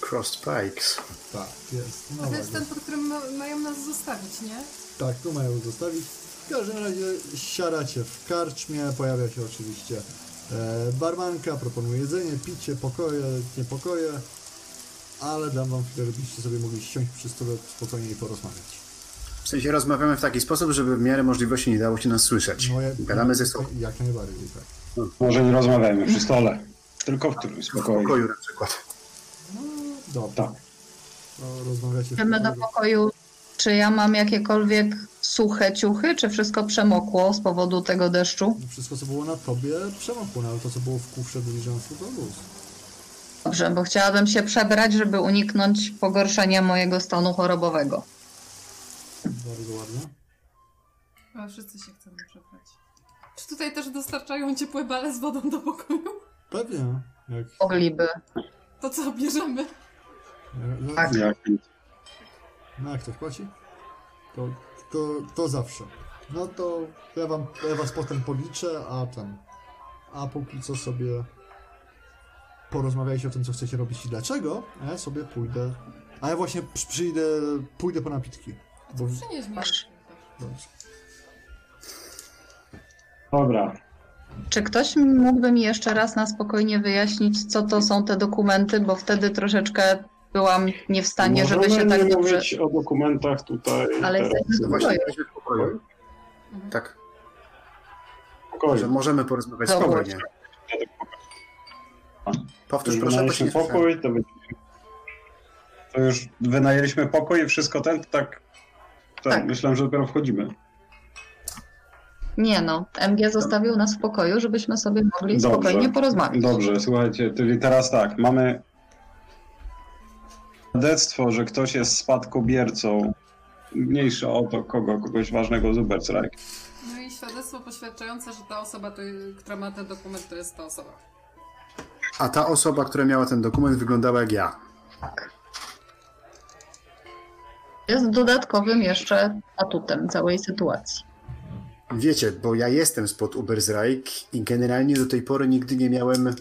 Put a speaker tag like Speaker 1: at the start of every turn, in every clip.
Speaker 1: Frost Pikes.
Speaker 2: Tak, jest. No
Speaker 3: To jest
Speaker 2: ładnie.
Speaker 3: ten, pod którym ma- mają nas zostawić, nie?
Speaker 2: Tak, tu mają zostawić. W każdym razie siadacie w karczmie, pojawia się oczywiście e, barmanka, proponuje jedzenie, picie, pokoje, niepokoje, ale dam wam chwilę, żebyście sobie mogli siąść przy stole spokojnie i porozmawiać.
Speaker 1: W sensie rozmawiamy w taki sposób, żeby w miarę możliwości nie dało się nas słyszeć.
Speaker 2: Moje-
Speaker 1: Gadamy ze sobą
Speaker 2: Jak najbardziej, tak.
Speaker 4: Może nie rozmawiajmy przy stole. Tylko w którymś
Speaker 1: w
Speaker 4: spokoju.
Speaker 1: pokoju na przykład.
Speaker 2: Dobra,
Speaker 4: Tak.
Speaker 2: to rozmawiacie w
Speaker 5: Idziemy do
Speaker 2: pokoju.
Speaker 5: pokoju. Czy ja mam jakiekolwiek suche ciuchy, czy wszystko przemokło z powodu tego deszczu?
Speaker 2: No, Wszystko, co było na tobie, przemokło, no, ale to, co było w kufrze dyliżansu, to luz.
Speaker 5: Dobrze, bo chciałabym się przebrać, żeby uniknąć pogorszenia mojego stanu chorobowego.
Speaker 2: Bardzo ładnie.
Speaker 3: A wszyscy się chcemy przebrać. Czy tutaj też dostarczają ciepłe bale z wodą do pokoju?
Speaker 2: Pewnie. Jak,
Speaker 5: Mogliby.
Speaker 3: To co, bierzemy?
Speaker 2: jak,
Speaker 5: Tak.
Speaker 4: Jak,
Speaker 2: No jak ktoś płaci? To, to, to zawsze. No to ja, wam, ja was potem policzę, a ten. A póki co sobie porozmawiajcie o tym, co chcecie robić i dlaczego, a ja sobie pójdę. A ja właśnie przy- przyjdę, pójdę po napitki.
Speaker 3: A
Speaker 2: Bo,
Speaker 3: to przynieś mi.
Speaker 5: Proszę.
Speaker 2: dobrze.
Speaker 4: Dobra.
Speaker 5: Czy ktoś mógłby mi jeszcze raz na spokojnie wyjaśnić, co to są te dokumenty, bo wtedy troszeczkę byłam nie w stanie, żeby
Speaker 4: Możemy
Speaker 5: się tak
Speaker 4: nie
Speaker 5: dobrze...
Speaker 4: mówić o dokumentach tutaj
Speaker 5: Ale
Speaker 4: teraz,
Speaker 5: jesteśmy
Speaker 1: No
Speaker 5: w pokoju. Mhm.
Speaker 1: właśnie, jesteśmy w pokoju. Tak,
Speaker 4: w pokoju.
Speaker 1: że możemy porozmawiać
Speaker 5: Dobra.
Speaker 1: spokojnie. Powtórz proszę, to się nie
Speaker 4: wynajęliśmy
Speaker 1: słyszałem.
Speaker 4: pokój, to będzie... To już wynajęliśmy pokój i wszystko ten, to tak... Tak,
Speaker 5: Tak.
Speaker 4: myślałem, że dopiero wchodzimy.
Speaker 5: Nie no, MG zostawił nas w pokoju, żebyśmy sobie mogli
Speaker 4: Dobrze.
Speaker 5: spokojnie porozmawiać.
Speaker 4: Dobrze, słuchajcie, czyli teraz tak, mamy świadectwo, że ktoś jest spadkobiercą, mniejsze o to kogo, kogoś ważnego z Ubercrajk.
Speaker 3: No i świadectwo poświadczające, że ta osoba, to, która ma ten dokument, to jest ta osoba.
Speaker 1: A ta osoba, która miała ten dokument, wyglądała jak ja.
Speaker 5: Jest dodatkowym jeszcze atutem całej sytuacji.
Speaker 1: Wiecie, bo ja jestem spod Uberzreich i generalnie do tej pory nigdy nie miałem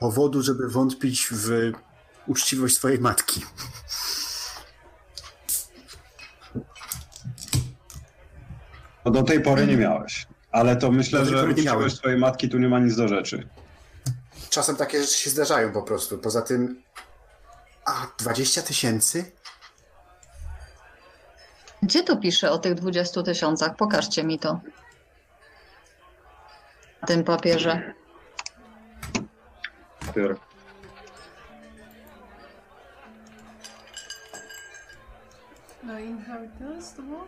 Speaker 1: powodu, żeby wątpić w uczciwość swojej matki.
Speaker 4: No do tej pory nie miałeś, ale to
Speaker 1: Do
Speaker 4: myślę,
Speaker 1: tej
Speaker 4: że
Speaker 1: pory nie miałem.
Speaker 4: uczciwość twojej matki tu nie ma nic do rzeczy.
Speaker 1: Czasem takie rzeczy się zdarzają po prostu. Poza tym... A, 20 tysięcy?
Speaker 5: Gdzie to pisze o tych 20 tysiącach? Pokażcie mi to. Na tym papierze.
Speaker 4: Pier-
Speaker 3: No i inheritance to było?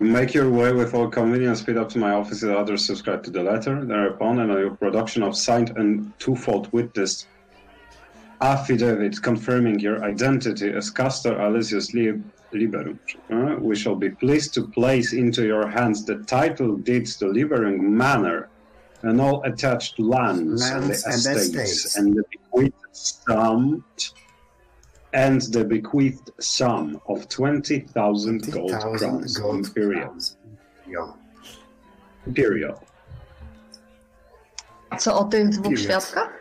Speaker 4: Make your way with all convenience, speed up to my office, the others subscribe to the letter, thereupon, and on your production of signed and twofold witness affidavit confirming your identity as Castor Alesius Lib- Liberum. Uh, we shall be pleased to place into your hands the title deeds to Liberum Manor and all attached lands, and the
Speaker 1: Lands and
Speaker 4: estates,
Speaker 1: estates.
Speaker 4: and the bequeathed sum and the bequeathed sum of 20,000 gold
Speaker 1: 10,000
Speaker 4: crowns
Speaker 1: gold
Speaker 4: imperial.
Speaker 1: crowns. Jo.
Speaker 4: imperial.
Speaker 5: A co o tych dwóch
Speaker 1: Period.
Speaker 5: świadkach?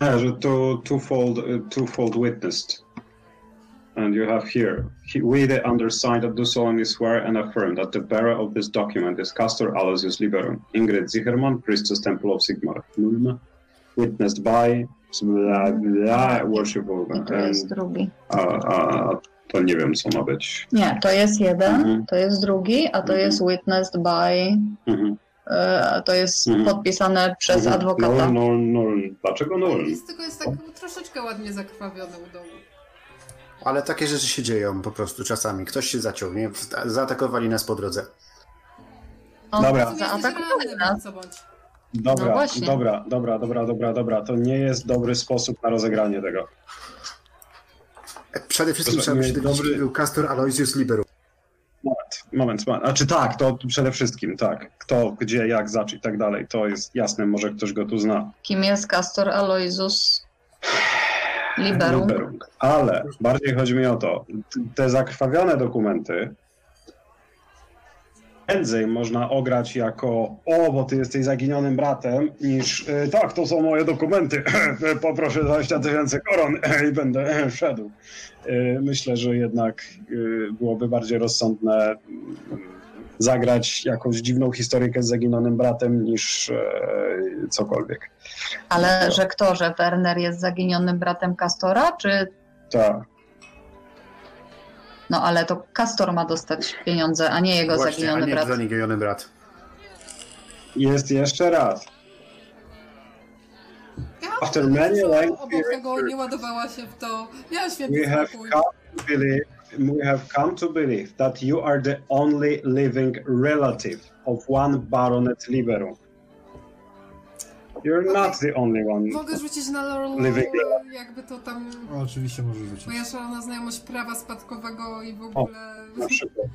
Speaker 4: Yeah, so two, twofold, uh, twofold witnessed. And you have here, he, we the undersigned do solemnly swear and affirm that the bearer of this document is Castor Aloysius Liberum, Ingrid Zicherman, Priestess Temple of Sigmar, Lulm, witnessed by bla, bla, worship of,
Speaker 5: I tu
Speaker 4: and,
Speaker 5: jest drugi.
Speaker 4: a, a, to nie wiem co ma być.
Speaker 5: Nie, to jest jeden,
Speaker 4: Mhm.
Speaker 5: to jest drugi, a to
Speaker 4: Mhm.
Speaker 5: jest witnessed by,
Speaker 4: Mhm.
Speaker 5: e, a to jest
Speaker 4: Mhm.
Speaker 5: podpisane przez
Speaker 4: Mhm.
Speaker 5: adwokata.
Speaker 4: Norn, Norn, Norn. Dlaczego Norn?
Speaker 3: List tylko jest tak troszeczkę ładnie zakrwawiony u dołu.
Speaker 1: Ale takie rzeczy się dzieją po prostu czasami. Ktoś się zaciągnie, w- zaatakowali nas po drodze.
Speaker 5: No,
Speaker 4: Dobra.
Speaker 3: W sumie jesteś
Speaker 5: Zaatakowali
Speaker 3: ranny,
Speaker 5: nas.
Speaker 3: bądź co bądź.
Speaker 5: No
Speaker 4: Dobra,
Speaker 5: właśnie.
Speaker 4: dobra, dobra, dobra, dobra, dobra. To nie jest dobry sposób na rozegranie tego.
Speaker 1: E, Przede wszystkim
Speaker 4: Proszę,
Speaker 1: trzeba
Speaker 4: nie,
Speaker 1: by się dowiedzieć,
Speaker 4: dobry-
Speaker 1: kim był Castor Aloysius Liberum.
Speaker 4: Moment, moment, moment. Znaczy tak, to przede wszystkim, tak. Kto, gdzie, jak, zacząć i tak dalej. To jest jasne, może ktoś go tu zna.
Speaker 5: Kim jest Castor Aloysus Liberum?
Speaker 4: Liberum. Ale bardziej chodzi mi o to, t- te zakrwawione dokumenty prędzej można ograć jako o, bo ty jesteś zaginionym bratem, niż e, tak, to są moje dokumenty, poproszę 20 tysięcy koron i będę szedł. E, Myślę, że jednak e, byłoby bardziej rozsądne mm, zagrać jakąś dziwną historyjkę z zaginionym bratem niż e, cokolwiek.
Speaker 5: Ale że kto, że Werner jest zaginionym bratem Kastora, czy...
Speaker 4: Tak.
Speaker 5: No ale to Kastor ma dostać pieniądze, a nie jego
Speaker 1: Właśnie, a
Speaker 5: zaginiony
Speaker 1: nie
Speaker 5: brat.
Speaker 1: zaginiony brat.
Speaker 4: Jest jeszcze raz.
Speaker 3: Ja
Speaker 4: After many life
Speaker 3: obok tego nie ładowała się w to. Ja świetnie
Speaker 4: we have
Speaker 3: smakuje.
Speaker 4: come to believe we have come to believe that you are the only living relative of one baronet liberum. You're not the only one.
Speaker 3: Mogę rzucić na Lorelei,
Speaker 4: Living
Speaker 3: jakby to tam...
Speaker 2: No, oczywiście może rzucić.
Speaker 3: Moja szalona znajomość prawa spadkowego i w ogóle...
Speaker 4: Na przykład.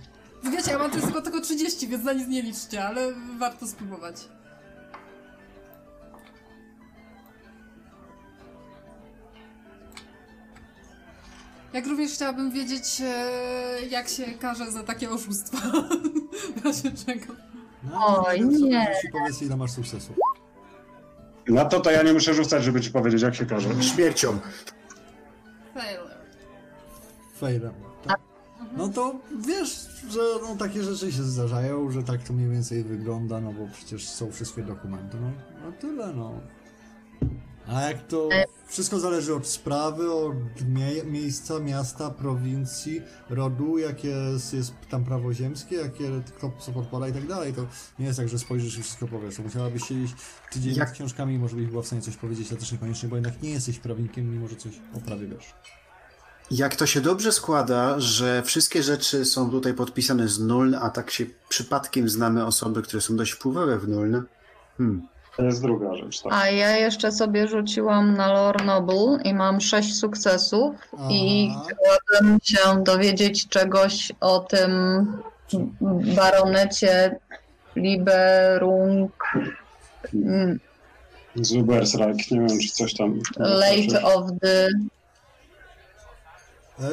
Speaker 3: Wiecie, ja mam to jest tylko, tylko 30, więc na nic nie liczcie, ale warto spróbować. Jak również chciałabym wiedzieć, e, jak się karze za takie oszustwa. w razie czego.
Speaker 2: No,
Speaker 5: Oj,
Speaker 2: jeden sobie
Speaker 5: nie.
Speaker 2: rzuci, Powiedz ile masz sukcesu.
Speaker 4: Na to to ja nie muszę rzucać, żeby ci powiedzieć, jak się każe.
Speaker 1: Śmiercią.
Speaker 3: Failure.
Speaker 2: Fejrem. Tak. No to wiesz, że no, takie rzeczy się zdarzają, że tak to mniej więcej wygląda, no bo przecież są wszystkie dokumenty, no, no tyle no. A jak to wszystko zależy od sprawy, od mie- miejsca, miasta, prowincji, rodu, jakie jest, jest tam prawo ziemskie, jakie kto co podpada i tak dalej, to nie jest tak, że spojrzysz i wszystko powiesz. Musiałabyś siedzieć tydzień
Speaker 1: Jak-
Speaker 2: nad książkami i może byś była w stanie coś powiedzieć, ale też niekoniecznie, bo jednak nie jesteś prawnikiem, mimo że coś o prawie wiesz.
Speaker 1: Jak to się dobrze składa, że wszystkie rzeczy są tutaj podpisane z nuln, a tak się przypadkiem znamy osoby, które są dość wpływowe w nuln. Hmm.
Speaker 4: To jest druga rzecz, tak.
Speaker 5: A ja jeszcze sobie rzuciłam na Lore Noble i mam sześć sukcesów i
Speaker 2: Aha.
Speaker 5: chciałabym się dowiedzieć czegoś o tym baronecie Liberung mm,
Speaker 4: Zubersrike, nie wiem, czy coś tam...
Speaker 5: Late of the...
Speaker 2: E,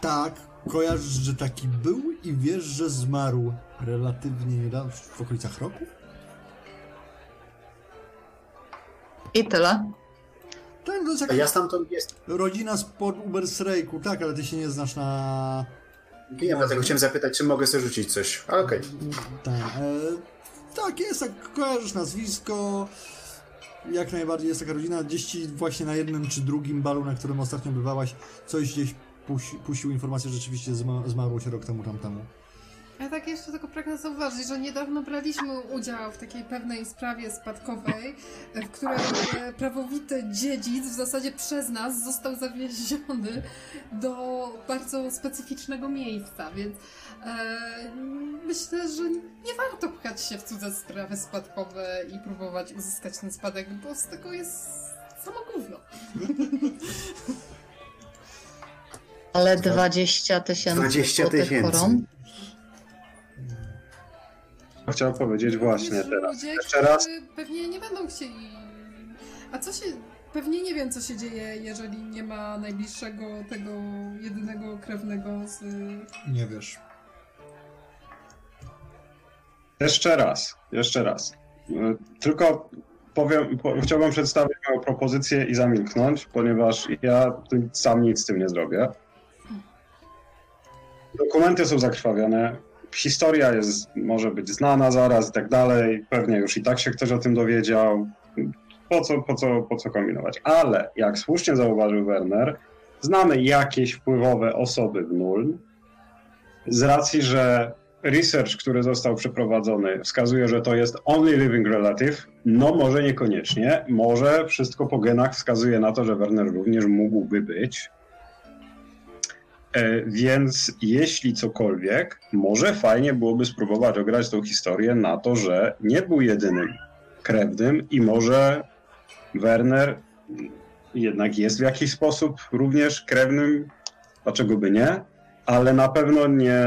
Speaker 2: tak, kojarzysz, że taki był i wiesz, że zmarł relatywnie niedawno, w okolicach roku?
Speaker 5: I tyle.
Speaker 2: Tak, to jest
Speaker 1: A
Speaker 2: jak
Speaker 1: ja stamtąd jestem.
Speaker 2: rodzina spod Ubersrejku, tak, ale ty się nie znasz na...
Speaker 1: Nie, dlatego chciałem zapytać, czy mogę sobie rzucić coś. Ale okej.
Speaker 2: Ten, e, tak, jest, tak, kojarzysz nazwisko, jak najbardziej jest taka rodzina, gdzieś ci właśnie na jednym czy drugim balu, na którym ostatnio bywałaś, coś gdzieś pusi, puścił informację, że rzeczywiście zma, zmarło się rok temu, tam, temu.
Speaker 3: Ja tak jeszcze tylko pragnę zauważyć, że niedawno braliśmy udział w takiej pewnej sprawie spadkowej, w której e, prawowity dziedzic w zasadzie przez nas został zawieziony do bardzo specyficznego miejsca, więc e, myślę, że nie warto pchać się w cudze sprawy spadkowe i próbować uzyskać ten spadek, bo z tego jest samo gówno.
Speaker 5: Ale 20 tysięcy
Speaker 1: 20
Speaker 5: złotych
Speaker 1: tysięcy.
Speaker 5: koron.
Speaker 4: Chciał powiedzieć właśnie
Speaker 3: Również
Speaker 4: teraz.
Speaker 3: Ludzie,
Speaker 4: Jeszcze raz.
Speaker 3: którzy Pewnie nie będą chcieli. A co się. Pewnie nie wiem, co się dzieje, jeżeli nie ma najbliższego tego jedynego krewnego z. y,
Speaker 2: Nie wiesz.
Speaker 4: Jeszcze raz, jeszcze raz. E, Tylko powiem, po, chciałbym przedstawić moją propozycję i zamilknąć, ponieważ ja tu sam nic z tym nie zrobię. Dokumenty są zakrwawione, historia jest, może być znana zaraz i tak dalej, pewnie już i tak się ktoś o tym dowiedział. Po co, po co, po co kombinować? Ale, jak słusznie zauważył Werner, znamy jakieś wpływowe osoby w Nuln, z racji, że research, który został przeprowadzony, wskazuje, że to jest only living relative. No, może niekoniecznie. Może wszystko po genach wskazuje na to, że Werner również mógłby być. E, Więc jeśli cokolwiek, może fajnie byłoby spróbować ograć tą historię na to, że nie był jedynym krewnym i może Werner jednak jest w jakiś sposób również krewnym, dlaczego by nie, ale na pewno nie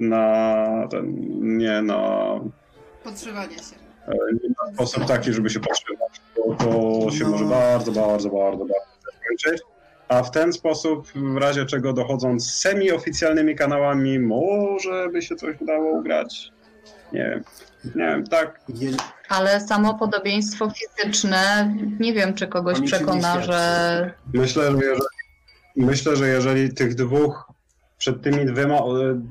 Speaker 4: na ten, nie na
Speaker 3: podszywania się.
Speaker 4: sposób taki, żeby się podtrzymać, bo to się
Speaker 2: No.
Speaker 4: może bardzo, bardzo, bardzo, bardzo skończyć. A w ten sposób, w razie czego dochodząc semioficjalnymi kanałami, może by się coś udało ugrać. Nie wiem. Nie wiem, tak.
Speaker 1: Je,
Speaker 5: Ale samo podobieństwo fizyczne, nie wiem, czy kogoś
Speaker 1: O niczym nie
Speaker 5: przekona,
Speaker 1: świadczy.
Speaker 5: że
Speaker 4: Myślę, że jeżeli, myślę, że jeżeli tych dwóch przed tymi dwiema,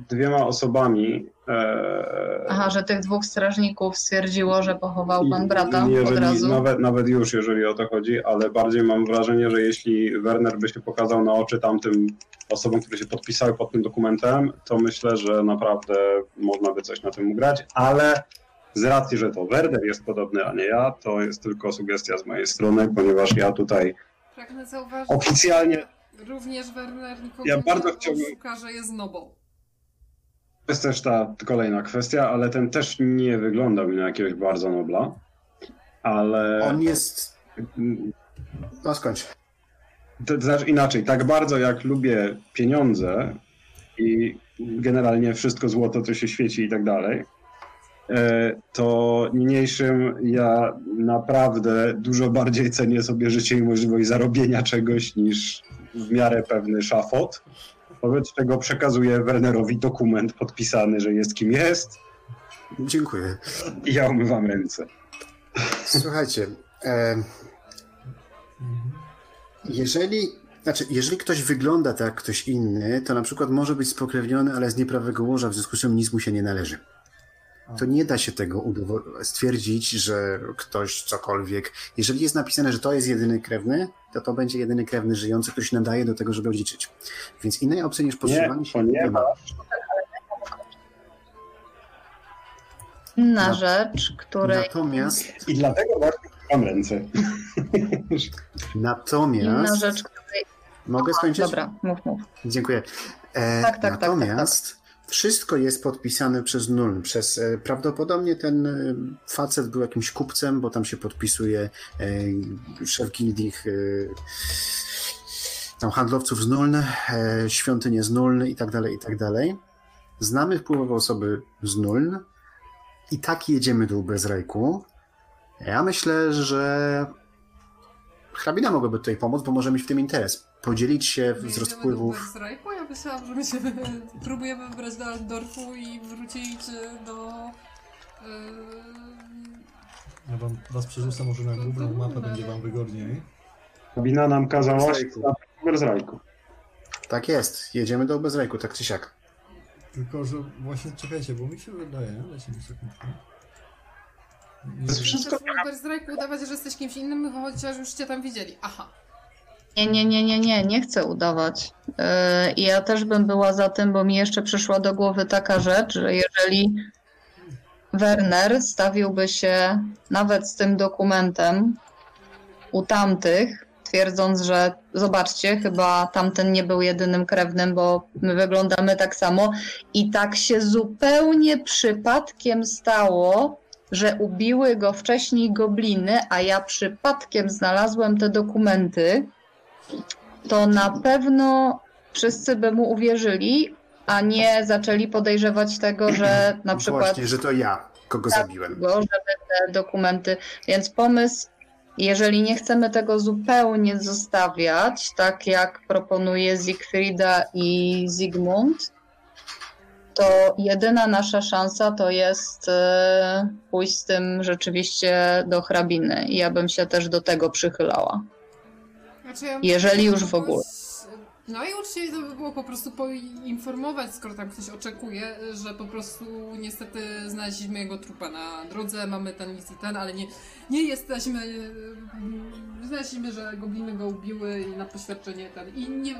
Speaker 4: dwiema osobami. E,
Speaker 5: Aha, że tych dwóch strażników stwierdziło, że pochował pan brata
Speaker 4: jeżeli,
Speaker 5: od razu.
Speaker 4: Nawet, nawet już, jeżeli o to chodzi, ale bardziej mam wrażenie, że jeśli Werner by się pokazał na oczy tamtym osobom, które się podpisały pod tym dokumentem, to myślę, że naprawdę można by coś na tym ugrać, ale z racji, że to Werner jest podobny, a nie ja, to jest tylko sugestia z mojej strony, ponieważ ja tutaj
Speaker 3: Pragnę zauważyć,
Speaker 4: oficjalnie
Speaker 3: że również Werner nikogo
Speaker 4: Ja
Speaker 3: nie
Speaker 4: bardzo chciałbym-
Speaker 3: oszuka, że jest nobą.
Speaker 4: To jest też ta kolejna kwestia, ale ten też nie wyglądał mi na jakiegoś bardzo nobla, ale
Speaker 1: on jest. No skończ.
Speaker 4: to znaczy inaczej, tak bardzo jak lubię pieniądze i generalnie wszystko złoto, co się świeci i tak dalej, e, to niniejszym ja naprawdę dużo bardziej cenię sobie życie i możliwość zarobienia czegoś niż w miarę pewny szafot. Wobec czego przekazuję Wernerowi dokument podpisany, że jest kim jest
Speaker 1: Dziękuję.
Speaker 4: i ja umywam ręce.
Speaker 1: Słuchajcie, e,
Speaker 2: Mhm.
Speaker 1: jeżeli. Znaczy, jeżeli ktoś wygląda tak jak ktoś inny, to na przykład może być spokrewniony, ale z nieprawego łoża, w związku z czym nic mu się nie należy.
Speaker 2: A.
Speaker 1: To nie da się tego udowo- stwierdzić, że ktoś cokolwiek. Jeżeli jest napisane, że to jest jedyny krewny, to to będzie jedyny krewny żyjący, który się nadaje do tego, żeby odziedziczyć. Więc innej opcji niż poszukiwanie się nie ma.
Speaker 5: Inna
Speaker 1: Na-
Speaker 5: rzecz, której
Speaker 1: Natomiast,
Speaker 4: I dlatego właśnie umywam ręce.
Speaker 5: inna
Speaker 1: natomiast,
Speaker 5: rzecz, której...
Speaker 1: mogę skończyć?
Speaker 5: Dobra, mów, mów.
Speaker 1: Dziękuję. E,
Speaker 5: Tak, tak, tak,
Speaker 1: natomiast wszystko jest podpisane przez nul. Przez, e, prawdopodobnie ten e, facet był jakimś kupcem, bo tam się podpisuje e, szef gildii e, tam handlowców z nuln, e, świątynie z nuln i tak dalej, i tak dalej. Znamy wpływowe osoby z nuln i tak jedziemy do Bezrajku. Ja myślę, że hrabina mogłaby tutaj pomóc, bo może mieć w tym interes. Podzielić się
Speaker 3: My
Speaker 1: z
Speaker 3: jedziemy
Speaker 1: rozpływów
Speaker 3: Do Bezrajku? ja myślałam, że my się próbujemy wybrać do Aldorfu i wrócić e, do... Yy,
Speaker 2: Ja wam, was przerzucę może na główną mapę, będzie wam wygodniej.
Speaker 4: Wina nam kazała się
Speaker 1: Zrajku.
Speaker 4: na z rajku.
Speaker 1: Tak jest, jedziemy do Bezrejku, tak czy siak.
Speaker 2: Tylko, że właśnie czekajcie, bo mi się wydaje, dajcie mi sekundkę. Nie
Speaker 4: jest
Speaker 2: wiem.
Speaker 4: wszystko-
Speaker 3: Chcesz w Bezrajku udawać, że jesteś kimś innym, chociaż już cię tam widzieli. Aha.
Speaker 5: Nie, nie, nie, nie, nie, nie chcę udawać. Yy, I ja też bym była za tym, bo mi jeszcze przyszła do głowy taka rzecz, że jeżeli Werner stawiłby się nawet z tym dokumentem u tamtych, twierdząc, że zobaczcie, chyba tamten nie był jedynym krewnym, bo my wyglądamy tak samo. I tak się zupełnie przypadkiem stało, że ubiły go wcześniej gobliny, a ja przypadkiem znalazłem te dokumenty, to na pewno wszyscy by mu uwierzyli, a nie zaczęli podejrzewać tego, że na przykład Tak.
Speaker 1: Właśnie, że to ja, kogo zabiłem.
Speaker 5: go, żeby te dokumenty. Więc pomysł, jeżeli nie chcemy tego zupełnie zostawiać, tak jak proponuje Siegfrieda i Zygmunt, to jedyna nasza szansa to jest e, pójść z tym rzeczywiście do hrabiny. I Ja bym się też do tego przychylała.
Speaker 3: Znaczy, ja
Speaker 5: Jeżeli
Speaker 3: myślę,
Speaker 5: już
Speaker 3: że
Speaker 5: w ogóle.
Speaker 3: jakoś- No i uczciwie to by było po prostu poinformować, skoro tam ktoś oczekuje, że po prostu niestety znaleźliśmy jego trupa na drodze, mamy ten list i ten, ale nie, nie jesteśmy... mm, Znaleźliśmy, że gobliny go ubiły i na poświadczenie ten... I nie...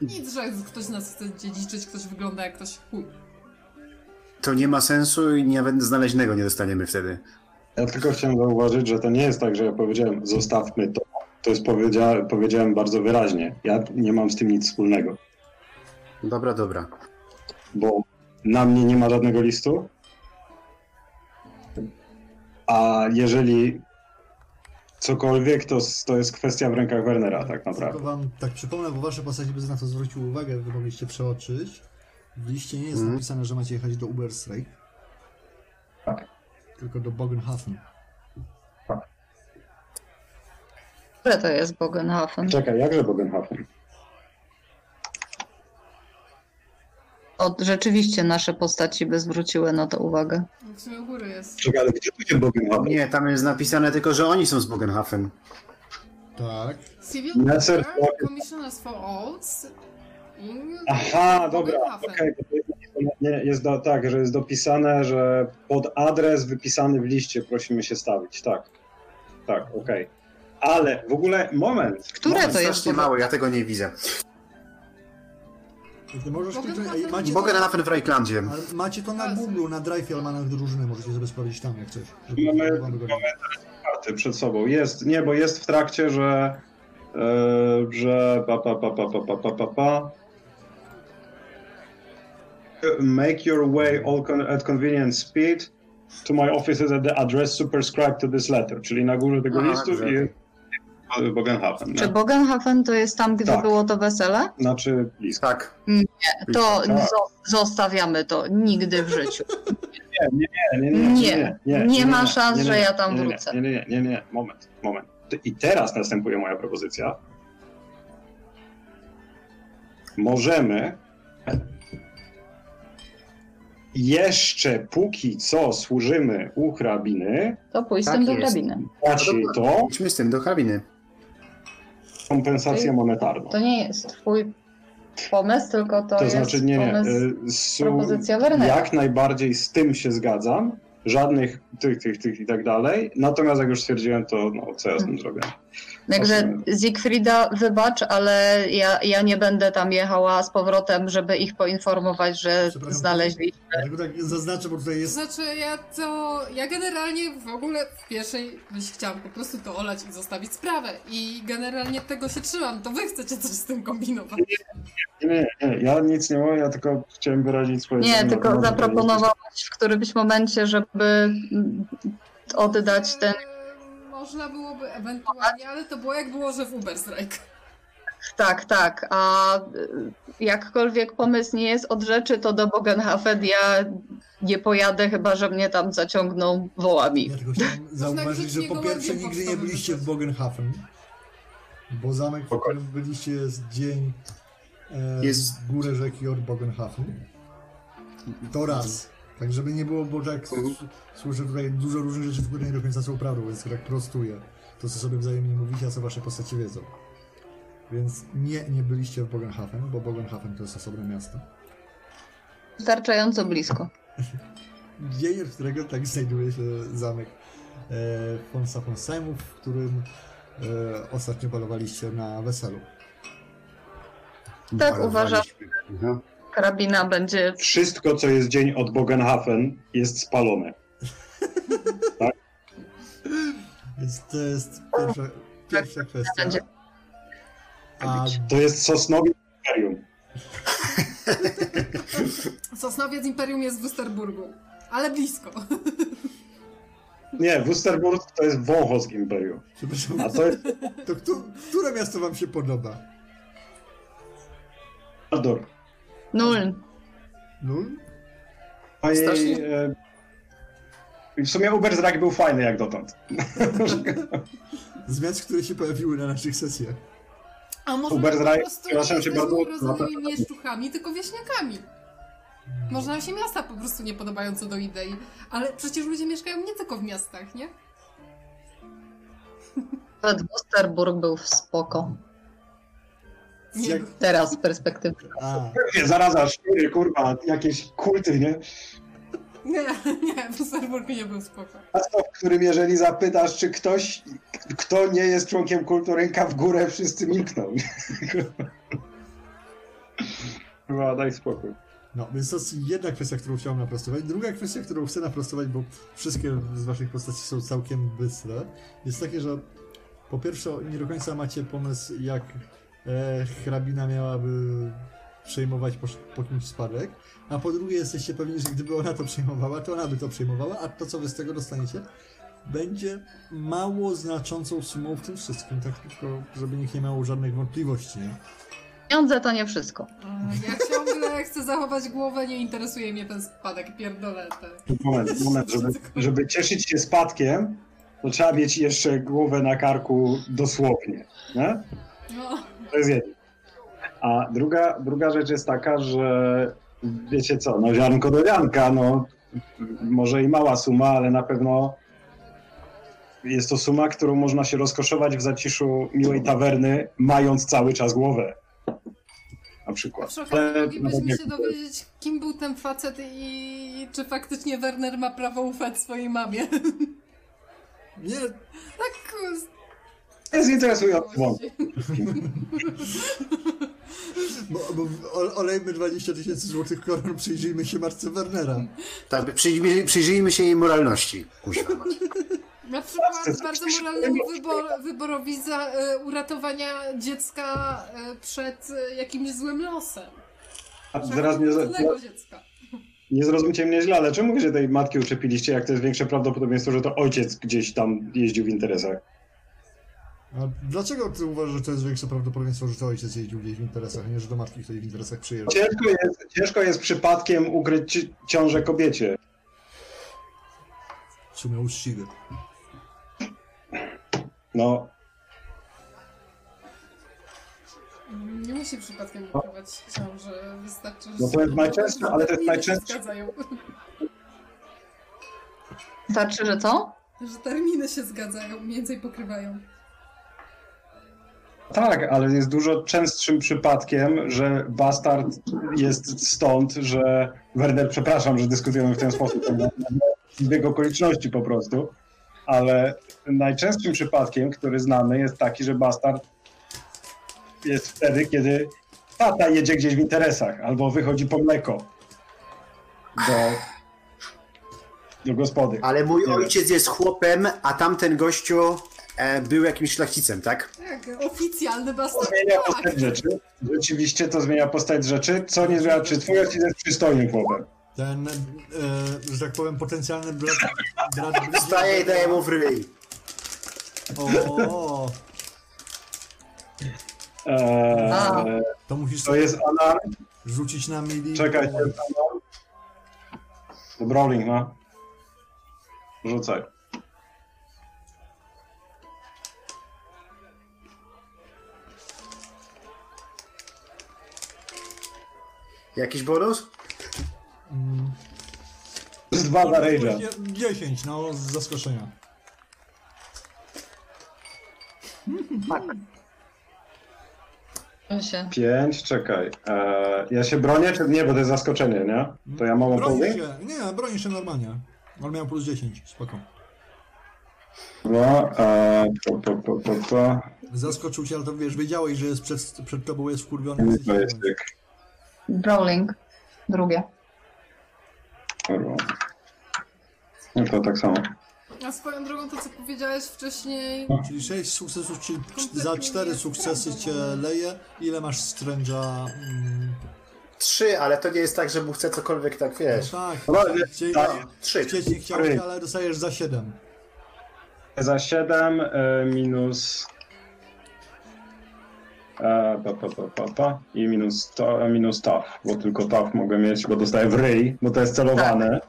Speaker 3: Nic, że ktoś z nas chce dziedziczyć, ktoś wygląda jak ktoś chuj.
Speaker 1: To nie ma sensu i nawet znaleźnego nie dostaniemy wtedy.
Speaker 4: Ja tylko chciałem zauważyć, że to nie jest tak, że ja powiedziałem zostawmy to. To jest powiedzia powiedziałem bardzo wyraźnie. Ja nie mam z tym nic wspólnego,
Speaker 1: Dobra, dobra.
Speaker 4: bo na mnie nie ma żadnego listu. A jeżeli cokolwiek, to, s- to jest kwestia w rękach Wernera tak naprawdę.
Speaker 2: Tylko wam tak przypomnę, bo wasze postacie by na to zwróciły uwagę, wy mogliście przeoczyć. W liście nie jest
Speaker 1: Mhm.
Speaker 2: napisane, że macie jechać do Uberstrike.
Speaker 4: Tak.
Speaker 2: Tylko do Bogenhafen.
Speaker 5: Które to jest Bogenhafen?
Speaker 4: Czekaj, jakże Bogenhafen?
Speaker 5: O, od, rzeczywiście nasze postaci by zwróciły na to uwagę.
Speaker 3: W sumie u góry jest.
Speaker 6: Czekaj, gdzie będzie Bogiem Hubble?
Speaker 1: Nie, tam jest napisane tylko, że oni są z Bogenhafen.
Speaker 2: Tak.
Speaker 3: Civil
Speaker 4: Nasser
Speaker 3: War,
Speaker 4: Walker.
Speaker 3: Commissioners for Olds. i-
Speaker 4: Aha, dobra,
Speaker 3: Bogenhafen.
Speaker 1: Tak.
Speaker 4: okej. bo to jest- nie, Jest do, tak, że jest dopisane, że pod adres wypisany w liście prosimy się stawić, tak. Tak, okej. Ale w ogóle moment.
Speaker 5: Które
Speaker 1: Moment,
Speaker 5: to jest? tak.
Speaker 1: strasznie mały, ja tego nie widzę.
Speaker 2: Ty możesz
Speaker 3: Mogę
Speaker 2: kliknąć,
Speaker 3: na-
Speaker 2: ej, macie, to,
Speaker 1: Bogenhafen w Reichlandzie.
Speaker 2: ale macie to na Google, na Drive Almanach drużyny, możecie sobie sprawdzić tam jak coś. żeby-
Speaker 4: Mamy-
Speaker 2: żeby wam wygodnie.
Speaker 4: Karty przed sobą. Jest, nie, bo jest w trakcie, że. e, że. Pa, pa, pa, pa, pa, pa, pa, pa, pa. Make your way all con- at convenient speed to my offices at the address superscribed to this letter. Czyli na górze tego
Speaker 1: Aha,
Speaker 4: listu
Speaker 1: dobrze.
Speaker 4: i Bogenhafen.
Speaker 5: Czy
Speaker 4: Nie?
Speaker 5: Bogenhafen to jest tam, gdzie
Speaker 4: No. Tak.
Speaker 5: było to wesele?
Speaker 4: Znaczy list.
Speaker 1: Tak.
Speaker 5: To
Speaker 4: Tak.
Speaker 5: zo- zostawiamy to nigdy w życiu.
Speaker 4: Nie, nie, nie, nie,
Speaker 5: Nie,
Speaker 4: nie, nie,
Speaker 5: nie ma szans,
Speaker 4: nie, nie,
Speaker 5: że ja tam
Speaker 4: nie, nie,
Speaker 5: wrócę.
Speaker 4: Nie, nie, nie, nie, nie, moment, moment. I teraz następuje moja propozycja. Możemy jeszcze póki co służymy u hrabiny,
Speaker 5: To pójść z
Speaker 1: Tak
Speaker 5: tym do
Speaker 1: jest.
Speaker 5: drabiny.
Speaker 4: płaci
Speaker 1: No dobra.
Speaker 4: to
Speaker 1: Idźmy z tym do hrabiny.
Speaker 4: kompensację monetarną.
Speaker 5: To nie jest twój pomysł, tylko to,
Speaker 4: To
Speaker 5: jest
Speaker 4: znaczy, nie, nie.
Speaker 5: pomysł...
Speaker 4: y, Su,
Speaker 5: propozycja Wernera.
Speaker 4: jak najbardziej z tym się zgadzam. Żadnych tych, tych, tych i tak dalej. Natomiast jak już stwierdziłem, to no, co ja z tym zrobię?
Speaker 5: Także
Speaker 4: Osiem.
Speaker 5: Siegfrieda wybacz, ale ja, ja nie będę tam jechała z powrotem, żeby ich poinformować, że
Speaker 2: Przepraszam.
Speaker 5: znaleźli.
Speaker 2: Dlatego tak zaznaczę, bo tutaj jest
Speaker 3: Znaczy, ja to. Ja generalnie w ogóle w pierwszej myśli chciałam po prostu to olać i zostawić sprawę. I generalnie tego się trzymam. To wy chcecie coś z tym kombinować.
Speaker 4: Nie, nie, nie. Ja nic nie mówię, ja tylko chciałem wyrazić swoje
Speaker 5: Nie,
Speaker 4: zdanie.
Speaker 5: tylko
Speaker 4: No,
Speaker 5: zaproponowałaś w którymś momencie, żeby mm, oddać ten.
Speaker 3: Eee, Można byłoby ewentualnie, ale to było jak było, że w Uberstrike.
Speaker 5: Tak, tak. A y, jakkolwiek pomysł nie jest od rzeczy, to do Bogenhafen ja nie pojadę, chyba że mnie tam zaciągną wołami.
Speaker 2: Ja tylko chciałem zauważyć,
Speaker 3: rzucić
Speaker 2: że po
Speaker 3: jego
Speaker 2: pierwsze
Speaker 3: łapie
Speaker 2: nigdy nie
Speaker 3: pocztowym
Speaker 2: byliście w
Speaker 3: wrzucić.
Speaker 2: Bogenhafen, bo zamek, w którym byliście jest dzień
Speaker 1: Jest-
Speaker 2: e, jest górę rzeki od Bogenhafen. To raz. Tak, żeby nie było, bo tak s- słyszę tutaj dużo różnych rzeczy, które nie do końca są prawdą, więc tak prostuję to, co sobie wzajemnie mówicie, a co wasze postacie wiedzą. Więc nie, nie byliście w Bogenhafen, bo Bogenhafen to jest osobne miasto.
Speaker 5: Wystarczająco blisko.
Speaker 2: dzieje, w którego tak znajduje się zamek e, Fonsa Fonsemów, w którym e, ostatnio balowaliście na weselu.
Speaker 5: Tak, uważam.
Speaker 1: Mhm.
Speaker 5: Karabina będzie.
Speaker 4: Wszystko, co jest dzień od Bogenhafen, jest spalone.
Speaker 2: Więc to jest pierwsza, pierwsza kwestia.
Speaker 5: będzie.
Speaker 2: A
Speaker 4: To jest Sosnowiec Imperium.
Speaker 3: Sosnowiec Imperium jest w Wusterburgu. Ale blisko.
Speaker 4: Nie, Wusterburg to jest Wąchos Imperium.
Speaker 2: przepraszam,
Speaker 4: A to jest
Speaker 2: to któ, które miasto wam się podoba?
Speaker 4: Aldor.
Speaker 5: Nul.
Speaker 2: Nul?
Speaker 4: Mojej,
Speaker 1: Strasznie.
Speaker 4: e, w sumie Uber Zrak był fajny jak dotąd.
Speaker 2: Z miast, które się pojawiły na naszych sesjach.
Speaker 3: A może
Speaker 4: Uber
Speaker 3: po
Speaker 4: Drive,
Speaker 3: prostu nie
Speaker 4: przepraszam cię
Speaker 3: jesteśmy
Speaker 4: bardzo,
Speaker 3: urodzonymi mieszczuchami, tylko wieśniakami. Może nam się miasta po prostu nie podobają co do idei. Ale przecież ludzie mieszkają nie tylko w miastach, nie?
Speaker 5: Nawet Wusterburg był w spoko.
Speaker 3: Nie.
Speaker 2: Jak,
Speaker 5: Teraz z perspektywy.
Speaker 2: a,
Speaker 4: Nie, zaraza, szpiry, kurwa, jakieś kulty, nie?
Speaker 3: Nie, nie, Wusterburg nie był spoko.
Speaker 4: Miasto, w którym jeżeli zapytasz, czy ktoś, kto nie jest członkiem kultu, ręka w górę, wszyscy milkną. Kurwa, daj spokój.
Speaker 2: No, więc to jest jedna kwestia, którą chciałem naprostować. Druga kwestia, którą chcę naprostować, bo wszystkie z waszych postaci są całkiem bystre, jest takie, że po pierwsze nie do końca macie pomysł, jak e, hrabina miałaby przejmować po, po kimś spadek, a po drugie jesteście pewni, że gdyby ona to przejmowała, to ona by to przejmowała, a to, co wy z tego dostaniecie, będzie mało znaczącą sumą w tym wszystkim, tak tylko, żeby nikt nie miał żadnych wątpliwości, nie?
Speaker 5: Pieniądze to nie wszystko.
Speaker 3: Mm, Ja ciągle chcę zachować głowę, nie interesuje mnie ten spadek, pierdolę te.
Speaker 4: Moment, moment, żeby, żeby cieszyć się spadkiem, to trzeba mieć jeszcze głowę na karku dosłownie, nie?
Speaker 3: No,
Speaker 4: To jest jedno. A druga, druga rzecz jest taka, że wiecie co, no ziarnko do ziarnka, no może i mała suma, ale na pewno jest to suma, którą można się rozkoszować w zaciszu miłej tawerny, mając cały czas głowę. Na przykład.
Speaker 3: Przy okazji
Speaker 4: Ale nawet
Speaker 3: moglibyśmy
Speaker 4: jak-
Speaker 3: się dowiedzieć, kim był ten facet i czy faktycznie Werner ma prawo ufać swojej mamie.
Speaker 2: Nie,
Speaker 3: Tak, kurs.
Speaker 4: To jest interesujący wątek.
Speaker 2: bo, bo o- olejmy 20 tysięcy złotych koron, przyjrzyjmy się Marce Wernera.
Speaker 1: Tak, przyjrzyj- przyjrzyjmy się jej moralności. Kuźwa. mać.
Speaker 3: Na przykład bardzo moralnemu wybor, wyborowi za e, uratowania dziecka e, przed e, jakimś złym losem.
Speaker 4: A Teraz nie,
Speaker 3: Złego dziecka.
Speaker 4: nie zrozumcie mnie źle, ale czemu się tej matki uczepiliście, jak to jest większe prawdopodobieństwo, że to ojciec gdzieś tam jeździł w interesach?
Speaker 2: A dlaczego ty uważasz, że to jest większe prawdopodobieństwo, że to ojciec jeździł gdzieś w interesach, a nie że do matki, której w interesach przyjeżdża?
Speaker 4: Ciężko jest, ciężko jest przypadkiem ukryć ci- ciążę kobiecie.
Speaker 2: W sumie uczciwy.
Speaker 4: No,
Speaker 3: Nie musi przypadkiem wykrywać ciąży, wystarczy, że...
Speaker 4: No to jest najczęstsze, ale to jest
Speaker 3: się
Speaker 4: najczęstsze.
Speaker 3: zgadzają.
Speaker 5: Wystarczy, że co?
Speaker 3: Że terminy się zgadzają, mniej więcej pokrywają.
Speaker 4: Tak, ale jest dużo częstszym przypadkiem, że bastard jest stąd, że Werner, przepraszam, że dyskutujemy w ten sposób, zbieg okoliczności po prostu, ale najczęstszym przypadkiem, który znamy, jest taki, że bastard jest wtedy, kiedy tata jedzie gdzieś w interesach albo wychodzi po mleko do, do gospody.
Speaker 1: Ale mój
Speaker 4: Nie.
Speaker 1: ojciec jest chłopem, a tamten gościu e, był jakimś szlachcicem, tak?
Speaker 3: Tak, oficjalny
Speaker 4: To
Speaker 3: bastard.
Speaker 4: zmienia
Speaker 3: Tak.
Speaker 4: postać rzeczy. Rzeczywiście to zmienia postać rzeczy, co nie zmienia, czy twój ojciec jest przystojnym chłopem.
Speaker 2: Ten, e, że tak powiem, potencjalny brat... brat
Speaker 1: Staję i daję mu w ryj.
Speaker 2: O,
Speaker 5: A.
Speaker 4: Eee,
Speaker 2: to musisz
Speaker 4: to
Speaker 2: sobie
Speaker 4: jest alarm.
Speaker 2: rzucić na mili.
Speaker 4: Czekaj. to jest alarm. To Brawling ma. Rzucaj.
Speaker 1: Jakiś bonus?
Speaker 2: Mm.
Speaker 4: To jest dwa za Rage'a.
Speaker 2: 10, no, z zaskoczenia.
Speaker 5: Bój się.
Speaker 4: Pięć, czekaj. Eee, ja się bronię, czy nie? Bo to jest zaskoczenie, nie? To ja mam
Speaker 2: Bronisz
Speaker 4: opowieść?
Speaker 2: się, nie, bronisz się normalnie. Ale miałem plus 10, spoko.
Speaker 4: No, eee, po, po, po, po, po.
Speaker 2: Zaskoczył cię, ale to wiesz, wiedziałeś, że jest przed, przed tobą jest wkurwiony.
Speaker 4: Nie,
Speaker 2: jesteś
Speaker 4: To jest
Speaker 2: pewien.
Speaker 4: tyk.
Speaker 5: Brawling. Drugie.
Speaker 4: Dobra. No to tak samo.
Speaker 3: A swoją drogą to, co powiedziałeś wcześniej,
Speaker 2: Czyli 6 sukcesów, czyli cz-
Speaker 3: Kompletnie
Speaker 2: za 4
Speaker 3: nie no.
Speaker 2: sukcesy
Speaker 3: sprawdzam.
Speaker 2: cię leje. Ile masz stręża? Mm,
Speaker 1: Trzy, ale to nie jest tak, że mu chce cokolwiek tak,
Speaker 2: no
Speaker 1: wiesz.
Speaker 2: tak,
Speaker 4: No, ale-
Speaker 2: chcieli,
Speaker 1: tak. Trzy.
Speaker 2: chcieć nie chciałeś, ale dostajesz za 7.
Speaker 4: Za 7 e, minus. E, pa, pa, pa, pa, pa. I minus, to, e, minus TAF, bo tylko TAF mogę mieć, bo dostaję w ryj, bo to jest celowane.
Speaker 6: Tak.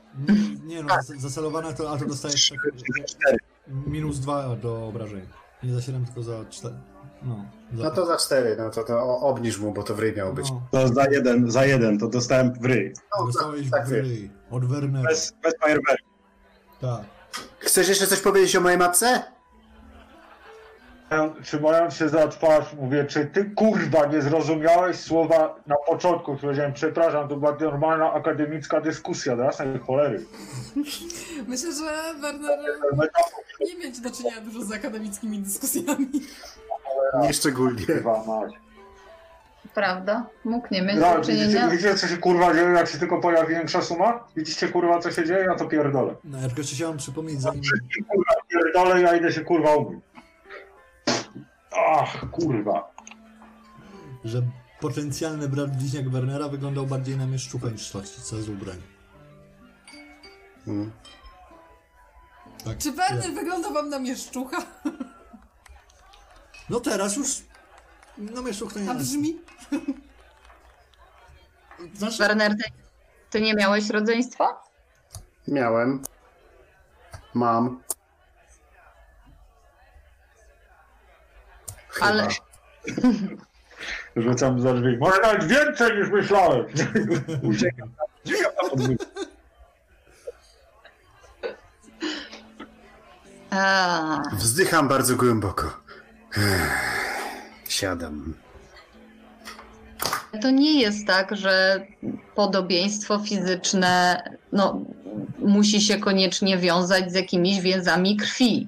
Speaker 2: Nie no,
Speaker 1: Tak.
Speaker 2: zas- zacelowane to, a to dostajesz tak, minus 2 do obrażeń. Nie za 7, tylko za 4. No, za
Speaker 1: No to za cztery, no to, to o- obniż mu, bo to w ryj miało być.
Speaker 2: No,
Speaker 4: To za jeden, za jeden, to dostałem w ryj.
Speaker 1: No, tak,
Speaker 2: dostałeś
Speaker 1: tak,
Speaker 2: w ryj od Wernera.
Speaker 4: Bez, bez fajerwerku.
Speaker 2: Tak.
Speaker 1: Chcesz jeszcze coś powiedzieć o mojej matce?
Speaker 6: Trzymając się za twarz, mówię, czy ty kurwa nie zrozumiałeś słowa na początku, które powiedziałem, przepraszam, to była normalna akademicka dyskusja, do jasnej cholery.
Speaker 3: myślę, że Werner nie mieć do czynienia dużo z akademickimi dyskusjami.
Speaker 4: Tak,
Speaker 1: Nie szczególnie.
Speaker 6: Kurwa mać.
Speaker 5: Prawda? Mógł nie mieć do
Speaker 6: Dobra, Widzicie,
Speaker 5: czynienia.
Speaker 6: widzicie, co się kurwa dzieje, jak się tylko pojawi większa suma? Widzicie kurwa, co się dzieje? Ja to pierdolę.
Speaker 2: No, ja tylko jeszcze chciałem przypomnieć, zanim...
Speaker 6: I kurwa pierdolę, ja idę się kurwa umyć. Ach, kurwa.
Speaker 2: że potencjalny brat bliźniak Wernera wyglądał bardziej na mieszczuchę niż szlachcica z ubrań.
Speaker 1: Mm.
Speaker 2: Tak.
Speaker 3: Czy Werner wygląda wam na mieszczucha?
Speaker 2: No teraz już... No mieszczuch to nie
Speaker 3: A
Speaker 2: jest.
Speaker 3: brzmi?
Speaker 2: Znaczy,
Speaker 5: Werner, ty, ty nie miałeś rodzeństwa?
Speaker 1: Miałem. Mam. Chyba.
Speaker 5: Ale-
Speaker 6: Rzucam za drzwi. Może nawet więcej niż myślałem.
Speaker 4: Uciekam uciekam na podwórko.
Speaker 5: A,
Speaker 1: Wzdycham bardzo głęboko. Siadam.
Speaker 5: to nie jest tak, że podobieństwo fizyczne no, musi się koniecznie wiązać z jakimiś więzami krwi.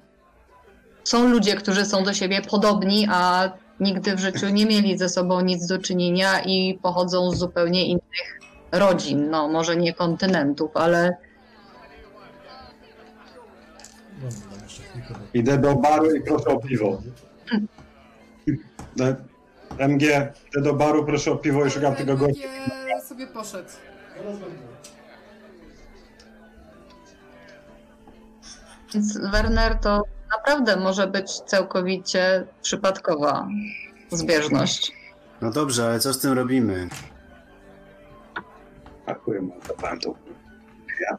Speaker 5: Są ludzie, którzy są do siebie podobni, a nigdy w życiu nie mieli ze sobą nic do czynienia i pochodzą z zupełnie innych rodzin, no może nie kontynentów, ale
Speaker 2: No, no, dam jeszcze chwilkę, bo-
Speaker 4: Idę do baru i proszę o piwo. E, MG, idę do baru, proszę o piwo i szukam tego gościa.
Speaker 3: Nie tak, sobie poszedł.
Speaker 5: więc Werner to naprawdę może być całkowicie przypadkowa zbieżność.
Speaker 1: No dobrze, ale co z tym robimy?
Speaker 4: Dziękuję, mam zapałem to.
Speaker 3: Ja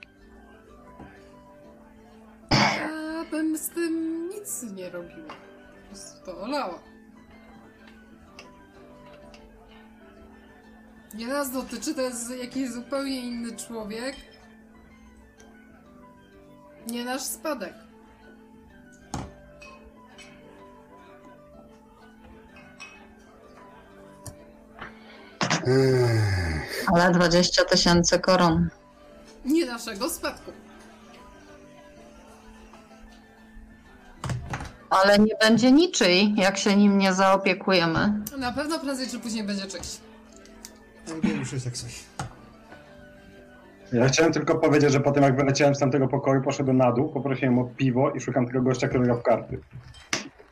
Speaker 3: bym z tym nic nie robiła. Po prostu to olała. Nie nas dotyczy, to jest jakiś zupełnie inny człowiek. Nie nasz spadek.
Speaker 1: Ech,
Speaker 5: Ale 20 tysięcy koron.
Speaker 3: Nie naszego spadku.
Speaker 5: Ale nie będzie niczyj, jak się nim nie zaopiekujemy.
Speaker 3: Na pewno prędzej czy później będzie czyś.
Speaker 2: Albo E, już jest jak coś.
Speaker 4: Ja chciałem tylko powiedzieć, że po tym jak wyleciałem z tamtego pokoju, poszedłem na dół, poprosiłem o piwo i szukam tego gościa, który grał w karty.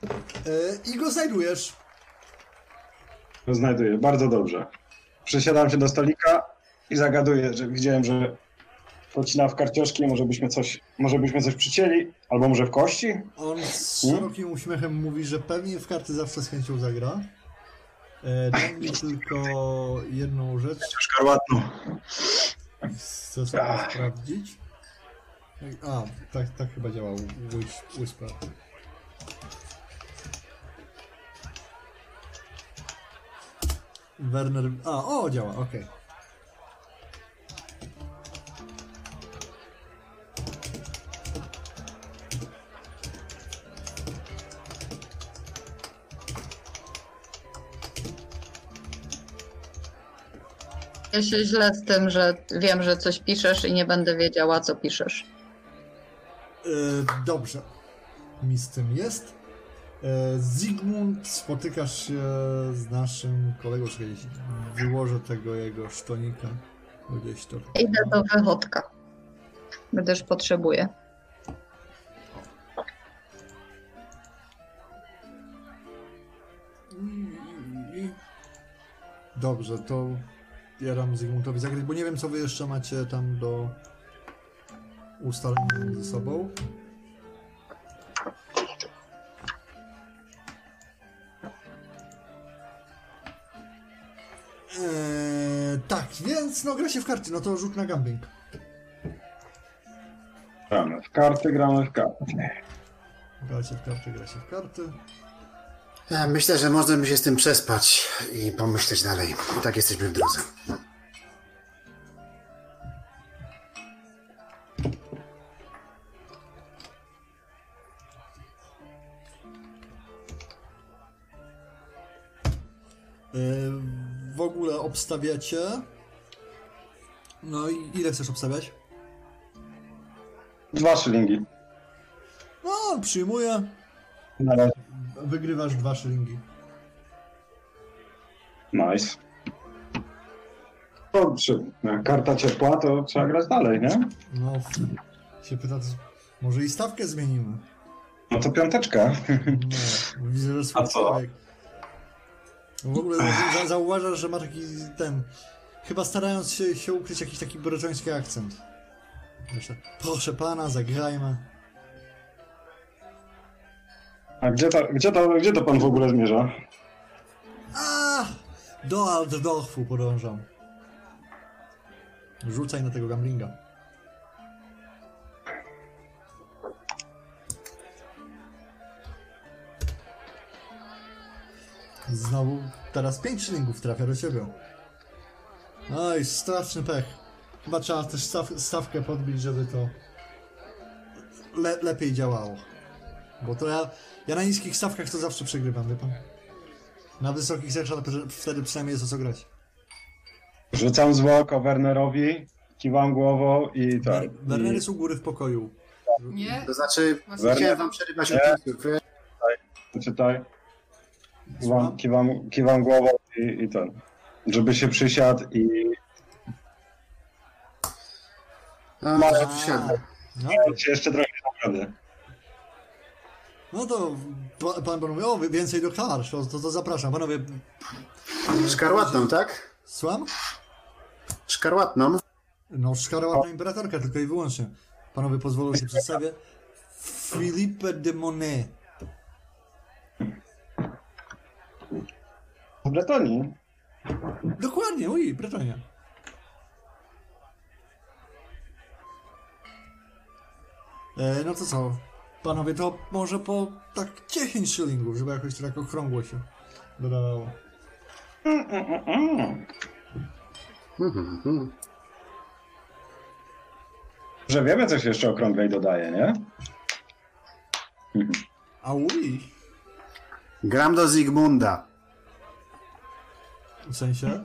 Speaker 2: E, I go znajdujesz.
Speaker 4: To znajduję, bardzo dobrze. Przesiadam się do stolika i zagaduję, że widziałem, że pocina w karcioszki, może byśmy coś, może byśmy coś przycięli, albo może w kości?
Speaker 2: On z
Speaker 4: Hmm?
Speaker 2: szerokim uśmiechem mówi, że pewnie w karty zawsze z chęcią zagra. E, dam mi tylko jedną rzecz,
Speaker 4: Szkarłatną.
Speaker 2: chcę sobie sprawdzić. A, tak, tak chyba działał Whis- Whisper. Werner... A, o, działa, okej.
Speaker 5: Ja się źle z tym, że wiem, że coś piszesz i nie będę wiedziała, co piszesz.
Speaker 2: E, dobrze. Mi z tym jest. E, Zygmunt, spotykasz się z naszym kolegą, czekaj, wyłożę tego jego sztonika. bo Gdzieś to.
Speaker 5: Idę do wychodka, gdyż potrzebuję.
Speaker 2: Dobrze, to ja dam Zygmuntowi zagrać, bo nie wiem co wy jeszcze macie tam do ustalenia ze sobą. Eee, tak, więc no gra się w karty, no to rzut na gambling.
Speaker 4: Gramy w karty, gramy w karty.
Speaker 2: Gra się w karty, gra się w karty. Eee,
Speaker 1: e, Myślę, że można by się z tym przespać i pomyśleć dalej. I tak jesteśmy w drodze.
Speaker 2: Yy, W ogóle obstawiacie. No i ile chcesz obstawiać?
Speaker 4: Dwa szylingi.
Speaker 2: No, przyjmuję.
Speaker 4: Na razie.
Speaker 2: Wygrywasz dwa szylingi.
Speaker 4: Nice. To czy e, karta ciepła, to trzeba grać dalej, nie?
Speaker 2: No, f- się pyta, co- może i stawkę zmienimy.
Speaker 4: No to piąteczka.
Speaker 2: No, widzę, że swój
Speaker 4: A co?
Speaker 2: człowiek. W ogóle za- za- zauważasz, że ma taki ten. Chyba starając się, się ukryć jakiś taki broczoński akcent. Proszę, proszę pana, zagrajmy.
Speaker 4: A gdzie to, gdzie, to, gdzie to pan w ogóle zmierza?
Speaker 2: A! Do Altdorfu podążam. Rzucaj na tego gamblinga. Znowu teraz pięć szylingów trafia do ciebie. Oj, straszny pech. Chyba trzeba też staw, stawkę podbić, żeby to le, lepiej działało. Bo to ja, ja na niskich stawkach to zawsze przegrywam, wie pan? Na wysokich zawsze wtedy przynajmniej jest o co grać.
Speaker 4: Rzucam zwłok Wernerowi, kiwam głową i tak.
Speaker 2: Wer- Werner
Speaker 4: i-
Speaker 2: jest u góry w pokoju.
Speaker 3: Nie?
Speaker 1: To znaczy,
Speaker 3: Właśnie
Speaker 1: chciałem
Speaker 3: chciałam
Speaker 1: wam
Speaker 3: wam
Speaker 1: przerywać
Speaker 4: Nie.
Speaker 1: odcinków.
Speaker 4: Czytaj.
Speaker 2: Słucham?
Speaker 4: Kiwam, kiwam, kiwam głową i, i ten. Żeby się przysiadł i
Speaker 1: A,
Speaker 4: Masz-
Speaker 1: że siadł.
Speaker 4: tak.
Speaker 2: No,
Speaker 4: się jeszcze trochę naprawdę.
Speaker 2: no to pa- pan pan mówi, o wy- więcej do harsz, to, to, to zapraszam. Panowie,
Speaker 1: Szkarłatną, tak?
Speaker 2: słucham?
Speaker 1: Szkarłatną.
Speaker 2: No,
Speaker 4: Tak.
Speaker 2: szkarłatna imperatorka, tylko i wyłącznie. Panowie pozwolą się przedstawię. Philippe de Monet.
Speaker 4: W Bretonii.
Speaker 2: Dokładnie, ui, Brytania. E, no to co? Panowie, to może po tak 10 szylingów, żeby jakoś to tak okrągło się dodawało.
Speaker 4: Mm, mm, mm.
Speaker 1: Mhm, mhm.
Speaker 4: Że wiemy, coś jeszcze okrąglej dodaje, nie?
Speaker 2: A ui,
Speaker 1: Gram do Zygmunda.
Speaker 2: w sensie?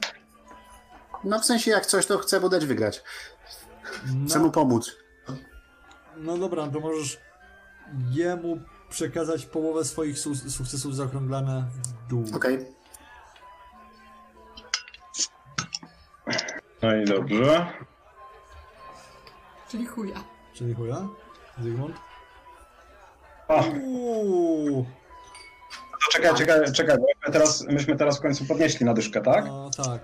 Speaker 1: No w sensie, jak coś, to chcę mu dać wygrać. Chcę mu
Speaker 2: No,
Speaker 1: pomóc.
Speaker 2: no dobra, to możesz jemu przekazać połowę swoich su- sukcesów zaokrąglane w dół.
Speaker 1: Okej.
Speaker 4: No i dobrze.
Speaker 3: Czyli chuja.
Speaker 2: Czyli chuja? Zygmunt?
Speaker 4: O,
Speaker 2: Uuu,
Speaker 4: to czekaj, czekaj, czekaj. bo Myśmy teraz, myśmy teraz w końcu podnieśli na dyszkę, tak?
Speaker 2: no tak.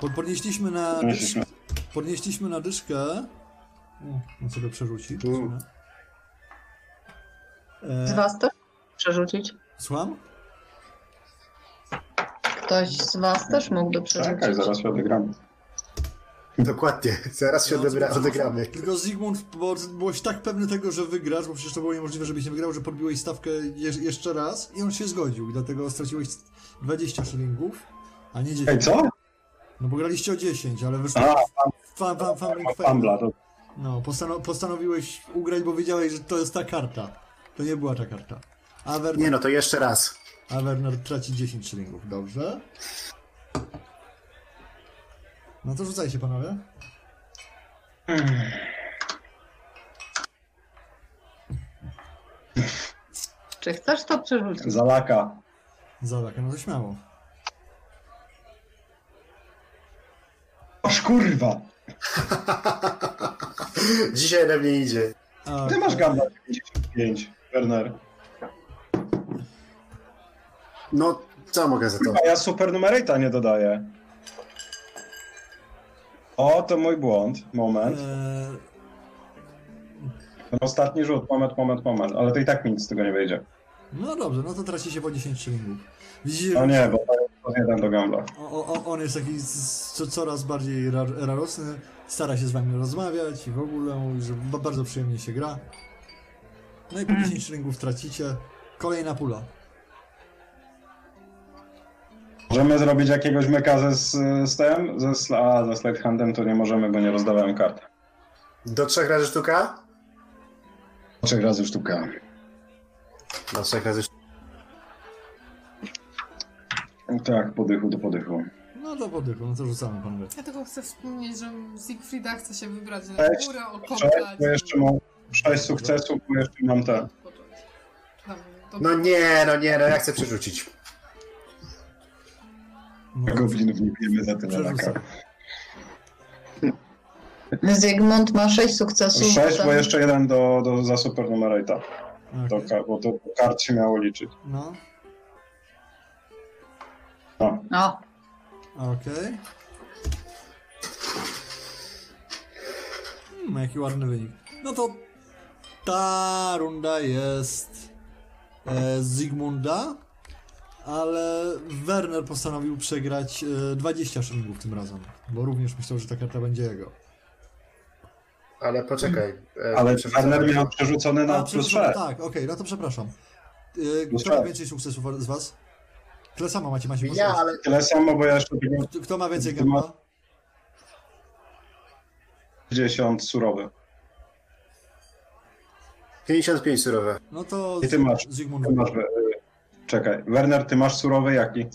Speaker 2: Po- Podnieśliśmy na
Speaker 4: Podnieśliśmy.
Speaker 2: Podnieśliśmy na dyszkę. O, on sobie przerzuci. w sumie.
Speaker 5: Z
Speaker 2: E,
Speaker 5: was też przerzucić?
Speaker 2: słucham?
Speaker 5: Ktoś z was też mógłby
Speaker 4: Czekaj,
Speaker 5: przerzucić.
Speaker 4: Tak, zaraz się odegram.
Speaker 1: Dokładnie. Zaraz się
Speaker 2: No,
Speaker 1: odegra-
Speaker 2: słucham.
Speaker 1: odegramy.
Speaker 2: Tylko Zygmunt, bo byłeś tak pewny tego, że wygrasz, bo przecież to było niemożliwe, żebyś nie wygrał, że podbiłeś stawkę je jeszcze raz i on się zgodził. i Dlatego straciłeś 20 szylingów, a nie
Speaker 4: Ej,
Speaker 2: 10.
Speaker 4: co?
Speaker 2: No bo graliście o 10, ale wyszło
Speaker 4: A,
Speaker 2: fan, fan, fan,
Speaker 4: ma Fumbla, to
Speaker 2: No, postano postanowiłeś ugrać, bo wiedziałeś, że to jest ta karta. To nie była ta karta. A Werner
Speaker 1: Nie no, to jeszcze raz.
Speaker 2: A Werner traci 10 szylingów, dobrze? No to rzucajcie panowie.
Speaker 5: Czy chcesz to przerzucić?
Speaker 4: zalaka.
Speaker 2: Zalaka, no to śmiało.
Speaker 4: Aż kurwa!
Speaker 1: Dzisiaj we mnie idzie.
Speaker 2: A,
Speaker 4: Ty masz gamba 95, Werner.
Speaker 1: No, co mogę za to?
Speaker 4: A ja super numerata nie dodaję. O, to mój błąd. Moment.
Speaker 2: e,
Speaker 4: Ten ostatni rzut. Moment, moment, moment. Ale to i tak nic z tego nie wyjdzie.
Speaker 2: No dobrze, no to traci się po 10 szylingów. Widzicie,
Speaker 4: No
Speaker 2: że
Speaker 4: nie, bo to jest jeden do gambla.
Speaker 2: o, o, on jest taki z- co, coraz bardziej ra, radosny, stara się z wami rozmawiać i w ogóle mówi, że ba- bardzo przyjemnie się gra. No i po
Speaker 4: Mhm.
Speaker 2: 10 szylingów tracicie. Kolejna pula.
Speaker 4: Możemy zrobić jakiegoś meka ze, z, z tym? Ze, sl- a, ze Slate Handem to nie możemy, bo nie rozdawałem kart.
Speaker 1: Do trzech razy sztuka?
Speaker 4: Trzech razy sztuka.
Speaker 1: Do trzech razy sztuka.
Speaker 4: Tak, podychu do podychu.
Speaker 2: No to podychu, no to rzucamy panowie.
Speaker 3: Ja tylko chcę wspomnieć, że Siegfrieda chce się wybrać na
Speaker 4: Cześć,
Speaker 3: górę,
Speaker 4: Cześć,
Speaker 3: okopać.
Speaker 4: bo jeszcze mam sześć sukcesów, bo jeszcze mam te.
Speaker 3: odpocząć. Dobra, to-
Speaker 1: No nie, no nie, no ja chcę przerzucić.
Speaker 2: No,
Speaker 4: Goblinów nie bijemy za tyle na
Speaker 2: Przerzucam.
Speaker 4: kart.
Speaker 5: Zygmunt ma 6 sukcesów.
Speaker 4: Sześć,
Speaker 5: potem-
Speaker 4: bo jeszcze jeden do, do, za super numerata. To,
Speaker 2: Okej.
Speaker 4: ka- bo to do kart się miało liczyć.
Speaker 2: No,
Speaker 4: A,
Speaker 5: O,
Speaker 2: Okej. Hmm, jaki ładny wynik. No to ta runda jest e, Zygmunda, ale Werner postanowił przegrać e, 20 szylingów tym razem, bo również myślał, że ta karta będzie jego.
Speaker 1: Ale poczekaj. e,
Speaker 4: ale
Speaker 1: przerzucam.
Speaker 4: Werner miał tak, przerzucony na
Speaker 2: A,
Speaker 4: plus
Speaker 2: przepraszam,
Speaker 4: sześć.
Speaker 2: tak, okej, no to przepraszam. E,
Speaker 4: Plus
Speaker 2: kto ma
Speaker 4: sześć.
Speaker 2: więcej sukcesów z was? Tyle samo macie, macie
Speaker 1: Ja, ale
Speaker 4: Tyle samo, bo ja jeszcze tego
Speaker 2: Kto- Kto ma więcej gęba?
Speaker 4: 50 surowy.
Speaker 1: 55 surowe.
Speaker 2: No to
Speaker 4: I ty masz.
Speaker 2: Zygmunt.
Speaker 4: Ty masz, e, czekaj, Werner, ty masz surowy jaki?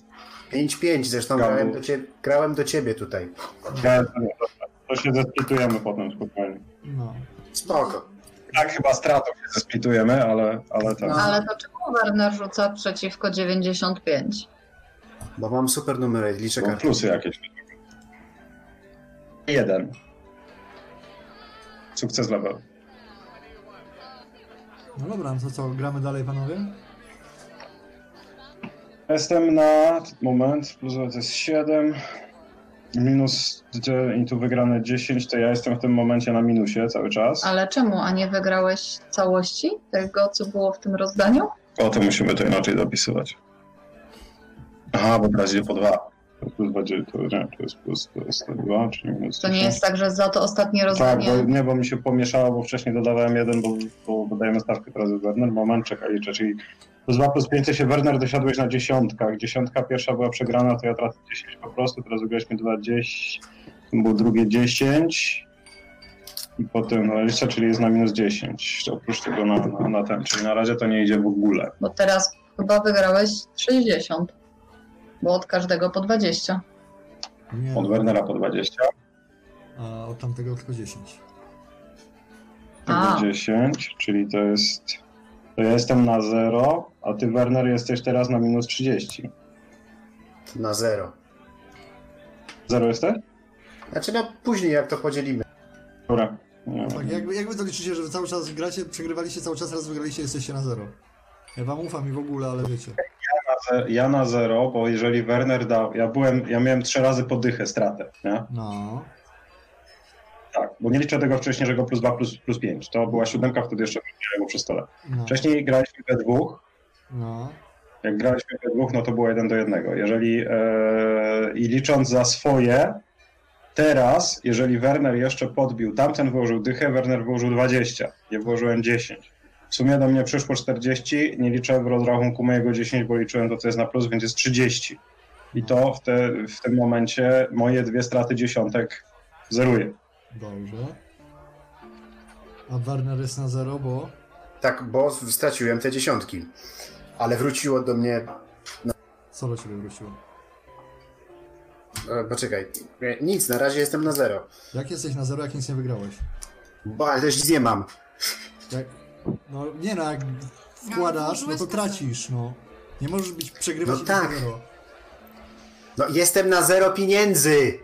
Speaker 1: 5-5, zresztą
Speaker 4: Gabu.
Speaker 1: grałem do, ciebie, grałem do ciebie tutaj.
Speaker 4: Ja, to się zespitujemy potem spokojnie.
Speaker 2: No.
Speaker 1: Spoko.
Speaker 4: Tak, chyba stratą się zespitujemy, ale, ale tak.
Speaker 1: No.
Speaker 5: Ale to czemu Werner rzuca przeciwko 95?
Speaker 1: Bo mam super numery, liczę
Speaker 4: Czekaj,
Speaker 1: karty.
Speaker 4: plusy jakieś. Jeden. Sukces level.
Speaker 2: no dobra, no to co, gramy dalej panowie?
Speaker 4: Jestem na. Moment, plus to jest 7. Minus d- i tu wygrane 10, to ja jestem w tym momencie na minusie cały czas.
Speaker 5: Ale czemu, a nie wygrałeś całości tego, co było w tym rozdaniu?
Speaker 4: O, to musimy to inaczej zapisywać. Aha, bo teraz idzie po dwa. To Plus 20, to, nie, to jest plus 102, czyli minus
Speaker 5: To nie
Speaker 4: 10.
Speaker 5: jest tak, że za to ostatnie
Speaker 4: Tak,
Speaker 5: rozdanie.
Speaker 4: bo, nie, bo mi się pomieszało, bo wcześniej dodawałem jeden, bo, bo dodajemy stawkę teraz jest Werner. Moment, czekaj, liczę, czyli plus 2 plus 5 to się Werner dosiadłeś na dziesiątkach. Dziesiątka pierwsza była przegrana, to ja tracę 10 po prostu, teraz wygraliśmy 20, było drugie 10 i potem no, jeszcze, czyli jest na minus 10, to oprócz tego na, na, na ten, czyli na razie to nie idzie w ogóle.
Speaker 5: Bo teraz chyba wygrałeś 60. Bo od każdego po 20.
Speaker 2: Nie.
Speaker 4: Od Wernera po 20,
Speaker 2: A od tamtego tylko 10.
Speaker 5: A.
Speaker 4: tego 10, czyli to jest, to ja jestem na 0, a ty Werner jesteś teraz na minus 30.
Speaker 1: Na zero.
Speaker 4: Zero jesteś?
Speaker 1: Znaczy no później jak to podzielimy.
Speaker 4: Dobra. Nie,
Speaker 2: Tak, jakby, jakby to liczycie, że cały czas gracie, przegrywaliście cały czas, raz wygraliście, jesteście na zero. Ja wam ufam i w ogóle, ale wiecie.
Speaker 4: na ze- Ja na zero, bo jeżeli Werner dał, ja byłem, ja miałem trzy razy podychę stratę, nie?
Speaker 2: No.
Speaker 4: Tak, bo nie liczę tego wcześniejszego plus 2 plus, plus 5. To była siódemka, wtedy jeszcze było przy stole.
Speaker 2: No.
Speaker 4: Wcześniej graliśmy we dwóch.
Speaker 2: No.
Speaker 4: Jak graliśmy we dwóch, no to było jeden do jednego. Jeżeli e, i licząc za swoje, teraz, jeżeli Werner jeszcze podbił, tamten włożył dychę, Werner włożył 20, ja włożyłem 10. W sumie do mnie przyszło 40, nie liczę w rozrachunku mojego 10, bo liczyłem to, co jest na plus, więc jest 30. I to w, te, w tym momencie moje dwie straty dziesiątek zeruje.
Speaker 2: Dobrze. A Warner jest na zero, bo...
Speaker 1: Tak, bo straciłem te dziesiątki. Ale wróciło do mnie...
Speaker 2: Co do ciebie wróciło?
Speaker 1: E, poczekaj. E, Nic, na razie jestem na zero.
Speaker 2: Jak jesteś na zero, jak nic nie wygrałeś?
Speaker 1: Bo ale też nic nie mam.
Speaker 2: Jak... No nie no, jak wkładasz, no to tracisz, no. Nie możesz być przegrywać
Speaker 1: No
Speaker 2: i być na
Speaker 1: tak.
Speaker 2: zero.
Speaker 1: No jestem na zero pieniędzy!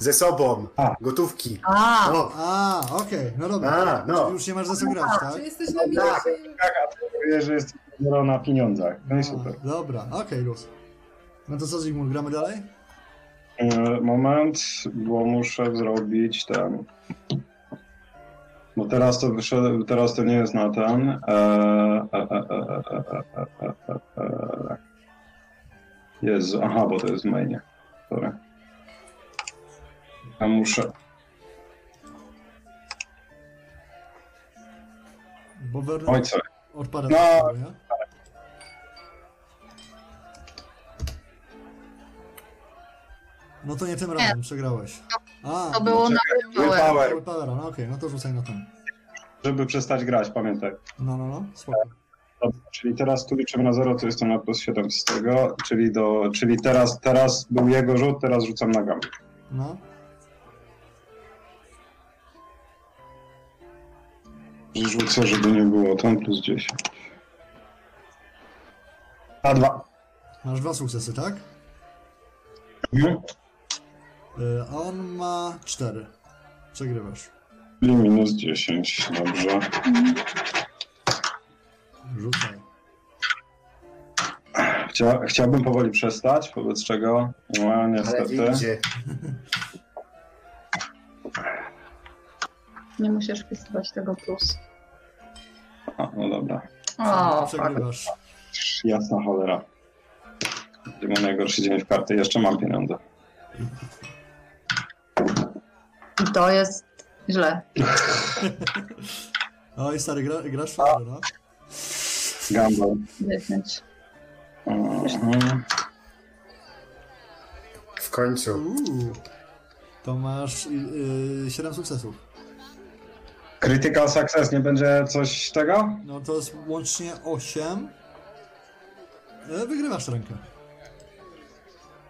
Speaker 1: Ze sobą.
Speaker 4: A.
Speaker 1: Gotówki.
Speaker 5: A,
Speaker 1: O,
Speaker 2: A, okej, no dobra.
Speaker 1: A, no.
Speaker 2: Czyli już nie masz za co grać, tak?
Speaker 3: Czy jesteś na minusie?
Speaker 4: Tak, a ty mówisz, że jest zero na pieniądzach. No i super.
Speaker 2: A, dobra, okej, luz. No to co Zygmunt, gramy dalej?
Speaker 4: E, Moment, bo muszę zrobić ten. Bo teraz to wyszedł, teraz to nie jest na ten. E, e, e, e, e, e, e, e, e, e. Jezu, aha, bo to jest w mainie. Sorry. Ja muszę.
Speaker 2: Bo Werner
Speaker 4: Oj, co?
Speaker 2: odpada
Speaker 4: No.
Speaker 2: na zero, nie? No to nie tym razem, przegrałeś. A, no,
Speaker 5: to było na wypałem.
Speaker 4: Power,
Speaker 2: Power Powera, no okej, no to rzucaj na ten.
Speaker 4: żeby przestać grać, pamiętaj.
Speaker 2: No, no, no, spoko.
Speaker 4: Dobra, czyli teraz tu liczymy na 0, to jestem na plus 7 z tego, czyli, do, czyli teraz, teraz był jego rzut, teraz rzucam na gam.
Speaker 2: No,
Speaker 4: Rzucę, żeby nie było tam plus 10. A dwa.
Speaker 2: masz dwa sukcesy, tak?
Speaker 4: Mhm.
Speaker 2: Y, A on ma cztery. Przegrywasz.
Speaker 4: Czyli minus 10, dobrze.
Speaker 2: Rzucaj.
Speaker 4: Chcia, chciałbym powoli przestać, wobec czego no,
Speaker 1: ale
Speaker 4: niestety.
Speaker 1: idzie.
Speaker 5: Nie musisz wpisywać tego plus.
Speaker 4: A, no dobra,
Speaker 5: O,
Speaker 2: Przegrywasz.
Speaker 4: jasna cholera. Gdzie mam najgorszy dzień w karty, jeszcze mam pieniądze.
Speaker 5: i to jest źle.
Speaker 2: Oj, stary, gra, grasz w Powera, no?
Speaker 4: Gamble.
Speaker 5: 10.
Speaker 4: Mhm.
Speaker 1: końcu.
Speaker 2: Uuu. To masz yy, 7 sukcesów.
Speaker 4: Critical success nie będzie coś tego?
Speaker 2: No to jest łącznie 8. E, wygrywasz rękę.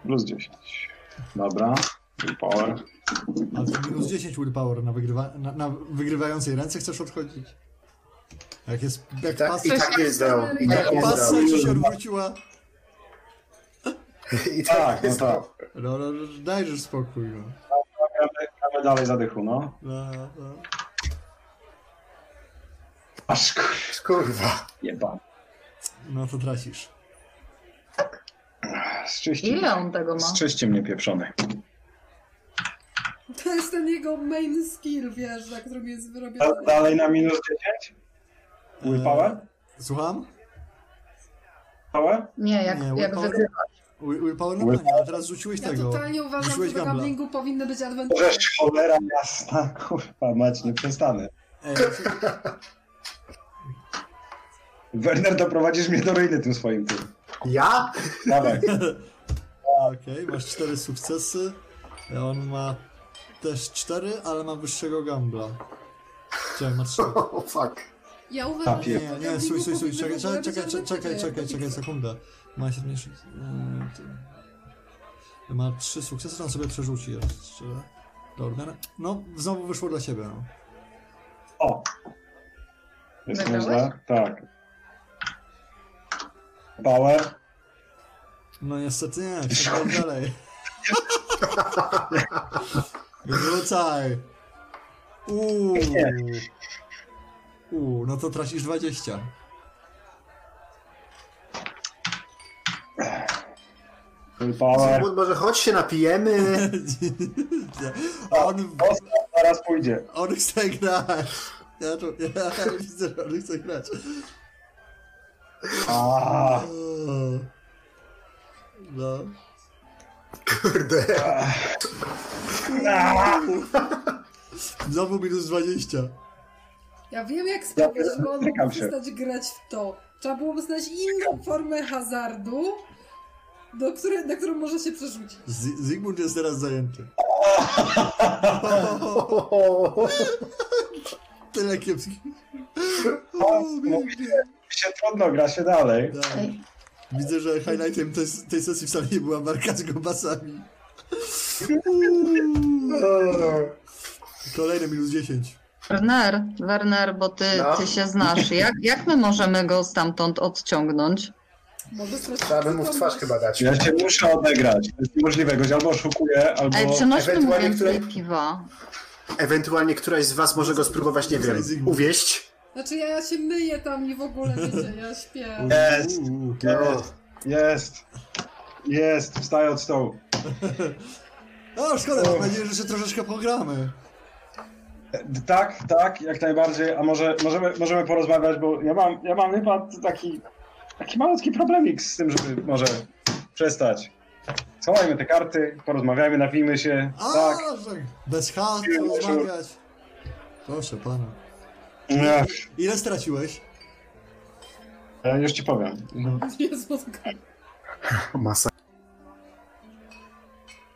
Speaker 4: Plus 10. Dobra. Power.
Speaker 2: Ale to minus 10 willpower na, wygrywa, na, na wygrywającej ręce chcesz odchodzić. Jak jest. Jak
Speaker 1: Tak,
Speaker 2: pas,
Speaker 1: I tak nie zdał. I tak nie
Speaker 2: jak pas
Speaker 1: zdał.
Speaker 2: ci się odwróciła.
Speaker 1: I
Speaker 4: Tak,
Speaker 1: tak nie
Speaker 4: no tak.
Speaker 1: zdał.
Speaker 2: No, no, no, dajesz spokój. No.
Speaker 4: Gramy- Gramy dalej zadychu, no.
Speaker 2: No, no.
Speaker 4: Aż kurwa.
Speaker 1: Kurwa.
Speaker 4: Jeba.
Speaker 2: no to tracisz.
Speaker 4: Zczyści,
Speaker 5: Ile on tego ma?
Speaker 4: zczyści mnie pieprzony.
Speaker 3: To jest ten jego main skill, wiesz, na którym jest wyrobiony.
Speaker 4: Da- Dalej na minus 10? Willpower?
Speaker 2: E, słucham?
Speaker 4: Power?
Speaker 5: Nie, jak,
Speaker 2: Nie,
Speaker 5: jak
Speaker 2: willpower-
Speaker 5: wygrywa.
Speaker 2: Wi- Willpower na planie, ale teraz rzuciłeś
Speaker 3: Ja
Speaker 2: tego.
Speaker 3: totalnie uważam,
Speaker 2: Rzuciłeś
Speaker 3: że do
Speaker 2: gambla.
Speaker 3: gamblingu powinny być adwenturze.
Speaker 4: Możesz cholera jasna, kurwa, mać, nie przestanę.
Speaker 2: Ej,
Speaker 4: Werner, doprowadzisz mnie do ruiny tym swoim tym.
Speaker 1: Ja?
Speaker 4: Dawaj.
Speaker 2: Okej, masz cztery sukcesy. On ma też cztery, ale ma wyższego gambla. Czekaj, ma trzy.
Speaker 1: O, fuck.
Speaker 3: Ja uważam,
Speaker 4: Papier.
Speaker 3: że
Speaker 2: Tak, Nie,
Speaker 3: do
Speaker 2: nie,
Speaker 3: gamblingu
Speaker 2: stój, stój, stój, czekaj,
Speaker 3: powinny w ogóle
Speaker 2: czekaj,
Speaker 3: być
Speaker 2: czekaj, czekaj,
Speaker 3: adwenturze.
Speaker 2: czekaj, czekaj, sekunda. Ma średniejszy... e, to- Ma trzy sukcesy, on sobie przerzuci jeszcze. Dobra, no znowu wyszło dla ciebie, no.
Speaker 4: O! Jest
Speaker 5: Nagrałeś?
Speaker 4: można? Tak. Power?
Speaker 2: No niestety nie, przejdź dalej. Wrzucaj. Uuu. Uuu, no to tracisz 20.
Speaker 4: Power.
Speaker 1: Zygmunt, może chodź się napijemy.
Speaker 2: A on,
Speaker 4: Ostro, zaraz pójdzie.
Speaker 2: on chce grać. Ja, to, ja widzę, że on chce grać.
Speaker 4: A,
Speaker 2: No.
Speaker 1: Kurde.
Speaker 2: Znowu minus 20.
Speaker 3: Ja wiem, jak sprawić, żeby on
Speaker 4: Czekam
Speaker 3: mógł
Speaker 4: się.
Speaker 3: przestać grać w to. Trzeba byłoby znaleźć inną formę hazardu, do której, na którą może się przerzucić.
Speaker 2: Z- Zygmunt jest teraz zajęty. Tyle kiepskich. O, pięknie.
Speaker 4: się trudno, gra się dalej.
Speaker 2: Tak.
Speaker 5: Ej,
Speaker 2: Widzę, że highlightem tej, tej sesji wcale nie była marka z gobasami. Kolejny minus 10.
Speaker 5: Werner, Werner, bo ty,
Speaker 1: No.
Speaker 5: ty się znasz. Jak, jak my możemy go stamtąd odciągnąć?
Speaker 3: Może stracić
Speaker 1: Trzeba by mu w twarz
Speaker 3: przytomność.
Speaker 1: chyba dać.
Speaker 4: Ja się muszę odegrać. To jest niemożliwe. Goś albo oszukuję, albo...
Speaker 5: Ej, przenośmy mu
Speaker 1: ewentualnie
Speaker 5: więcej
Speaker 1: której-
Speaker 5: piwa.
Speaker 1: Ewentualnie któraś z was może go spróbować, nie wiem, uwieść.
Speaker 3: Znaczy ja się myję tam i w ogóle, wiecie, ja
Speaker 1: Mm.
Speaker 3: śpię.
Speaker 4: Jest,
Speaker 2: Uuu.
Speaker 1: No.
Speaker 4: jest. Jest, wstaję od stołu.
Speaker 2: O, szkoda, mam nadzieję, że się troszeczkę pogramy.
Speaker 4: E, Tak, tak, jak najbardziej. A może możemy, możemy porozmawiać, bo ja mam, ja mam chyba taki, taki malutki problemik z tym, żeby może przestać. Schowajmy te karty, porozmawiajmy, napijmy się.
Speaker 2: A,
Speaker 4: Tak.
Speaker 2: że Bez chat rozmawiać. Proszę pana.
Speaker 4: Ech,
Speaker 2: Ile straciłeś?
Speaker 4: ja już ci powiem.
Speaker 3: Jezu, zgoda.
Speaker 1: Masa.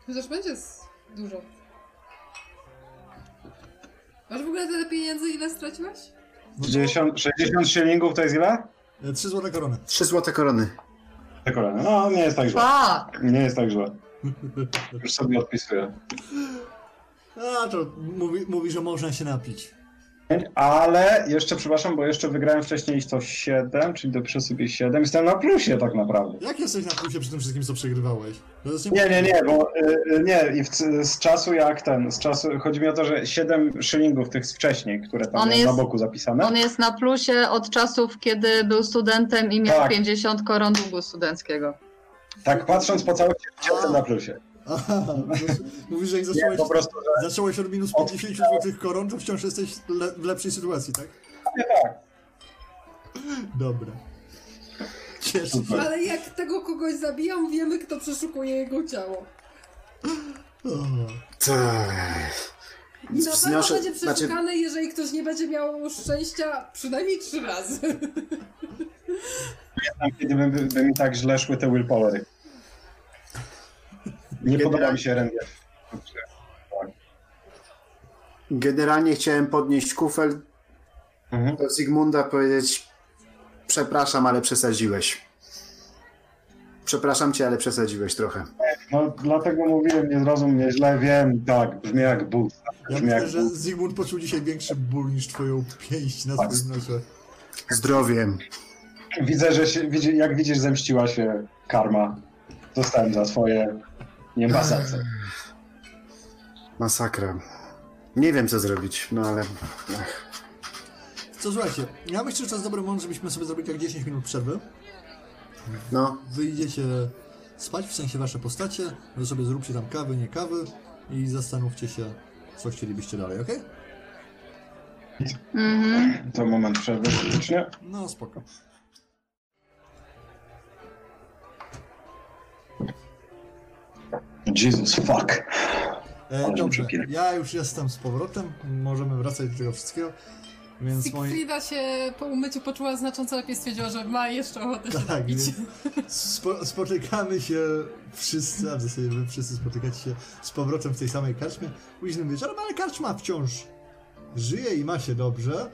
Speaker 3: Chociaż będzie s- dużo. Masz w ogóle tyle pieniędzy, ile straciłaś?
Speaker 4: 60, 60 szylingów to jest ile?
Speaker 2: 3 E, złote korony.
Speaker 1: Trzy złote korony.
Speaker 4: Te kolejne. No, nie jest tak źle.
Speaker 5: Fuck!
Speaker 4: Nie jest tak źle. Już sobie odpisuję.
Speaker 2: A, to mówi, mówi, że można się napić.
Speaker 4: Ale jeszcze, przepraszam, bo jeszcze wygrałem wcześniej to 7, czyli dopiszę sobie 7. Jestem na plusie tak naprawdę.
Speaker 2: Jak jesteś na plusie przy tym wszystkim, co przegrywałeś? To jest
Speaker 4: Nie, nie, nie, bo y, y, nie, i w, z czasu jak ten, z czasu, chodzi mi o to, że 7 szylingów tych z wcześniej, które tam
Speaker 5: On
Speaker 4: miałem
Speaker 5: jest-
Speaker 4: na boku zapisane,
Speaker 5: On jest na plusie od czasów, kiedy był studentem i miał
Speaker 4: Tak.
Speaker 5: 50 koron długu studenckiego.
Speaker 4: tak patrząc po całości,
Speaker 2: A.
Speaker 4: jestem na plusie.
Speaker 2: Aha, mówisz, że jak
Speaker 4: Nie,
Speaker 2: zacząłeś,
Speaker 4: po prostu, że
Speaker 2: zacząłeś od minus 50 złotych koron, to wciąż jesteś le, w lepszej sytuacji, tak?
Speaker 4: nie tak.
Speaker 2: Dobra. Cieszę się.
Speaker 4: Super.
Speaker 3: Ale jak tego kogoś zabijam, wiemy, kto przeszukuje jego ciało.
Speaker 2: O,
Speaker 1: Tak.
Speaker 3: I
Speaker 2: No
Speaker 3: na pewno
Speaker 1: Wznoszę-
Speaker 3: będzie
Speaker 1: znaczy-
Speaker 3: przeszukany, jeżeli ktoś nie będzie miał szczęścia przynajmniej trzy razy.
Speaker 4: Tam, kiedy by, by mi tak źle szły te willpowery. Nie
Speaker 1: Generalnie-
Speaker 4: podoba mi się RNG.
Speaker 1: Generalnie chciałem podnieść kufel
Speaker 4: Mhm.
Speaker 1: do Zygmunda, powiedzieć przepraszam, ale przesadziłeś. Przepraszam cię, ale przesadziłeś trochę.
Speaker 4: No dlatego mówiłem, nie zrozum mnie źle, wiem, tak, brzmi jak but.
Speaker 2: Ja
Speaker 4: Brzmi jak
Speaker 2: myślę, że
Speaker 4: but.
Speaker 2: Zygmunt poczuł dzisiaj większy ból niż twoją pięść na
Speaker 4: Tak.
Speaker 2: swoim nosie.
Speaker 1: Zdrowiem.
Speaker 4: Widzę, że się, widzi, jak widzisz, zemściła się karma. Zostałem za swoje niebazace.
Speaker 1: Masakra. Nie wiem, co zrobić, no ale... Ach.
Speaker 2: Co, słuchajcie, ja myślę, że to jest dobry moment, żebyśmy sobie zrobili tak 10 minut przerwy.
Speaker 1: No,
Speaker 2: Wyjdziecie spać, w sensie wasze postacie, wy sobie zróbcie tam kawy, nie kawy i zastanówcie się, co chcielibyście dalej, okej?
Speaker 5: Mhm.
Speaker 4: To moment przerwy faktycznie.
Speaker 2: No, spoko.
Speaker 4: Jesus fuck.
Speaker 2: E,
Speaker 4: Ale
Speaker 2: dobrze,
Speaker 4: przepięknie.
Speaker 2: ja już jestem z powrotem, możemy wracać do tego wszystkiego, więc moi...
Speaker 3: Siegfrieda się po umyciu poczuła znacząco lepiej, stwierdziła, że ma jeszcze ochotę się
Speaker 2: Tak,
Speaker 3: napić.
Speaker 2: więc spo, spotykamy się wszyscy, a w zasadzie wy wszyscy spotykacie się z powrotem w tej samej karczmie późnym wieczorem, ale karczma wciąż żyje i ma się dobrze.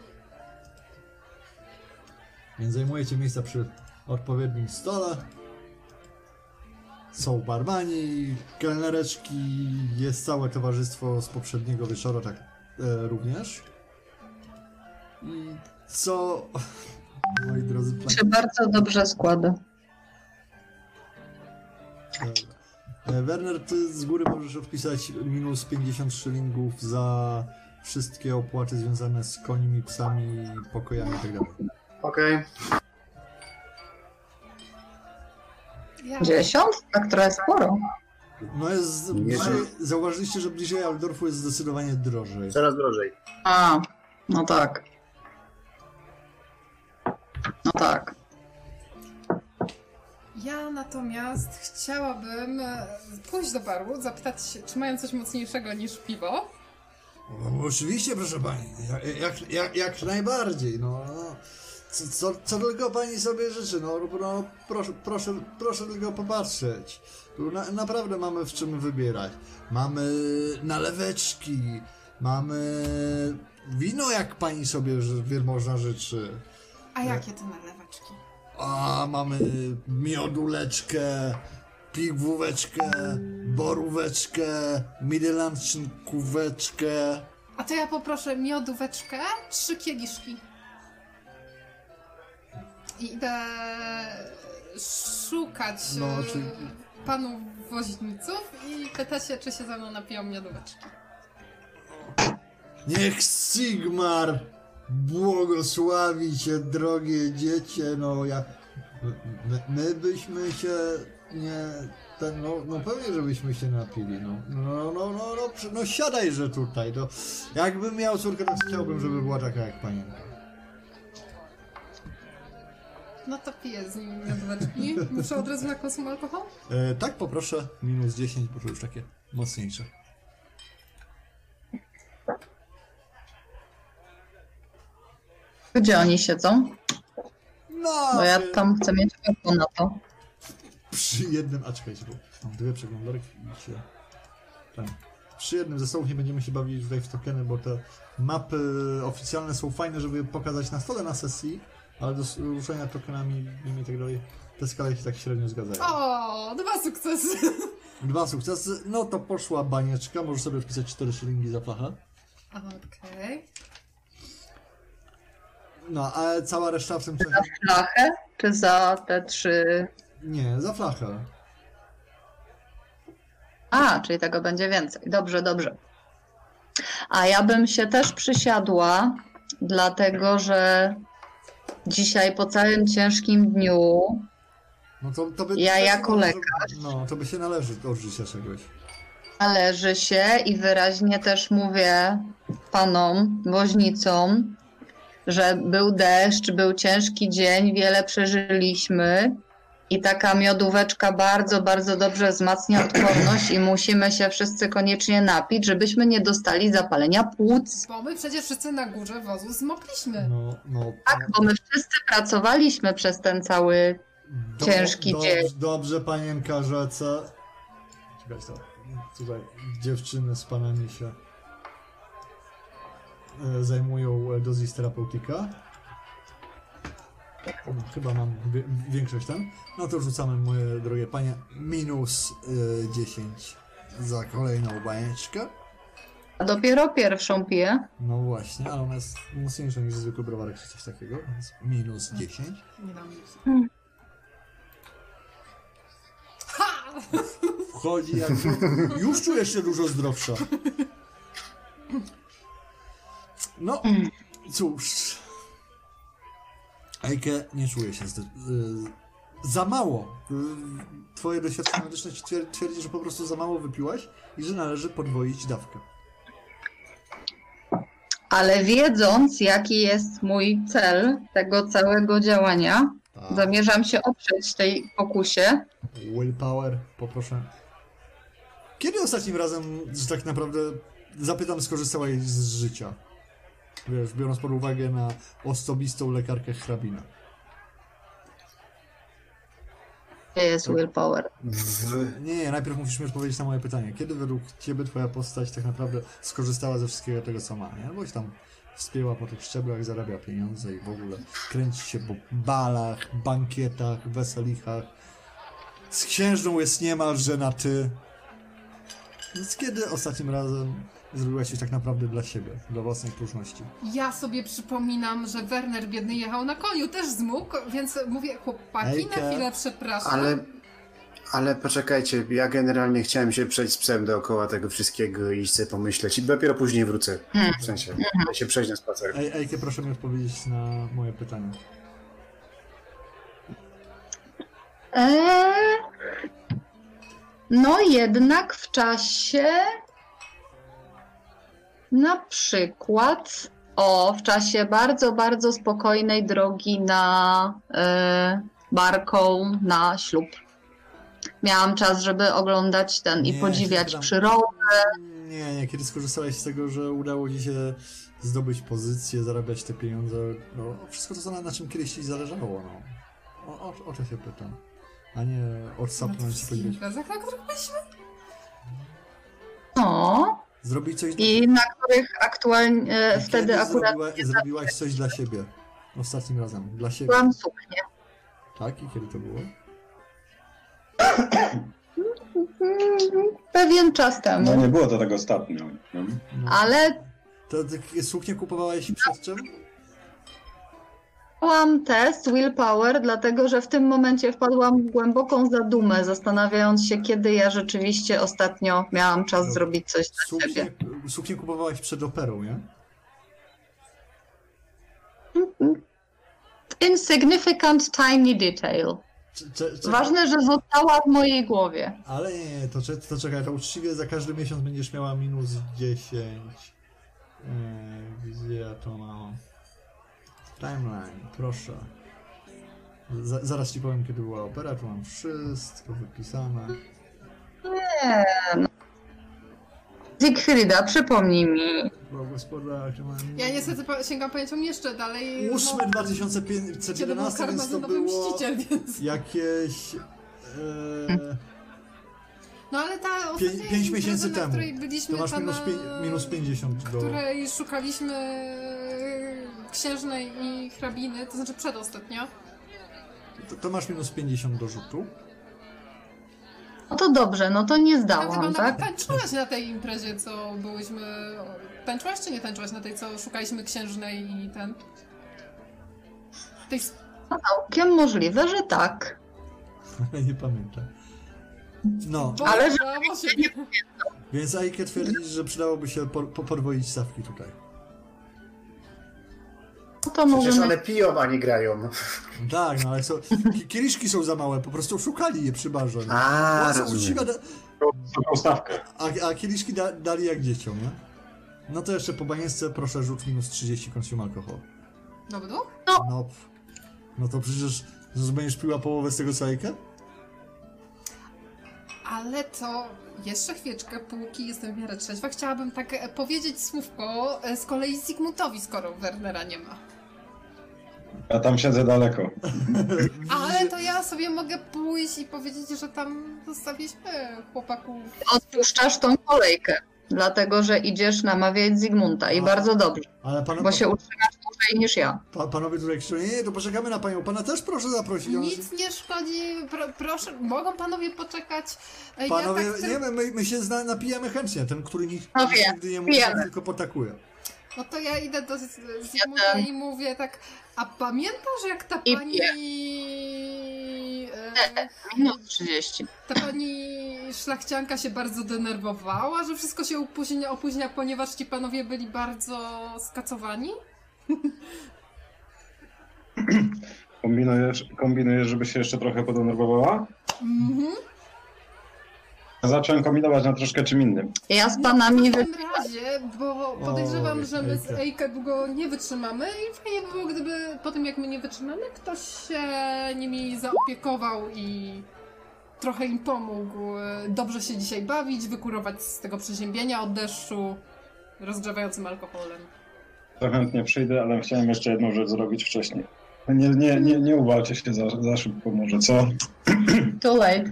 Speaker 2: Więc zajmujecie miejsca przy odpowiednim stole. Są barmani, kelnereczki, jest całe towarzystwo z poprzedniego wieczora, tak e, również. I co... Moi drodzy... plan-
Speaker 5: Się bardzo dobrze składa.
Speaker 2: Dobra. E, Werner, ty z góry możesz odpisać minus 50 szylingów za wszystkie opłaty związane z końmi, psami, pokojami tak itd.
Speaker 1: okej.
Speaker 3: Ja,
Speaker 5: Dziesiąt? Tak trochę sporo.
Speaker 2: No jest,
Speaker 1: Nie
Speaker 2: bliżej, zauważyliście, że bliżej Aldorfu jest zdecydowanie drożej.
Speaker 1: Coraz drożej.
Speaker 5: A, no tak. No tak.
Speaker 3: ja natomiast chciałabym e, pójść do baru, zapytać się, czy mają coś mocniejszego niż piwo.
Speaker 2: No, oczywiście, proszę pani, jak, jak, jak, jak najbardziej, no. no. Co, co, co tylko pani sobie życzy, no, no proszę, proszę, proszę tylko popatrzeć. Tu na, naprawdę mamy w czym wybierać. Mamy naleweczki, mamy wino, jak pani sobie ży- wielmożna życzy. Tak.
Speaker 3: A jakie to nalewaczki?
Speaker 2: A mamy mioduleczkę, pigwóweczkę, boróweczkę, midlandczynkóweczkę.
Speaker 3: A to ja poproszę miodóweczkę, trzy kieliszki. I idę szukać
Speaker 2: No,
Speaker 3: e,
Speaker 2: czyli-
Speaker 3: panów woźniców i pytać się, czy się ze mną napiją miodóweczki.
Speaker 2: Niech Sigmar błogosławi cię, drogie dziecię, no ja... My, my byśmy się nie... Ten, no, no pewnie, żebyśmy się napili, no. No, no, no, no, przy- no siadajże tutaj, no. Jakbym miał córkę, to chciałbym, żeby była taka jak panienka.
Speaker 3: No to piję z nimi miodóweczki. Muszę od razu na konsum alkohol?
Speaker 2: E, tak, poproszę. Minus 10, bo to już takie mocniejsze.
Speaker 5: Gdzie oni siedzą?
Speaker 2: No,
Speaker 5: Bo ja
Speaker 2: przy-
Speaker 5: tam chcę mieć oko na to.
Speaker 2: przy jednym, a czekajcie, bo mam dwie przeglądarki i się... Ten. Przy jednym zestawu nie będziemy się bawili tutaj w tokeny, bo te mapy oficjalne są fajne, żeby je pokazać na stole na sesji, ale do s- ruszenia tokenami nimi i tak dalej, te skale się tak średnio zgadzają.
Speaker 3: O, dwa sukcesy!
Speaker 2: Dwa sukcesy, no to poszła banieczka, możesz sobie wpisać 4 szylingi za flachę.
Speaker 3: Okej.
Speaker 2: No, a cała reszta w tym czasie...
Speaker 5: Flachę? Czy za te trzy...
Speaker 2: Nie, za flachę.
Speaker 5: A, czyli tego będzie więcej. Dobrze, dobrze. A ja bym się też przysiadła, dlatego że dzisiaj po całym ciężkim dniu
Speaker 2: No to, to by,
Speaker 5: Ja
Speaker 2: to by się
Speaker 5: jako
Speaker 2: należy- No, to by się należy od życia czegoś.
Speaker 5: należy się i wyraźnie też mówię panom, woźnicom, że był deszcz, był ciężki dzień, wiele przeżyliśmy i taka miodóweczka bardzo, bardzo dobrze wzmacnia odporność i musimy się wszyscy koniecznie napić, żebyśmy nie dostali zapalenia płuc.
Speaker 3: Bo my przecież wszyscy na górze wozu zmokliśmy.
Speaker 2: No, no,
Speaker 5: Tak, bo my wszyscy pracowaliśmy przez ten cały.
Speaker 2: do-
Speaker 5: ciężki dzień.
Speaker 2: Dobrze, panienka rzece. Weź to. Tutaj dziewczyny z panami się e, zajmują e, dozis terapeutika. Mm, Chyba mam wie- większość tam. No to rzucamy, moje drogie panie, minus e, 10 za kolejną bajeczkę.
Speaker 5: A dopiero pierwszą piję.
Speaker 2: No właśnie, ale ona jest mocniejsza niż zwykły browarek czy coś takiego, więc minus 10.
Speaker 3: Nie dam nic.
Speaker 2: Wchodzi jak... Już czuję się dużo zdrowsza. No, cóż. Ejke nie czuje się zde- y, za mało. Y, Twoje doświadczenie medyczne ci twier- twierdzi, że po prostu za mało wypiłaś i że należy podwoić dawkę.
Speaker 5: Ale wiedząc, jaki jest mój cel tego całego działania,
Speaker 2: Tak.
Speaker 5: zamierzam się oprzeć tej pokusie.
Speaker 2: Willpower, poproszę. Kiedy ostatnim razem, że tak naprawdę zapytam, skorzystałaś z życia? Wiesz, biorąc pod uwagę na osobistą lekarkę hrabina.
Speaker 5: Gdzie jest willpower?
Speaker 1: W...
Speaker 2: Nie, nie, najpierw musisz mi odpowiedzieć na moje pytanie. Kiedy według ciebie twoja postać tak naprawdę skorzystała ze wszystkiego tego, co ma? Nie? Boś tam wspięła po tych szczeblach, zarabia pieniądze i w ogóle kręci się po balach, bankietach, weselichach. Z księżną jest niemalże na ty. Więc kiedy ostatnim razem zrobiłaś coś tak naprawdę dla siebie, dla własnej próżności?
Speaker 3: Ja sobie przypominam, że Werner biedny jechał na koniu, też zmógł, więc mówię, chłopaki,
Speaker 2: Ejka.
Speaker 3: na chwilę przepraszam.
Speaker 1: Ale, ale poczekajcie, ja generalnie chciałem się przejść z psem dookoła tego wszystkiego i chcę pomyśleć i dopiero później wrócę. W sensie, ja się przejść na spacer.
Speaker 2: Ej, Ejke, proszę mi odpowiedzieć na moje pytanie.
Speaker 5: Eee, no jednak w czasie na przykład o, w czasie bardzo, bardzo spokojnej drogi na e, barką na ślub. Miałam czas, żeby oglądać ten i
Speaker 2: Nie,
Speaker 5: podziwiać
Speaker 2: siedem.
Speaker 5: przyrodę.
Speaker 2: Nie, nie, kiedy skorzystałeś z tego, że udało ci się zdobyć pozycję, zarabiać te pieniądze, no wszystko to, co na, na czym kiedyś ci zależało, no. O, o, o to się pytam, a nie
Speaker 3: Na tych
Speaker 2: odsapnąć i
Speaker 3: wszystkich
Speaker 2: powiedzieć,
Speaker 3: imprezach, na których byliśmy?
Speaker 5: No,
Speaker 2: zrobić coś dla
Speaker 5: i na których aktualnie e,
Speaker 2: Kiedy
Speaker 5: wtedy akurat
Speaker 2: zrobiła, zrobiłaś coś dla siebie, ostatnim razem, dla siebie,
Speaker 5: byłam suknię.
Speaker 2: tak? I kiedy to było?
Speaker 5: Mm, Pewien czas
Speaker 4: No
Speaker 5: temu,
Speaker 4: nie było to tak ostatnio. No.
Speaker 2: No.
Speaker 5: ale
Speaker 2: To takie suknie kupowałeś przed czym?
Speaker 5: Zdałam test willpower, dlatego że w tym momencie wpadłam w głęboką zadumę, zastanawiając się, kiedy ja rzeczywiście ostatnio miałam czas zrobić coś dla siebie.
Speaker 2: Suknie, suknie kupowałaś przed operą, nie?
Speaker 5: Insignificant tiny detail.
Speaker 2: Czy- czy- czy-
Speaker 5: Ważne, że została w mojej głowie.
Speaker 2: Ale nie, nie, to, cze- to czekaj, to uczciwie za każdy miesiąc będziesz miała minus 10. Yy, gdzie ja to mam? Timeline, proszę. Za, zaraz ci powiem, kiedy była opera, tu mam wszystko wypisane.
Speaker 5: Zigfrida, przypomnij mi.
Speaker 2: Była gospodarka, tu mam...
Speaker 3: Ja niestety pa- sięgam pamięcią jeszcze dalej.
Speaker 2: 8
Speaker 3: no, kiedy był
Speaker 2: 2511, więc to
Speaker 3: karmazynowy
Speaker 2: było
Speaker 3: mściciel, więc...
Speaker 2: jakieś... Yy,
Speaker 3: No ale ta
Speaker 2: pięć
Speaker 3: ostatnia impreza,
Speaker 2: miesięcy
Speaker 3: na
Speaker 2: temu.
Speaker 3: której byliśmy,
Speaker 2: to masz
Speaker 3: ta
Speaker 2: minus,
Speaker 3: na...
Speaker 2: pię- minus 50 do...
Speaker 3: której szukaliśmy e, księżnej i hrabiny, to znaczy przedostatnia.
Speaker 2: To, to masz minus 50 do rzutu.
Speaker 5: No to dobrze, no to nie
Speaker 3: Tam chyba
Speaker 5: zdałam,
Speaker 3: nawet
Speaker 5: tak?
Speaker 3: tańczyłaś na tej imprezie, co byłyśmy... Tańczyłaś czy nie tańczyłaś na tej, co szukaliśmy księżnej i ten... Tej...
Speaker 5: Całkiem możliwe, że tak.
Speaker 2: nie pamiętam. No,
Speaker 3: Boże,
Speaker 5: Ale że-
Speaker 3: brawo, siebie.
Speaker 2: więc Aike twierdzi, że przydałoby się por- po- podwoić stawki tutaj.
Speaker 5: No to
Speaker 1: Przecież
Speaker 5: możemy...
Speaker 1: one piją, a nie grają.
Speaker 2: Tak, no ale są, ki- kieliszki są za małe, po prostu szukali je przy barze. no.
Speaker 1: A,
Speaker 2: Płacą
Speaker 1: rozumiem.
Speaker 2: uczciwe da-
Speaker 4: Taką stawkę.
Speaker 2: a, a kieliszki da- dali jak dzieciom, nie? No to jeszcze po baniesce proszę rzut minus 30 consume alkohol.
Speaker 3: No bo
Speaker 2: No, pff. no to przecież że będziesz piła połowę z tego co Aike?
Speaker 3: Ale to jeszcze chwieczkę, póki jestem w miarę trzeźwa, chciałabym tak e, powiedzieć słówko e, z kolei Zygmuntowi, skoro Wernera nie ma.
Speaker 4: Ja tam siedzę daleko.
Speaker 3: Ale to ja sobie mogę pójść i powiedzieć, że tam zostawiliśmy chłopaków.
Speaker 5: Odpuszczasz tą kolejkę, dlatego że idziesz namawiać Zygmunta i
Speaker 2: A.
Speaker 5: bardzo dobrze,
Speaker 2: Ale pan,
Speaker 5: bo się utrzymasz dłużej niż ja.
Speaker 2: pa, panowie tutaj krzyczą, nie, nie, to poczekamy na panią. Pana też proszę zaprosić. Ona-
Speaker 3: Nic nie szkodzi, pro, proszę, mogą panowie poczekać. E,
Speaker 2: Panowie,
Speaker 3: ja tak
Speaker 2: nie,
Speaker 3: chcę,
Speaker 2: my- my, my się zna, napijamy chętnie. Ten, który nic
Speaker 5: No wiem,
Speaker 2: nigdy nie mówi,
Speaker 5: pijemy.
Speaker 2: tylko potakuje.
Speaker 3: No to ja idę do Z- Zygmunta
Speaker 5: tam.
Speaker 3: i mówię tak, a pamiętasz jak ta
Speaker 5: I
Speaker 3: pani... e,
Speaker 5: Minut 30.
Speaker 3: Ta pani szlachcianka się bardzo denerwowała, że wszystko się opóźnia, opóźnia ponieważ ci panowie byli bardzo skacowani?
Speaker 4: Kombinujesz, kombinujesz żeby się jeszcze trochę podenerwowała?
Speaker 3: Mhm.
Speaker 4: Zacząłem kombinować na troszkę czym innym.
Speaker 5: Ja z panami
Speaker 3: W
Speaker 5: wy...
Speaker 3: tym razie, bo podejrzewam,
Speaker 2: Oj,
Speaker 3: że my z
Speaker 2: Ejka.
Speaker 3: Ejka długo nie wytrzymamy i fajnie by było, gdyby po tym jak my nie wytrzymamy, ktoś się nimi zaopiekował i trochę im pomógł e, dobrze się dzisiaj bawić, wykurować z tego przeziębienia od deszczu rozgrzewającym alkoholem.
Speaker 4: To chętnie przyjdę, ale chciałem jeszcze jedną rzecz zrobić wcześniej. Nie, nie, nie, nie uwalcie się za, za szybko może, co?
Speaker 5: Too late.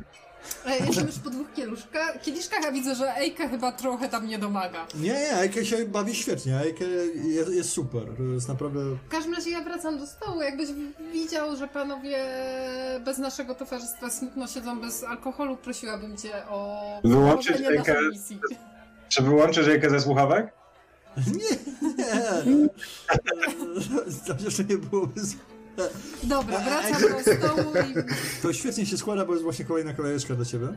Speaker 3: E, Jestem już po dwóch kieluszkach, kieliszkach, a widzę, że Ejka chyba trochę tam nie domaga.
Speaker 2: Nie, nie, Ejke się bawi świetnie. Ejke jest, jest super. To jest naprawdę...
Speaker 3: W każdym razie ja wracam do stołu. Jakbyś widział, że panowie bez naszego towarzystwa smutno siedzą bez alkoholu, prosiłabym cię o
Speaker 4: Wyłączyć
Speaker 3: powodzenie naszej
Speaker 4: rękę.
Speaker 3: misji.
Speaker 4: Czy wyłączysz jajkę ze słuchawek?
Speaker 2: Nie, nie. To jeszcze nie byłoby... z-
Speaker 3: Dobra, wracam do stołu
Speaker 2: To świetnie się składa, bo jest właśnie kolejna kolejeczka dla ciebie.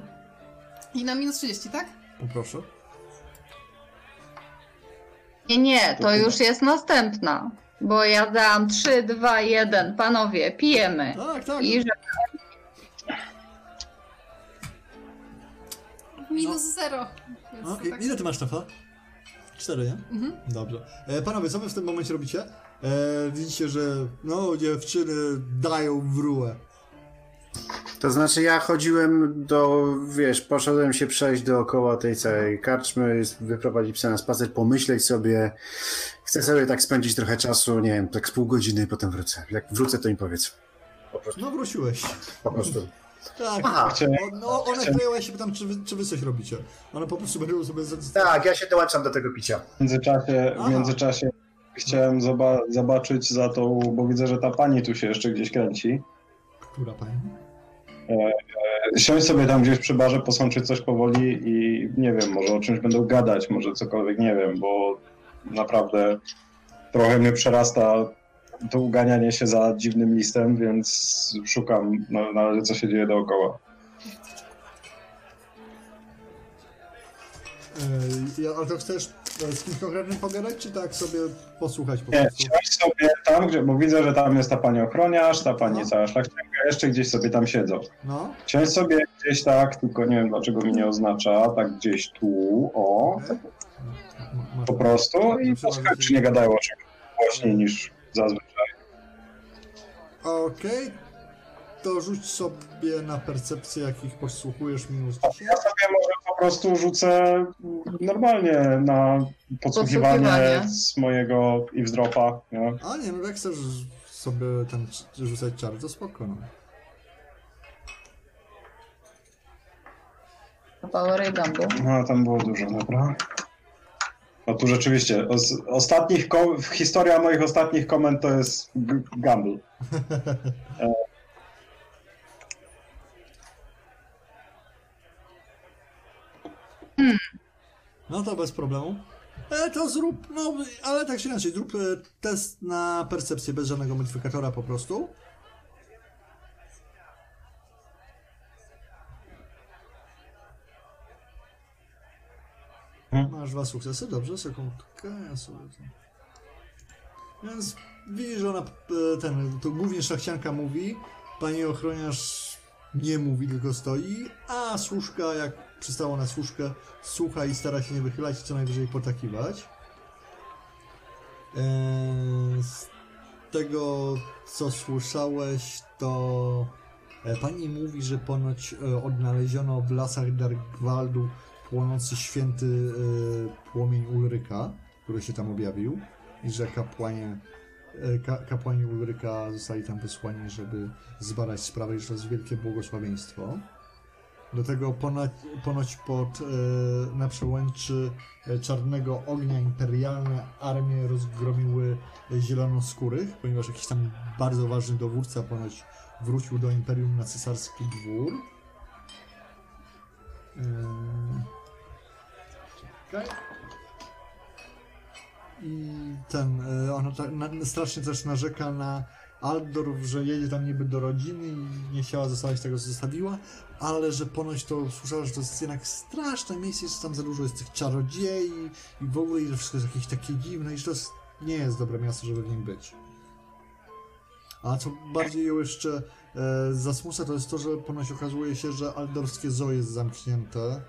Speaker 3: i, i na minus 30, tak?
Speaker 2: Poproszę.
Speaker 5: Nie, nie, to już jest następna, bo ja dałam 3, 2, 1. Panowie, pijemy.
Speaker 2: Tak, tak.
Speaker 5: I że
Speaker 3: Minus 0. Więc
Speaker 2: No,
Speaker 3: to
Speaker 2: i-
Speaker 3: tak.
Speaker 2: ile ty masz szafa? Cztery, nie?
Speaker 3: Mhm.
Speaker 2: Dobrze. E, panowie, co wy w tym momencie robicie? E, widzicie, że no, dziewczyny dają w rurę.
Speaker 1: To znaczy ja chodziłem do, wiesz, poszedłem się przejść dookoła tej całej karczmy, wyprowadzić psa na spacer, pomyśleć sobie, chcę sobie tak spędzić trochę czasu, nie wiem, tak z pół godziny i potem wrócę. Jak wrócę, to im powiedz.
Speaker 2: No, wróciłeś.
Speaker 1: Po prostu.
Speaker 2: Tak.
Speaker 1: Aha,
Speaker 4: Chciałem,
Speaker 2: O, no, one wpływały się pytam, czy wy, czy wy coś robicie. One po prostu będą sobie... Z, z,
Speaker 1: tak, ja się dołączam do tego picia.
Speaker 4: W międzyczasie,
Speaker 2: Aha.
Speaker 4: w międzyczasie chciałem zoba- zobaczyć za tą, bo widzę, że ta pani tu się jeszcze gdzieś kręci.
Speaker 2: Która pani?
Speaker 4: Siąść sobie tam gdzieś przy barze, posączyć coś powoli i nie wiem, może o czymś będą gadać, może cokolwiek, nie wiem, bo naprawdę trochę mnie przerasta to uganianie się za dziwnym listem, więc szukam na, na razie, co się dzieje dookoła.
Speaker 2: E, ja, ale to chcesz e, z kimś konkretnym pogadać, czy tak sobie posłuchać po
Speaker 4: Nie,
Speaker 2: prostu?
Speaker 4: siąść sobie tam, gdzie, bo widzę, że tam jest ta pani ochroniarz, ta pani
Speaker 2: No.
Speaker 4: cała szlachcianka, jeszcze gdzieś sobie tam siedzą.
Speaker 2: No,
Speaker 4: Siąść sobie gdzieś tak, tylko nie wiem dlaczego mi nie oznacza, tak gdzieś tu, o,
Speaker 2: okej. No, ma-
Speaker 4: po prostu i posłuchaj, czy nie gadają o czymś głośniej niż zazwyczaj.
Speaker 2: Okej. To rzuć sobie na percepcję, jakich podsłuchujesz minus 10.
Speaker 4: Ja sobie może po prostu rzucę normalnie na podsłuchiwanie
Speaker 5: Podsłuchiwanie.
Speaker 4: z mojego eavesdropa, nie?
Speaker 2: A nie, no jak chcesz sobie ten c- rzucać czar, to spoko. No.
Speaker 5: Power Gambo.
Speaker 4: No, tam było dużo, dobra. No tu rzeczywiście, os- ostatnich ko- historia moich ostatnich komend to jest g- gamble. E.
Speaker 2: No to bez problemu. E, to zrób, no, ale tak czy inaczej, zrób e, test na percepcję bez żadnego modyfikatora po prostu.
Speaker 4: Mhm.
Speaker 2: Masz dwa sukcesy, dobrze, sekundkę, ja sobie to... Więc widzisz, że ona, e, ten, to głównie szlachcianka mówi, pani ochroniarz nie mówi, tylko stoi, a służka, jak przystało na służkę, słucha i stara się nie wychylać, co najwyżej potakiwać. Eee, Z tego, co słyszałeś, to e, pani mówi, że ponoć e, odnaleziono w lasach Darkwaldu płonący święty e, płomień Ulryka, który się tam objawił i że kapłanie e, ka kapłani Ulryka zostali tam wysłani, żeby zbadać sprawę, iż to jest wielkie błogosławieństwo. Do tego ponoć, ponoć pod, e, na przełęczy e, Czarnego Ognia imperialne armie rozgromiły zielonoskórych, ponieważ jakiś tam bardzo ważny dowódca ponoć wrócił do imperium na cesarski dwór. Eee, Czekaj. I ten, e, ona tak, na, strasznie też narzeka na Aldorf, że jedzie tam niby do rodziny i nie chciała zostawić tego, co zostawiła, ale że ponoć to słyszała, że to jest jednak straszne miejsce, że tam za dużo jest tych czarodziei i w ogóle i że wszystko jest jakieś takie dziwne i że to jest, nie jest dobre miasto, żeby w nim być. A co bardziej ją jeszcze e, zasmuca, to jest to, że ponoć okazuje się, że aldorskie zoo jest zamknięte,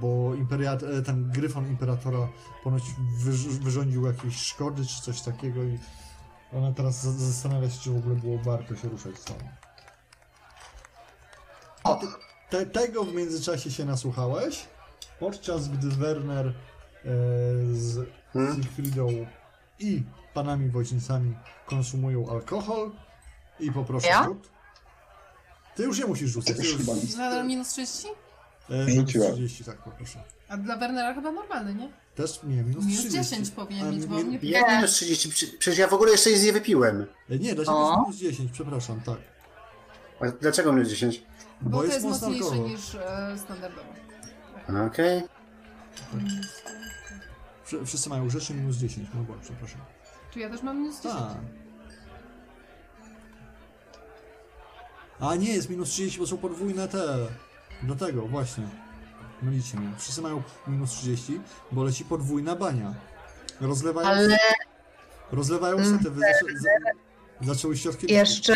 Speaker 2: bo imperia- e, ten gryfon imperatora ponoć wyrz- wyrządził jakieś szkody czy coś takiego i ona teraz za- zastanawia się, czy w ogóle było warto się ruszać stąd. A ty, te, tego w międzyczasie się nasłuchałeś, podczas gdy Werner e, z
Speaker 1: Hmm?
Speaker 2: Siegfriedą i panami woźnicami konsumują alkohol i poproszę
Speaker 5: Ja?
Speaker 2: rzut. Ty już nie musisz rzucać. Ty już,
Speaker 3: Nadal minus 30?
Speaker 2: e,
Speaker 4: Rzuciła.
Speaker 2: 30, tak poproszę.
Speaker 3: A dla Wernera chyba normalny, nie?
Speaker 2: Też nie, minus,
Speaker 3: Minus
Speaker 2: 30.
Speaker 3: 10 powinien
Speaker 2: A,
Speaker 3: mieć, bo
Speaker 2: mi-
Speaker 3: on nie...
Speaker 1: Ja minus 30, prze- przecież ja w ogóle jeszcze nic nie wypiłem.
Speaker 2: E, Nie, dla ciebie jest
Speaker 5: O.
Speaker 2: minus 10, przepraszam, tak.
Speaker 1: A Dlaczego minus 10?
Speaker 3: Bo, to jest mocniejszy niż e, standardowo.
Speaker 1: Okej.
Speaker 2: Wsz- Wszyscy mają rzeczy minus 10, no bo, przepraszam.
Speaker 3: Czy ja też mam minus 10?
Speaker 2: Tak. A nie, jest minus 30, bo są podwójne te. Dlatego, właśnie. Mylicie mnie. Wszyscy mają minus 30, bo leci podwójna bania. Rozlewają,
Speaker 5: Ale
Speaker 2: rozlewają się te... Wy... za- Zaczęły środki...
Speaker 5: jeszcze.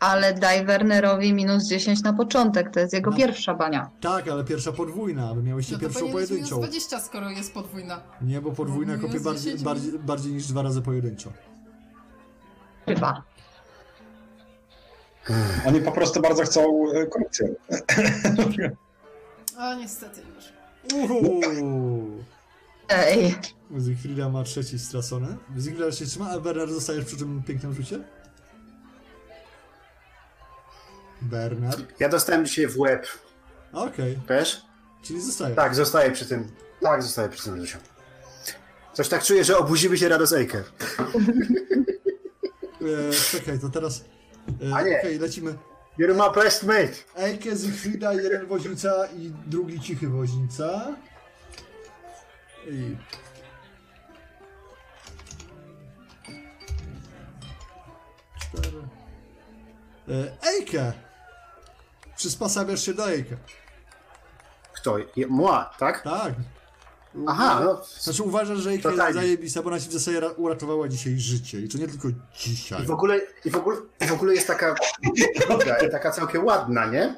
Speaker 5: Ale daj Wernerowi minus 10 na początek, to jest jego
Speaker 2: No.
Speaker 5: pierwsza bania.
Speaker 2: Tak, ale pierwsza podwójna, aby miałyście
Speaker 3: No to
Speaker 2: pierwszą
Speaker 3: powinien być minus
Speaker 2: pojedynczą.
Speaker 3: 20, skoro jest podwójna.
Speaker 2: Nie, bo podwójna
Speaker 3: No,
Speaker 2: kopie
Speaker 3: minus
Speaker 2: bardziej,
Speaker 3: 10.
Speaker 2: bardziej, bardziej niż dwa razy pojedynczo.
Speaker 5: Chyba.
Speaker 4: Oni po prostu bardzo chcą e, korupcję.
Speaker 3: A niestety już.
Speaker 2: Uhu!
Speaker 5: Ej,
Speaker 2: Zygfrida ma trzeci stracony. Zygfrida się trzyma, a Bernard zostajesz przy tym pięknym rzucie? Bernard.
Speaker 1: Ja dostałem dzisiaj w łeb,
Speaker 2: Okej,
Speaker 1: też?
Speaker 2: czyli zostaje.
Speaker 1: Tak, zostaję przy tym. Tak, zostaję przy tym, Zusiu. Coś tak czuję, że obudzimy się rano z Ejker.
Speaker 2: E, czekaj, to teraz. E,
Speaker 1: A
Speaker 2: Okej,
Speaker 1: nie.
Speaker 2: lecimy.
Speaker 1: You're my best mate!
Speaker 2: Ejke, Zygfrida, jeden woźnica i drugi cichy woźnica. I. Cztery. E, Ejke! Przysposabiasz się do Ejke.
Speaker 1: Kto? Je, mła, tak?
Speaker 2: Tak.
Speaker 1: Aha, no.
Speaker 2: Znaczy uważasz, że Ejka jest
Speaker 1: Totalnie.
Speaker 2: zajebista, bo ona ci w zasadzie ra- uratowała dzisiaj życie. I to nie tylko dzisiaj.
Speaker 1: I w ogóle, i w ogóle, i w ogóle jest taka dobra i taka całkiem ładna, nie?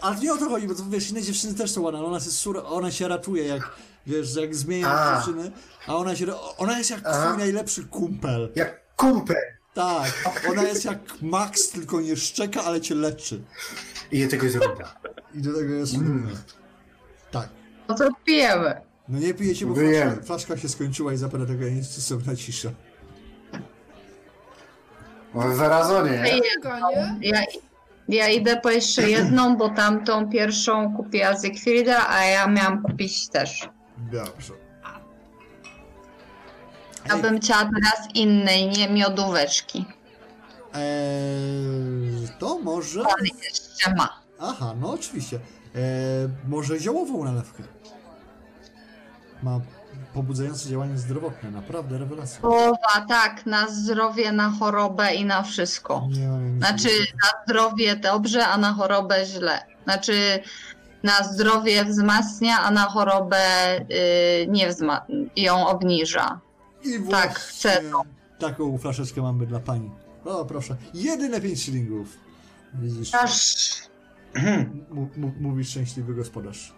Speaker 2: Ale nie o to chodzi, bo to, wiesz, inne dziewczyny też są ładne, ale ona, jest sur, ona się ratuje, jak wiesz, jak zmienia
Speaker 1: A.
Speaker 2: dziewczyny, a ona się, ra- ona jest jak
Speaker 1: Aha.
Speaker 2: twój najlepszy kumpel.
Speaker 1: Jak kumpel!
Speaker 2: Tak, ona jest jak Max, tylko nie szczeka, ale cię leczy.
Speaker 1: I je tego zrobiła.
Speaker 2: I do tego jest
Speaker 1: Mm.
Speaker 2: dumny. Tak.
Speaker 5: no to pijemy.
Speaker 2: No nie pijecie, bo
Speaker 1: Wyjem.
Speaker 2: flaszka, flaszka się skończyła i zapada tego jest stosowna cisza.
Speaker 1: Zarazonie.
Speaker 3: Tylko, nie?
Speaker 5: Ja, ja idę po jeszcze jedną, bo tamtą pierwszą kupiła Zygfrida, a ja miałam kupić też.
Speaker 2: Dobrze.
Speaker 5: Ja bym chciała teraz innej, nie miodóweczki.
Speaker 2: Eee, to może...
Speaker 5: Ale jeszcze ma.
Speaker 2: Aha, no oczywiście. E, może ziołową nalewkę. Ma pobudzające działanie zdrowotne, naprawdę rewelacja.
Speaker 5: Połowa, tak, na zdrowie, na chorobę i na wszystko.
Speaker 2: Nie, nie, nie.
Speaker 5: Znaczy na zdrowie dobrze, a na chorobę źle. Znaczy na zdrowie wzmacnia, a na chorobę y, nie wzma- ją obniża.
Speaker 2: I
Speaker 5: tak, chcę
Speaker 2: właśnie Taką flaszeczkę mamy dla pani. O, proszę. Jedyne 5 shillingów. Widzisz,
Speaker 5: Aż,
Speaker 4: Mhm.
Speaker 2: m- m- mówi szczęśliwy gospodarz.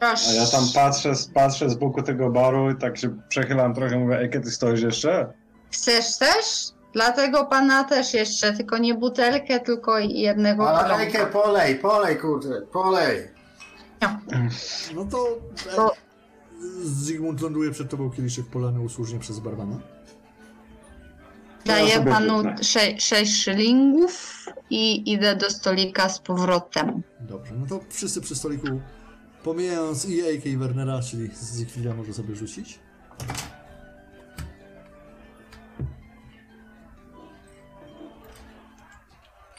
Speaker 5: aż.
Speaker 4: A ja tam patrzę, patrzę z boku tego baru i tak się przechylam trochę, mówię, ej, kiedy stoisz jeszcze?
Speaker 5: Chcesz też? Dlatego pana też jeszcze, tylko nie butelkę, tylko jednego
Speaker 1: Ale
Speaker 5: kromka.
Speaker 1: Ejker, polej, polej, kurde, polej.
Speaker 2: No to...
Speaker 5: To-
Speaker 2: E, Zygmunt ląduje przed tobą kieliszek polany usłużnie przez barmana.
Speaker 5: Daję
Speaker 4: sobie
Speaker 5: panu
Speaker 4: wrzucę.
Speaker 5: 6 szylingów i idę do stolika z powrotem.
Speaker 2: Dobrze, no to wszyscy przy stoliku, pomijając i Ejkę i Wernera, czyli Zigfrida może sobie rzucić.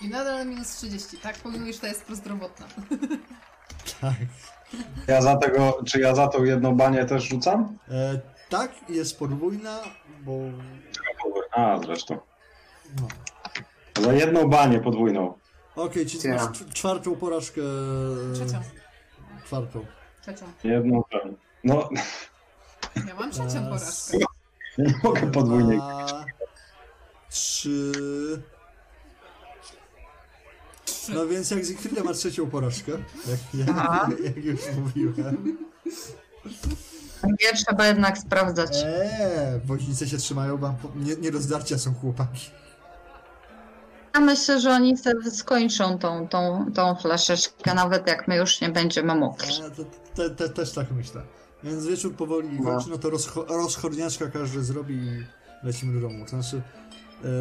Speaker 3: I nadal minus 30, tak? Pomimo, iż ta jest prozdrowotna.
Speaker 2: Tak.
Speaker 4: Ja za tego, czy ja za tą jedną banię też rzucam?
Speaker 2: E, tak, jest podwójna, bo...
Speaker 4: A, zresztą.
Speaker 2: No.
Speaker 4: Za jedną banię podwójną.
Speaker 2: Okej, czyli
Speaker 1: Ja.
Speaker 2: masz cz- czwartą porażkę... e,
Speaker 3: Trzecią,
Speaker 2: Czwartą.
Speaker 3: trzecią.
Speaker 4: Jedną ten. No,
Speaker 3: Ja mam trzecią
Speaker 2: Eee,
Speaker 3: porażkę.
Speaker 4: nie mogę podwójnie.
Speaker 2: Dwa, Trzy... No więc jak Zigfrida ma trzecią porażkę, jak,
Speaker 5: Aha.
Speaker 2: jak, jak już mówiłem.
Speaker 5: Ja trzeba jednak sprawdzać.
Speaker 2: Eee, woźnice się trzymają, bo nie, nie do zdarcia są chłopaki.
Speaker 5: Ja myślę, że oni se skończą tą, tą, tą flaszeczkę, nawet jak my już nie będziemy mokrzy.
Speaker 2: E, te, te, te, też tak myślę. Więc wieczór powoli kończy, no to rozcho rozchodniaczka każdy zrobi i lecimy do domu. To znaczy,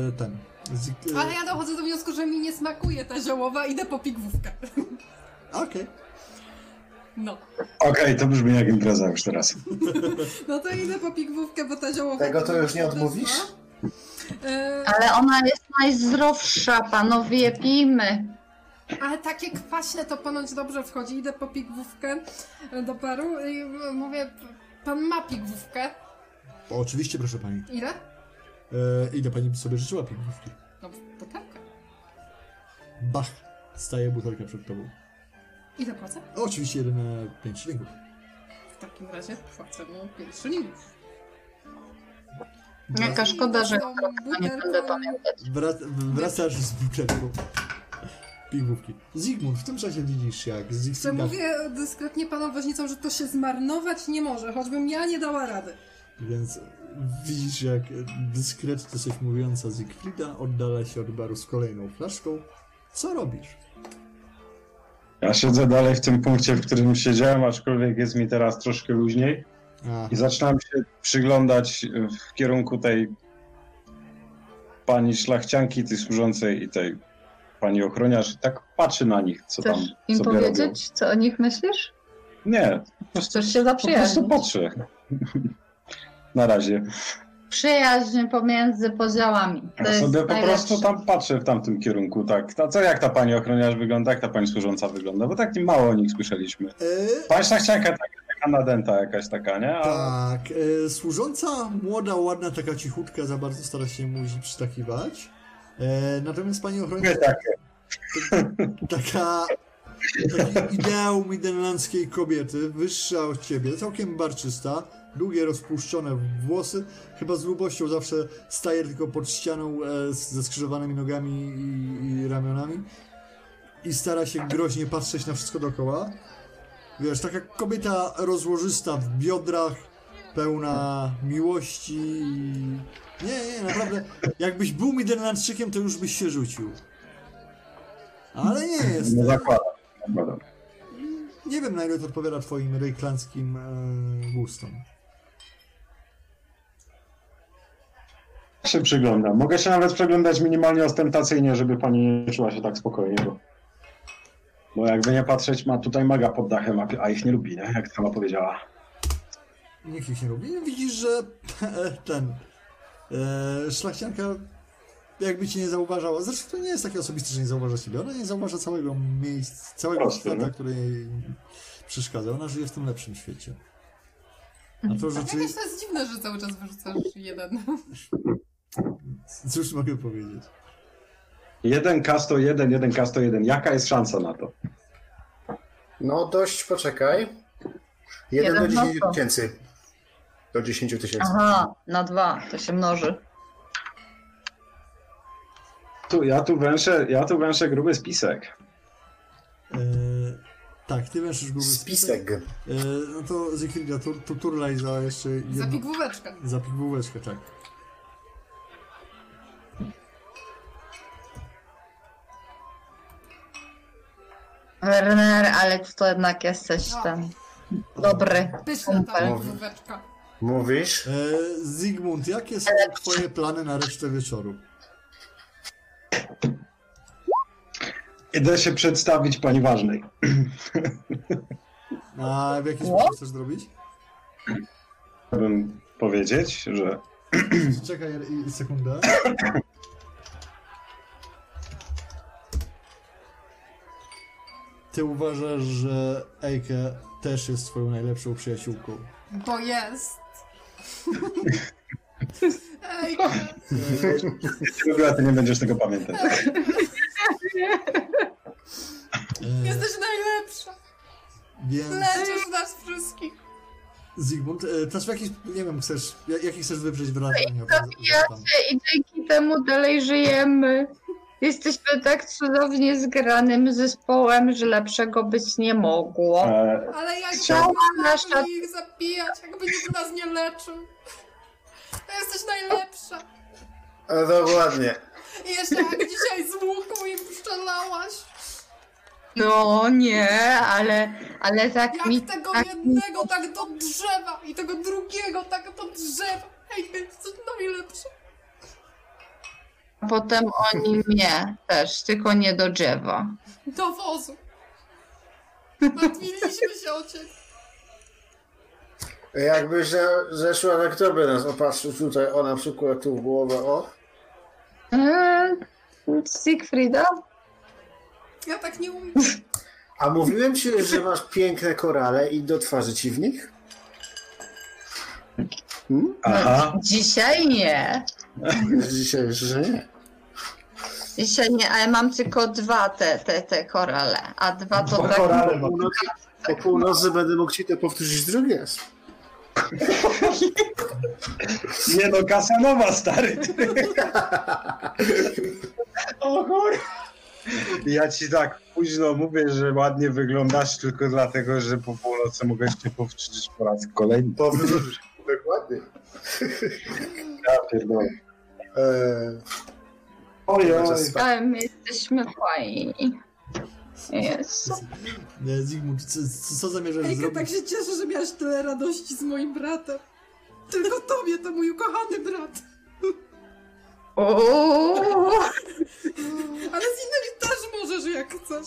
Speaker 2: e, ten... Z, e,
Speaker 3: Ale ja dochodzę do wniosku, że mi nie smakuje ta ziołowa, idę po pigwówkę.
Speaker 2: Okej.
Speaker 3: No.
Speaker 4: Okej, to brzmi jak impreza już teraz.
Speaker 3: No to idę po pigwówkę, bo ta ziołowa...
Speaker 1: Tego to już nie odmówisz?
Speaker 3: Eee,
Speaker 5: Ale ona jest najzdrowsza, panowie, pijmy.
Speaker 3: Ale takie kwaśne to ponoć dobrze wchodzi. Idę po pigwówkę e, do paru i e, mówię, pan ma pigwówkę.
Speaker 2: O, Oczywiście, proszę pani.
Speaker 3: Ile?
Speaker 2: E, ile pani by sobie życzyła pieniążki?
Speaker 3: No, butelkę.
Speaker 2: Bach! Staje butelka przed tobą.
Speaker 3: Ile płacę?
Speaker 2: O, Oczywiście jeden na pięć szylingów.
Speaker 3: W takim razie płacę mu 5 szylingów.
Speaker 5: Jaka szkoda, że
Speaker 3: Tą
Speaker 5: nie będę
Speaker 3: butelką
Speaker 5: pamiętać.
Speaker 2: Wra- wracasz z butelką. Pigówki. Zygmunt, w tym czasie widzisz jak
Speaker 3: Że
Speaker 2: Zygfrida...
Speaker 3: mówię dyskretnie panom woźnicom, że to się zmarnować nie może, choćbym ja nie dała rady.
Speaker 2: Więc widzisz jak dyskretnie coś mówiąca Zygfrida oddala się od baru z kolejną flaszką. Co robisz?
Speaker 4: Ja siedzę dalej w tym punkcie, w którym siedziałem, aczkolwiek jest mi teraz troszkę luźniej.
Speaker 2: A,
Speaker 4: I zaczynam się przyglądać w kierunku tej pani szlachcianki, tej służącej i tej pani ochroniarz. Tak patrzy na nich, co tam
Speaker 5: Chcesz im
Speaker 4: sobie robią.
Speaker 5: powiedzieć, co o nich myślisz?
Speaker 4: Nie, po prostu,
Speaker 5: Chcesz się
Speaker 4: po prostu
Speaker 5: zaprzyjaźnić?
Speaker 4: patrzę. Na razie.
Speaker 5: Przyjaźń pomiędzy podziałami. Tak,
Speaker 4: Ja
Speaker 5: To jest
Speaker 4: sobie No, po
Speaker 5: najlepsze.
Speaker 4: prostu tam patrzę w tamtym kierunku, tak. Ta, co jak ta pani ochroniarz wygląda, jak ta pani służąca wygląda, bo tak mało o nich słyszeliśmy.
Speaker 2: e,
Speaker 4: Pani szlachcianka taka, taka nadęta jakaś taka, nie? A,
Speaker 2: Tak, e, służąca młoda, ładna, taka cichutka, za bardzo stara się muzi przytakiwać. E, natomiast pani
Speaker 4: nie
Speaker 2: ochroniarz,
Speaker 4: takie.
Speaker 2: taka taki ideał midenlandzkiej kobiety, wyższa od ciebie, całkiem barczysta, długie, rozpuszczone włosy, chyba z lubością zawsze staje tylko pod ścianą e, z- ze skrzyżowanymi nogami i, i ramionami i stara się groźnie patrzeć na wszystko dookoła. Wiesz, taka kobieta rozłożysta w biodrach, pełna miłości i... Nie, nie, naprawdę, jakbyś był Midenlandczykiem, to już byś się rzucił. Ale nie jest.
Speaker 4: Nie zakładam. zakładam.
Speaker 2: Nie wiem, na ile to odpowiada twoim rejklanskim e, gustom.
Speaker 4: się przyglądam. Mogę się nawet przeglądać minimalnie ostentacyjnie, żeby pani nie czuła się tak spokojnie, bo, bo jakby nie patrzeć, ma tutaj maga pod dachem, a, a ich nie lubi, nie? Jak sama powiedziała.
Speaker 2: Nikt ich nie lubi. Widzisz, że e, ten e, szlachcianka jakby cię nie zauważała. Zresztą to nie jest takie osobiste, że nie zauważa ciebie. Ona nie zauważa całego miejsca, całego
Speaker 4: Proste,
Speaker 2: świata,
Speaker 4: no.
Speaker 2: który jej przeszkadza. Ona żyje w tym lepszym świecie. A to, że
Speaker 3: Tak
Speaker 2: ty...
Speaker 3: jakieś to jest dziwne, że cały czas wyrzucasz jeden.
Speaker 2: Cóż mogę powiedzieć?
Speaker 4: Jeden kasto, jeden, jeden kasto, jeden. Jaka jest szansa na to?
Speaker 1: No dość, poczekaj. 1 do
Speaker 5: Jeden
Speaker 1: 10
Speaker 5: mocno.
Speaker 1: tysięcy. Do 10 tysięcy.
Speaker 5: Aha, na dwa, to się mnoży.
Speaker 4: Tu, ja tu węszę, ja tu węszę gruby spisek.
Speaker 2: E, tak, ty wiesz już
Speaker 1: Spisek.
Speaker 2: E, no to Zygfrida, to, to turlaj za jeszcze
Speaker 3: Za
Speaker 2: jedno.
Speaker 3: pigwóweczkę.
Speaker 2: Za pigułeczkę, tak.
Speaker 5: Werner, Alex, to jednak jesteś ten dobry.
Speaker 3: Pyszna ta
Speaker 5: Kumpel.
Speaker 3: pigwóweczka.
Speaker 1: Mówisz?
Speaker 2: E, Zygmunt, jakie są twoje plany na resztę wieczoru?
Speaker 4: Idę się przedstawić pani ważnej.
Speaker 2: A w jaki
Speaker 5: What?
Speaker 2: sposób chcesz zrobić?
Speaker 4: Chciałbym powiedzieć, że
Speaker 2: Czekaj i- i sekundę. Ty uważasz, że Eike też jest twoją najlepszą przyjaciółką.
Speaker 3: Bo jest. Ej,
Speaker 2: E,
Speaker 4: jeśli lubiła, to nie będziesz tego pamiętać.
Speaker 2: e,
Speaker 3: jesteś najlepsza.
Speaker 2: więc
Speaker 3: Leczysz nas wszystkich.
Speaker 2: Zygmunt, e, też w jakiś, nie wiem, chcesz, ja- jaki chcesz wywrzeć wrażenie?
Speaker 5: I dzięki temu dalej żyjemy. Jesteśmy tak cudownie zgranym zespołem, że lepszego być nie mogło.
Speaker 4: E,
Speaker 3: Ale jak
Speaker 5: Cała nasza-
Speaker 3: nasza... ich zabijać, jakby nikt nas nie leczył. To jesteś najlepsza.
Speaker 1: E, dokładnie.
Speaker 3: I jeszcze jak dzisiaj z łuku im strzelałaś.
Speaker 5: No nie, ale, ale tak
Speaker 3: Jak
Speaker 5: mi...
Speaker 3: tego
Speaker 5: tak mi-
Speaker 3: jednego tak do drzewa i tego drugiego tak do drzewa. Ej, jesteś najlepsza.
Speaker 5: A potem oni mnie też, tylko nie do drzewa.
Speaker 3: Do wozu. Martwiliśmy się o ciebie.
Speaker 7: Jakby ze- zeszła na kto by nas opatrzył tutaj, o na przykład tu w głowę, o.
Speaker 5: Eee, Siegfrieda?
Speaker 3: Ja tak nie umiem.
Speaker 7: A mówiłem ci już, że masz piękne korale i do twarzy ci w nich?
Speaker 4: aha,
Speaker 5: Dzisiaj nie.
Speaker 7: Dzisiaj, że nie.
Speaker 5: Dzisiaj nie, ale mam tylko dwa te, te, te korale. A dwa to
Speaker 7: Po,
Speaker 5: tak...
Speaker 7: korale, po, północy, po północy będę mógł ci to powtórzyć drugi raz.
Speaker 4: nie no, Kasanowa, stary. o kur... Ja ci tak późno mówię, że ładnie wyglądasz tylko dlatego, że po północy mogę cię powtórzyć po raz kolejny.
Speaker 7: Powtórzysz, dokładnie.
Speaker 4: Ja pierdolę. Znaczy,
Speaker 7: Eee,
Speaker 4: Ojej.
Speaker 5: Ale my jesteśmy fajni. Jest.
Speaker 2: Nie, E, Zygmunt, co, co- co zamierzasz
Speaker 3: Ejka,
Speaker 2: zrobić?
Speaker 3: tak się cieszę, że miałaś tyle radości z moim bratem. Tylko tobie, to mój ukochany brat.
Speaker 5: Uuu.
Speaker 3: Ale z innymi też możesz, jak chcesz.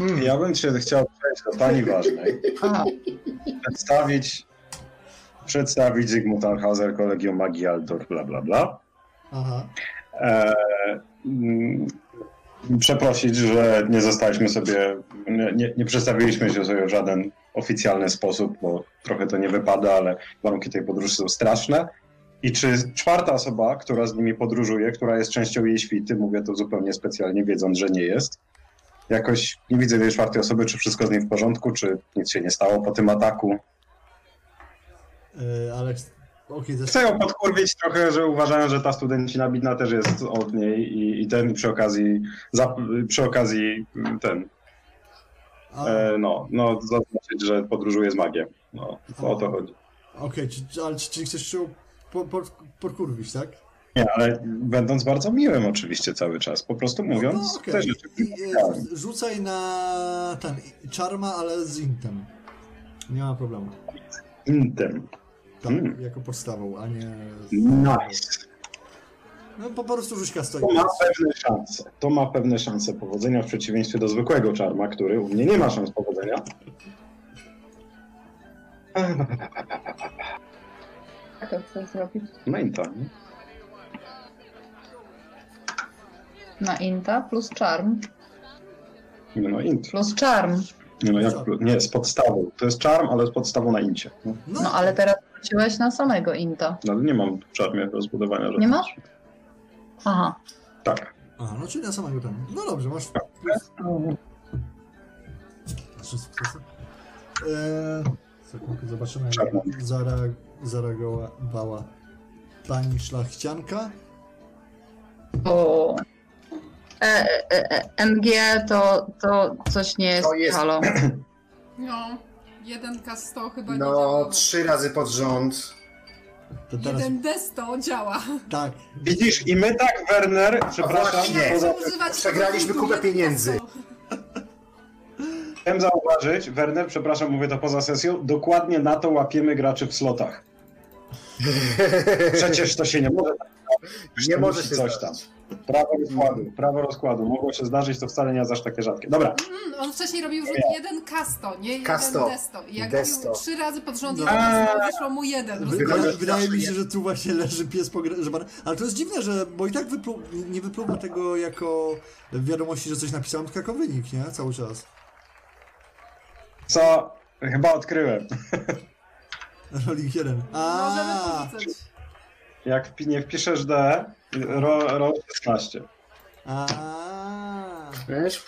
Speaker 4: Mm. Ja bym się chciał przejść do pani ważnej.
Speaker 5: A,
Speaker 4: Przedstawić, przedstawić Zygmunt Anhauser, Kolegium Magii Altor, bla bla bla.
Speaker 2: Aha.
Speaker 4: E, mm, przeprosić, że nie zostaliśmy sobie, nie, nie, nie przedstawiliśmy się sobie w żaden oficjalny sposób, bo trochę to nie wypada, ale warunki tej podróży są straszne. I czy czwarta osoba, która z nimi podróżuje, która jest częścią jej świty, mówię to zupełnie specjalnie, wiedząc, że nie jest, jakoś nie widzę tej czwartej osoby, czy wszystko z nim w porządku, czy nic się nie stało po tym ataku.
Speaker 2: E, ale ch- okej, też
Speaker 4: Chcę ją podkurwić trochę, że uważają, że ta studencina bidna też jest od niej i, i ten i przy okazji, za, przy okazji mm, ten,
Speaker 2: a-
Speaker 4: e, no, no, zaznaczyć, że podróżuje z magiem. No, to o to chodzi.
Speaker 2: Okej, czy- czy- ale czy, czy chcesz się po, po, podkurwić, tak?
Speaker 4: Nie, ale będąc bardzo miłym oczywiście cały czas, po prostu mówiąc
Speaker 2: No okej.
Speaker 4: te rzeczy.
Speaker 2: I, e, Rzucaj na ten, i- czarma, ale z intem. Nie ma problemu.
Speaker 4: Intem.
Speaker 2: Tak,
Speaker 4: Mm.
Speaker 2: jako podstawą, a nie... z-
Speaker 4: Nice.
Speaker 2: No po prostu rzućka stoi.
Speaker 4: To ma pewne szanse. To ma pewne szanse powodzenia w przeciwieństwie do zwykłego czarma, który u mnie nie ma szans powodzenia.
Speaker 5: jak to chcę zrobić?
Speaker 4: No i tak. nie?
Speaker 5: Na Inta plus Charm.
Speaker 4: No int.
Speaker 5: Plus Charm.
Speaker 4: Nie, no jak, nie, z podstawą. To jest czarm, ale z podstawą na incie. No,
Speaker 5: No ale teraz wróciłeś na samego Inta.
Speaker 4: no ale nie mam w czarmie rozbudowania rzeczy.
Speaker 5: Nie masz? Aha.
Speaker 4: Tak.
Speaker 2: Aha, no czyli na samego ten. No dobrze, masz... plus- Trzy Znaczy, sukcesy. E, Sekundkę, zobaczymy
Speaker 4: Czarna.
Speaker 2: jak zareag- zareagowała pani szlachcianka.
Speaker 5: O. E, e, e, e, MG to, to coś nie jest,
Speaker 1: To jest-
Speaker 5: halo.
Speaker 3: No, jeden k 100 chyba nie
Speaker 1: No,
Speaker 3: działa.
Speaker 1: trzy razy pod rząd.
Speaker 2: To teraz...
Speaker 3: Jeden d 100 działa.
Speaker 2: Tak.
Speaker 4: Widzisz, i my tak, Werner, przepraszam,
Speaker 1: właśnie.
Speaker 4: poza
Speaker 3: Używać
Speaker 1: no, przegraliśmy
Speaker 3: tego
Speaker 1: kupę
Speaker 3: punktu
Speaker 1: pieniędzy.
Speaker 3: jeden
Speaker 4: Chciałem zauważyć, Werner, przepraszam, mówię to poza sesją, dokładnie na to łapiemy graczy w slotach. Przecież to się nie może tak stać.
Speaker 7: Nie
Speaker 4: To
Speaker 7: może
Speaker 4: musi
Speaker 7: się
Speaker 4: coś tam.
Speaker 7: zdarzyć.
Speaker 4: Prawo rozkładu, prawo rozkładu. Mogło się zdarzyć, to wcale nie jest aż takie rzadkie. Dobra,
Speaker 3: Mm, on wcześniej robił rzut jeden kasto, nie jeden
Speaker 1: Kasto.
Speaker 3: desto. I jak
Speaker 1: Desto.
Speaker 3: robił trzy razy pod rząd,
Speaker 2: No.
Speaker 3: to wyszło mu jeden. rozumiesz?
Speaker 2: Wydaje, wydaje mi się, że tu właśnie leży pies pogrzebany. Ale to jest dziwne, że bo i tak wyplu, nie wypluwa tego jako wiadomości, że coś napisałem, tylko jako wynik, nie? Cały czas.
Speaker 4: co chyba odkryłem.
Speaker 2: Rolling 1.
Speaker 3: No, Możemy
Speaker 2: A,
Speaker 3: porzucać.
Speaker 4: Jak wpi- nie wpiszesz D, ro, ro 16.
Speaker 2: a,
Speaker 1: Wiesz?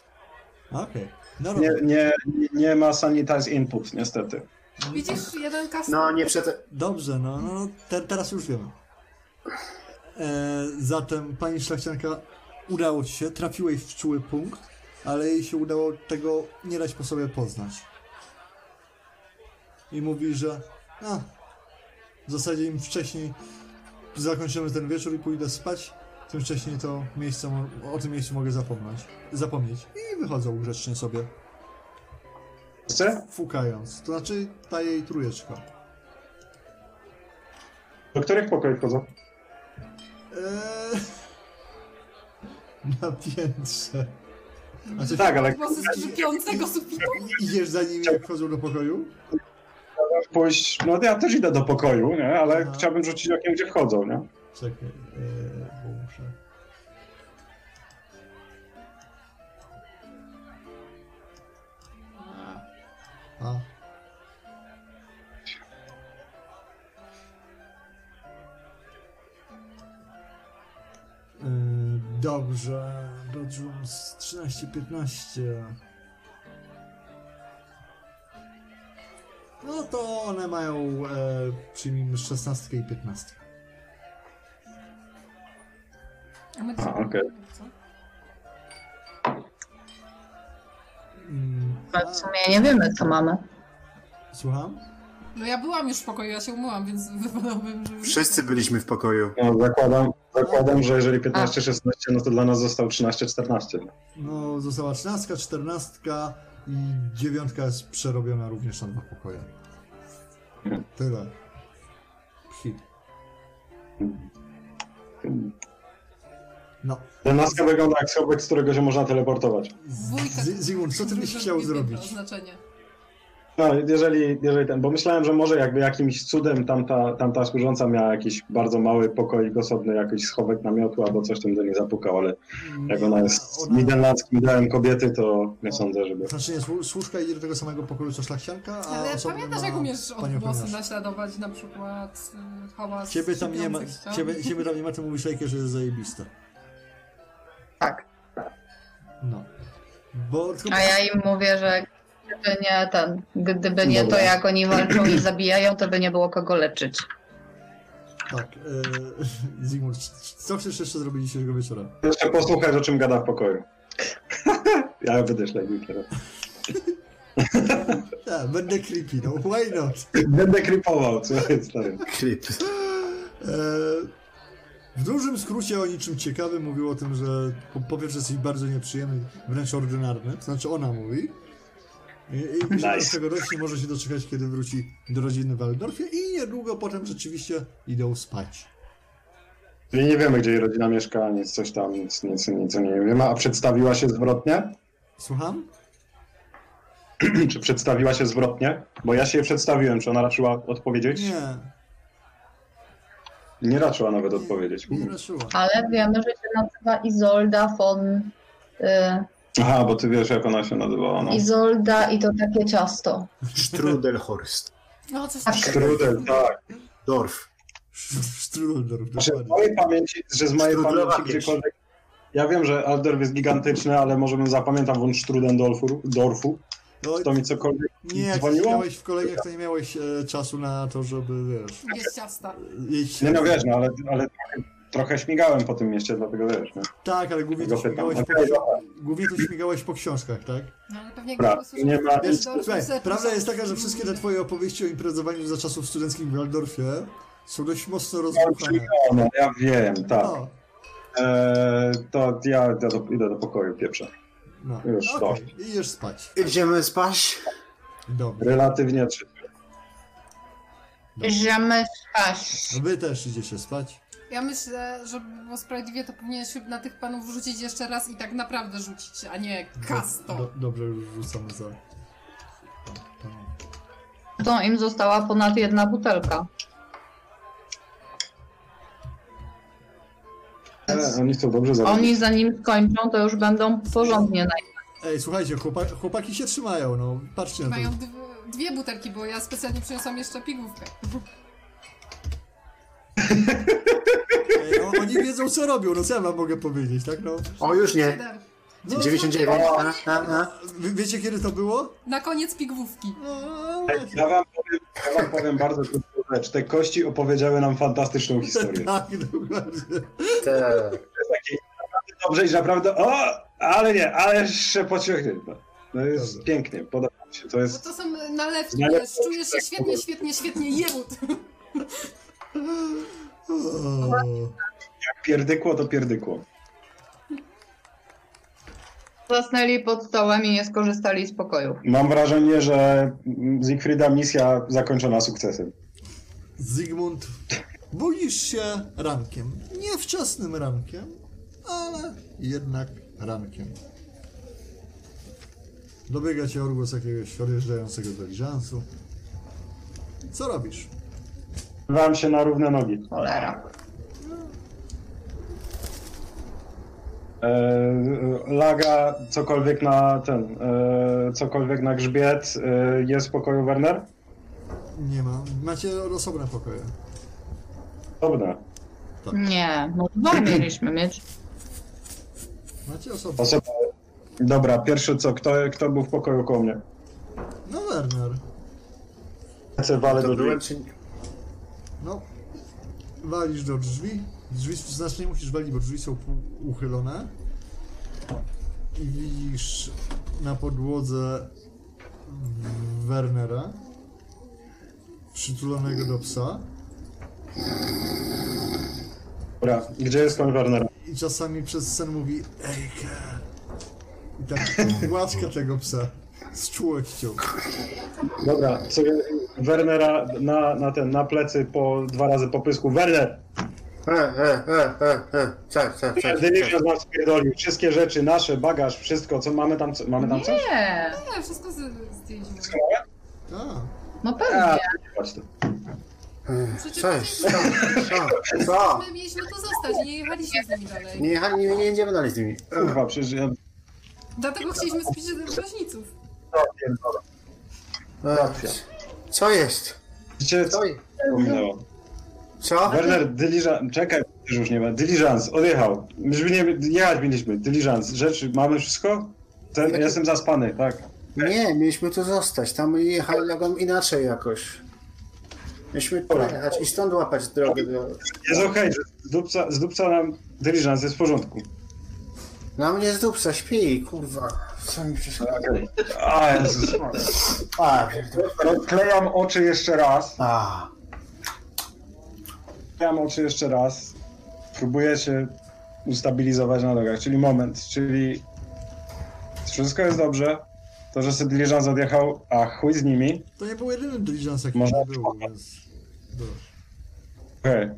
Speaker 2: Okej. No
Speaker 4: Nie,
Speaker 2: dobra.
Speaker 4: nie, nie ma sanitize input, niestety.
Speaker 3: Widzisz, jeden kasto.
Speaker 1: No nie przed...
Speaker 2: Dobrze, no, no, no te, teraz już wiemy. E, zatem pani szlachcianka udało ci się, trafiłeś w czuły punkt, ale jej się udało tego nie dać po sobie poznać. I mówi, że a, w zasadzie im wcześniej zakończymy ten wieczór i pójdę spać, tym wcześniej to miejsce, mo- o tym miejscu mogę zapomnieć. zapomnieć. I wychodzą grzecznie sobie,
Speaker 4: Wszyscy?
Speaker 2: fukając. To znaczy ta jej trójeczka.
Speaker 4: Do których pokoi wchodzą?
Speaker 2: Eee, Na piętrze. A ty
Speaker 4: Tak, ale
Speaker 3: Głosy z krzypiącego sufitu.
Speaker 2: idziesz za nimi, jak wchodzą do pokoju?
Speaker 4: pójść. No ja też idę do pokoju, nie? ale
Speaker 2: Aha.
Speaker 4: chciałbym rzucić okiem, gdzie wchodzą, nie?
Speaker 2: Czekaj, eee, bo muszę. A. Eee, Dobrze, bedrooms 13-15. No to one mają, e, przyjmijmy, 16 i 15.
Speaker 3: A my
Speaker 4: A, okej.
Speaker 3: Co?
Speaker 2: Mm,
Speaker 5: My w sumie nie wiemy, co mamy.
Speaker 2: a- Słucham?
Speaker 3: No ja byłam już w pokoju, ja się umyłam, więc wypadałbym, że...
Speaker 1: Wszyscy byliśmy w pokoju.
Speaker 4: No, zakładam, zakładam, że jeżeli 15-16, no to dla nas został 13-14.
Speaker 2: No, została 13, 14 i 9 jest przerobiona również na dwa pokoje. Tyle. Psi. No.
Speaker 4: Dwunastka wygląda jak schowek, z którego się można teleportować.
Speaker 3: Wujka.
Speaker 2: Z- Zygmunt, co ty byś
Speaker 3: Wujka
Speaker 2: chciał
Speaker 3: nie ma
Speaker 2: zrobić?
Speaker 3: Znaczenia.
Speaker 4: No, jeżeli, jeżeli ten, bo myślałem, że może jakby jakimś cudem tamta, tamta służąca miała jakiś bardzo mały pokoik osobny, jakiś schowek namiotu albo coś tam do niej zapukał, ale jak ona jest
Speaker 2: Mm. Ona-
Speaker 4: niderlandzkim ideałem kobiety, to nie sądzę, żeby...
Speaker 2: Znaczy nie, słu- służka idzie do tego samego pokoju co szlachcianka, a
Speaker 3: Ale
Speaker 2: osobno no,
Speaker 3: pamiętasz,
Speaker 2: ma
Speaker 3: jak umiesz
Speaker 2: panią
Speaker 3: odgłosy
Speaker 2: ochroniarza.
Speaker 3: naśladować, na przykład y, hałas
Speaker 2: Ciebie tam nie ma,
Speaker 3: szczypiących ścian?
Speaker 2: ciebie, ciebie tam nie ma, ty mówisz Lejkie, że jest zajebiste.
Speaker 5: Tak.
Speaker 2: No. Bo tylko...
Speaker 5: A ja im mówię, że gdyby nie, ten, gdyby nie to,
Speaker 4: Dobra.
Speaker 5: jak oni walczą i zabijają, to by nie było kogo leczyć.
Speaker 2: Tak, e, Zygmunt, c- c- co chcesz jeszcze zrobić dzisiejszego wieczora?
Speaker 4: Jeszcze posłuchać, o czym gada w pokoju. ja będę śledził
Speaker 2: Ja, będę creepy, no why not?
Speaker 4: Będę krypował, słuchaj, stary.
Speaker 1: Klip.
Speaker 2: E, w dużym skrócie o niczym ciekawym mówił o tym, że po, po pierwsze jesteś bardzo nieprzyjemny, wręcz ordynarny, to znaczy ona mówi. I, i nice.
Speaker 4: Nice.
Speaker 2: tego rośnie może się doczekać, kiedy wróci do rodziny w Waldorfie i niedługo potem rzeczywiście idą spać.
Speaker 4: Czyli nie wiemy, gdzie jej rodzina mieszka, nic coś tam, nic, nic, nic o niej nie wiemy. A przedstawiła się zwrotnie?
Speaker 2: Słucham?
Speaker 4: czy przedstawiła się zwrotnie? Bo ja się jej przedstawiłem, czy ona raczyła odpowiedzieć?
Speaker 2: Nie,
Speaker 4: Nie raczyła nawet odpowiedzieć.
Speaker 2: nie
Speaker 4: Hmm.
Speaker 2: raszyła.
Speaker 5: Ale wiemy, że się nazywa Izolda von... Y,
Speaker 4: Aha, bo ty wiesz, jak ona się nazywała, no.
Speaker 5: Izolda i to takie ciasto.
Speaker 1: Strudelhorst.
Speaker 3: No, coś
Speaker 5: Tak.
Speaker 3: takiego.
Speaker 4: Strudel, tak.
Speaker 1: Dorf.
Speaker 2: Strudolorów,
Speaker 4: Znaczy, z
Speaker 2: dokładnie.
Speaker 4: mojej pamięci, że z mojej
Speaker 1: Strudlowa
Speaker 4: pamięci
Speaker 1: pieśń.
Speaker 4: gdziekolwiek... Ja wiem, że Aldorf jest gigantyczny, ale może bym zapamiętał von Strudendorfu, Dorfu,
Speaker 2: No,
Speaker 4: to mi cokolwiek
Speaker 2: nie, jak
Speaker 4: dzwoniło?
Speaker 2: miałeś w kolegach, to nie miałeś e, czasu na to, żeby, wiesz,
Speaker 3: Jest ciasta.
Speaker 2: jeść...
Speaker 4: Nie no wiesz, no ale, ale trochę, trochę śmigałem po tym mieście, dlatego wiesz. No.
Speaker 2: Tak, ale głównie to,
Speaker 4: Tego pytam.
Speaker 2: śmigałeś po,
Speaker 4: Okej, no. dobra.
Speaker 2: głównie to śmigałeś po książkach, tak?
Speaker 3: No, ale pewnie
Speaker 4: Dobra,
Speaker 3: jakby
Speaker 4: nie ma-
Speaker 2: Wiesz,
Speaker 3: słyszał-
Speaker 2: słuchaj,
Speaker 3: Dorf-
Speaker 2: prawda jest taka, że wszystkie te twoje opowieści o imprezowaniu za czasów studenckich w Waldorfie są dość mocno rozbuchane.
Speaker 4: No, no, ja wiem, tak. E,
Speaker 2: No,
Speaker 4: Eee, to ja idę do, idę do pokoju, pieprze.
Speaker 2: No.
Speaker 4: Już,
Speaker 2: Okej, Idziesz spać.
Speaker 1: Idziemy spać.
Speaker 2: Dobra.
Speaker 4: Relatywnie trzeźwy. No.
Speaker 5: Żamy spaść.
Speaker 2: No Wy też idziecie spać.
Speaker 3: Ja myślę, żeby było sprawiedliwie, to powinien się na tych panów rzucić jeszcze raz i tak naprawdę rzucić, a nie
Speaker 2: Do,
Speaker 3: kasto.
Speaker 2: do, dobrze, już rzucamy za...
Speaker 5: To im została ponad jedna butelka.
Speaker 4: Ale e, Oni są dobrze zabili.
Speaker 5: Oni zanim skończą, to już będą porządnie na
Speaker 2: Ej, słuchajcie, chłopa, chłopaki się trzymają, no. Patrzcie na
Speaker 3: Mają
Speaker 2: to.
Speaker 3: dw- dwie butelki, bo ja specjalnie przyniosłam jeszcze pigówkę.
Speaker 2: Ej, no, oni wiedzą, co robią, no co ja wam mogę powiedzieć, tak no?
Speaker 1: O, już nie.
Speaker 3: Siedem.
Speaker 2: no
Speaker 1: 99. A, a, a.
Speaker 2: Wy, wiecie, kiedy to było?
Speaker 3: Na koniec pigówki.
Speaker 2: No,
Speaker 4: Ja wam powiem, ja wam powiem bardzo krótką rzecz. Te kości opowiedziały nam fantastyczną historię.
Speaker 2: tak, dokładnie.
Speaker 7: Tak.
Speaker 4: Takie naprawdę dobrze i naprawdę o, ale nie, ale jeszcze pociągnięte. No jest
Speaker 2: Dobra.
Speaker 4: pięknie, podoba mi się. To
Speaker 3: Bo
Speaker 4: jest
Speaker 3: to są nalewki,
Speaker 4: Nalewki,
Speaker 3: wiesz, czujesz się
Speaker 4: tak,
Speaker 3: świetnie, świetnie, świetnie, jebut.
Speaker 2: O,
Speaker 4: jak pierdykło, to pierdykło.
Speaker 5: Zasnęli pod stołem i nie skorzystali z pokoju.
Speaker 4: Mam wrażenie, że mm, Siegfrieda misja zakończona sukcesem.
Speaker 2: Zygmunt, budzisz się rankiem. Nie wczesnym rankiem, ale jednak rankiem. Dobiega cię odgłos jakiegoś odjeżdżającego deliżansu. Co robisz?
Speaker 4: Wam się na równe nogi.
Speaker 5: Cholera.
Speaker 4: E, laga cokolwiek na ten, e, cokolwiek na grzbiet. E, jest w pokoju Werner?
Speaker 2: Nie ma. Macie osobne pokoje.
Speaker 4: Dobra. Tak.
Speaker 5: Nie, no dwa mieliśmy mieć.
Speaker 2: Macie osobne.
Speaker 4: Osoba... Dobra, pierwszy co, kto, kto był w pokoju koło mnie?
Speaker 2: No Werner.
Speaker 4: Chcę walę do
Speaker 7: To
Speaker 4: drzwi.
Speaker 7: byłem czy nie?
Speaker 2: No. Walisz do drzwi. Drzwi znacznie musisz walić, bo drzwi są pół- uchylone. I widzisz na podłodze Wernera przytulonego do psa.
Speaker 4: Dobra, gdzie jest pan Werner?
Speaker 2: I czasami przez sen mówi Ejka. I tak gładka tego psa. Z czułością.
Speaker 4: Dobra, sobie Wernera na, na ten, na plecy po dwa razy po pysku. Werner!
Speaker 7: E, e, e, e, e. Tak, tak, tak.
Speaker 4: Dyliżans nas spierdolił. Wszystkie rzeczy, nasze, bagaż, wszystko, co mamy tam, co, mamy tam coś?
Speaker 5: Nie,
Speaker 3: Nie, wszystko z- zdjęliśmy.
Speaker 2: Tak.
Speaker 5: no
Speaker 4: A,
Speaker 5: pewnie.
Speaker 4: właśnie.
Speaker 3: Przecież
Speaker 7: Cześć.
Speaker 3: my
Speaker 7: Co? Co?
Speaker 3: my mieliśmy tu zostać, nie jechaliśmy z nimi dalej.
Speaker 7: Nie, jechali- nie, nie jedziemy dalej z nimi.
Speaker 4: Kurwa, przecież ja...
Speaker 3: Dlatego chcieliśmy spić drażniców.
Speaker 7: E, Co jest?
Speaker 4: Wiecie, co
Speaker 7: Co jest?
Speaker 4: mi minęło?
Speaker 7: Co?
Speaker 4: Werner, dyliżans... Czekaj, już już nie ma. Dyliżans, odjechał. Myśmy nie... Jechać mieliśmy. Dyliżans, rzeczy, mamy wszystko? Ten, ja jestem zaspany, tak.
Speaker 7: Nie, mieliśmy tu zostać. Tam jechali drogą inaczej jakoś. Mieliśmy tu jechać i stąd łapać drogę. Do...
Speaker 4: Jest okej, że z dupca, z dupca nam dyliżans jest w porządku.
Speaker 7: Na mnie z dupca śpi, kurwa. Co mi przeszkadza?
Speaker 4: A, Jezus.
Speaker 7: A, pierdolę.
Speaker 6: Rozklejam oczy jeszcze raz.
Speaker 7: A,
Speaker 4: Otwieram oczy jeszcze raz. Próbuję się ustabilizować na nogach, czyli moment, czyli wszystko jest dobrze. To, że sobie Diliżan odjechał, a chuj z nimi.
Speaker 2: To nie był jedyny dyliżans, jaki
Speaker 4: Można-
Speaker 2: był, więc... Dobra.
Speaker 4: Okej,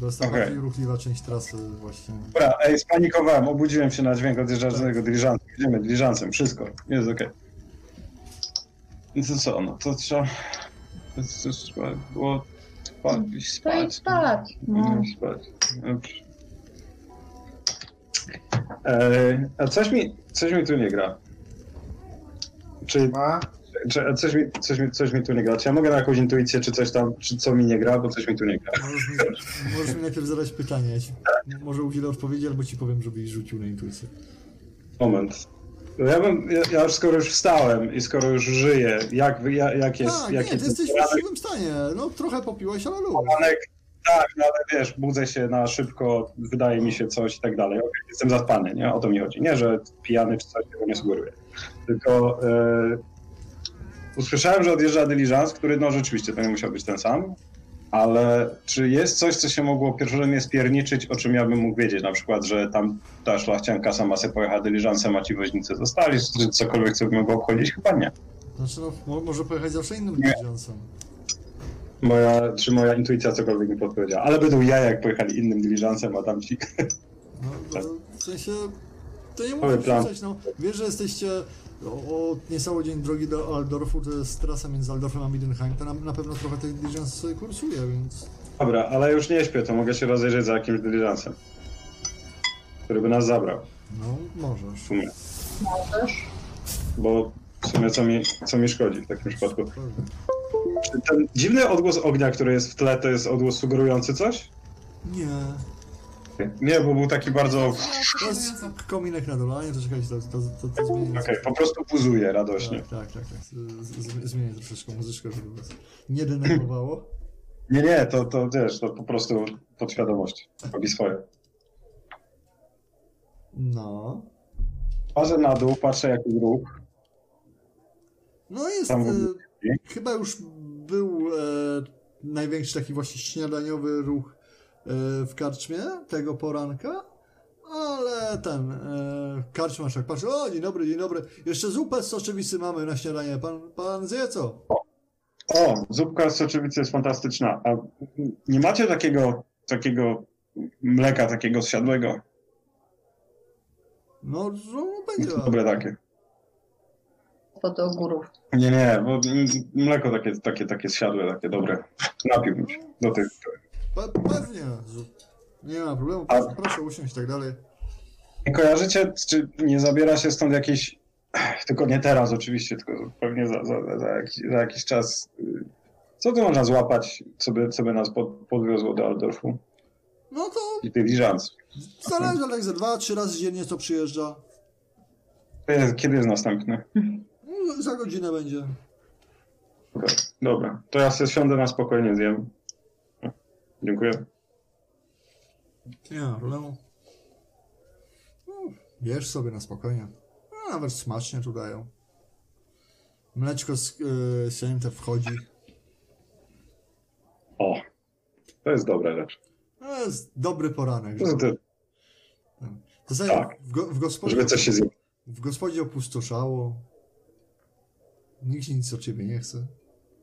Speaker 2: To jest ta
Speaker 4: Okej.
Speaker 2: bardziej ruchliwa część trasy właśnie.
Speaker 4: dobra, ej, spanikowałem, obudziłem się na dźwięk odjeżdżającego Diliżansa. Idziemy Diliżansem, wszystko, jest okej. No to co, no to trzeba... To, to trzeba było spać,
Speaker 5: To idź
Speaker 4: spać.
Speaker 5: spać. No.
Speaker 4: spać. Dobrze. E, a coś mi, coś mi tu nie gra. Czy,
Speaker 7: ma?
Speaker 4: czy a coś, mi, coś, mi, coś mi tu nie gra? Czy ja mogę na jakąś intuicję, czy coś tam, czy co mi nie gra, bo coś mi tu nie gra.
Speaker 2: Możesz mi, możesz mi najpierw zadać pytanie. Ja ci, może udzielę odpowiedzi, albo ci powiem, żebyś rzucił na intuicję.
Speaker 4: Moment. No Ja, bym, ja, ja już skoro już wstałem i skoro już żyję, jak, wy- ja, jak jest...
Speaker 2: Tak, nie,
Speaker 4: jak
Speaker 2: ty
Speaker 4: jest
Speaker 2: jesteś w właściwym stanie. No, trochę popiłeś, ale lub.
Speaker 4: ranek, tak, no ale wiesz, budzę się na szybko, wydaje mi się coś i tak dalej. Okej, jestem zaspany, nie? O to mi chodzi. Nie, że pijany czy coś tego nie sugeruję. Tylko e, usłyszałem, że odjeżdża dyliżans, który no rzeczywiście to nie musiał być ten sam, ale czy jest coś, co się mogło pierwotnie spierniczyć, o czym ja bym mógł wiedzieć? Na przykład, że tam ta szlachcianka sama se pojechała dyliżansem, a ci woźnicy zostali, czy cokolwiek, co by mogło obchodzić? Chyba nie.
Speaker 2: Znaczy, no, mo- może pojechać zawsze innym
Speaker 4: Nie.
Speaker 2: Johnson.
Speaker 4: Moja, czy moja intuicja cokolwiek mi podpowiedziała. Ale będą ja, jak pojechali innym dyliżansem, a tamci...
Speaker 2: No, no, w sensie, to nie
Speaker 4: Cały
Speaker 2: muszę
Speaker 4: plan.
Speaker 2: krzyczeć, no. Wiesz, że jesteście o, o niecały dzień drogi do Aldorfu, to jest trasa między Aldorfem a Midenheim, to na, na pewno trochę tych diligence kursuje, więc...
Speaker 4: Dobra, ale już nie śpię, to mogę się rozejrzeć za jakimś dyliżansem, który by nas zabrał.
Speaker 2: No, możesz.
Speaker 4: sumie. Bo w sumie co mi, co mi szkodzi w takim przypadku.
Speaker 2: Dobrze.
Speaker 4: Czy ten dziwny odgłos ognia, który jest w tle, to jest odgłos sugerujący coś?
Speaker 2: Nie.
Speaker 4: Nie, bo był taki bardzo...
Speaker 3: No,
Speaker 2: To jest
Speaker 3: przekonująco.
Speaker 2: kominek na dole, a nie, to czekajcie, to, to, to, to zmienię.
Speaker 4: Okej, po prostu buzuje radośnie.
Speaker 2: Tak, tak, tak. tak. Z, z, zmienię troszeczkę muzyczkę, żeby was nie denerwowało.
Speaker 4: Nie, nie, to, to wiesz, to po prostu podświadomość robi swoje.
Speaker 2: No.
Speaker 4: Patrzę na dół, patrzę jaki ruch.
Speaker 2: No jest.
Speaker 4: Tam w
Speaker 2: e,
Speaker 4: ogóle
Speaker 2: chyba już był e, największy taki właśnie śniadaniowy ruch e, w karczmie tego poranka. Ale ten e, karczmarz jak patrzy, o dzień dobry, dzień dobry, jeszcze zupę z soczewicy mamy na śniadanie, pan, pan zje co?
Speaker 4: O, zupka z soczewicy jest fantastyczna. A nie macie takiego, takiego mleka, takiego zsiadłego?
Speaker 2: No, no będzie.
Speaker 4: Dobre takie.
Speaker 5: Po do górów.
Speaker 4: Nie, nie, bo mm, mleko takie, takie, takie zsiadłe, takie dobre. Napiłbym się do tych.
Speaker 2: Pe- pewnie. Nie ma problemu,
Speaker 4: A-
Speaker 2: proszę, proszę usiąść i tak dalej.
Speaker 4: Nie kojarzycie, czy nie zabiera się stąd jakiś, tylko nie teraz oczywiście, tylko pewnie za, za, za, jakiś, za jakiś czas. y, Co tu można złapać, co by, co by nas pod, podwiozło do Aldorfu
Speaker 2: No to
Speaker 4: i tych liżans?
Speaker 2: Zależy, ale jak za dwa, trzy razy dziennie co przyjeżdża.
Speaker 4: Kiedy jest następny?
Speaker 2: No, Za godzinę będzie.
Speaker 4: Dobra, Dobra. to ja sobie siądę na spokojnie, zjem. Dziękuję.
Speaker 2: Nie ma problemu. No, Jesz sobie na spokojnie. No, nawet smacznie tu dają. Mleczko z yy, sięte wchodzi.
Speaker 4: O, to jest dobra rzecz.
Speaker 2: No, jest dobry poranek.
Speaker 4: To, to,
Speaker 2: To sobie
Speaker 4: tak.
Speaker 2: w, go, w,
Speaker 4: żeby
Speaker 2: gospodzie,
Speaker 4: coś się zje.
Speaker 2: w gospodzie opustoszało. Nikt nic od ciebie nie chce.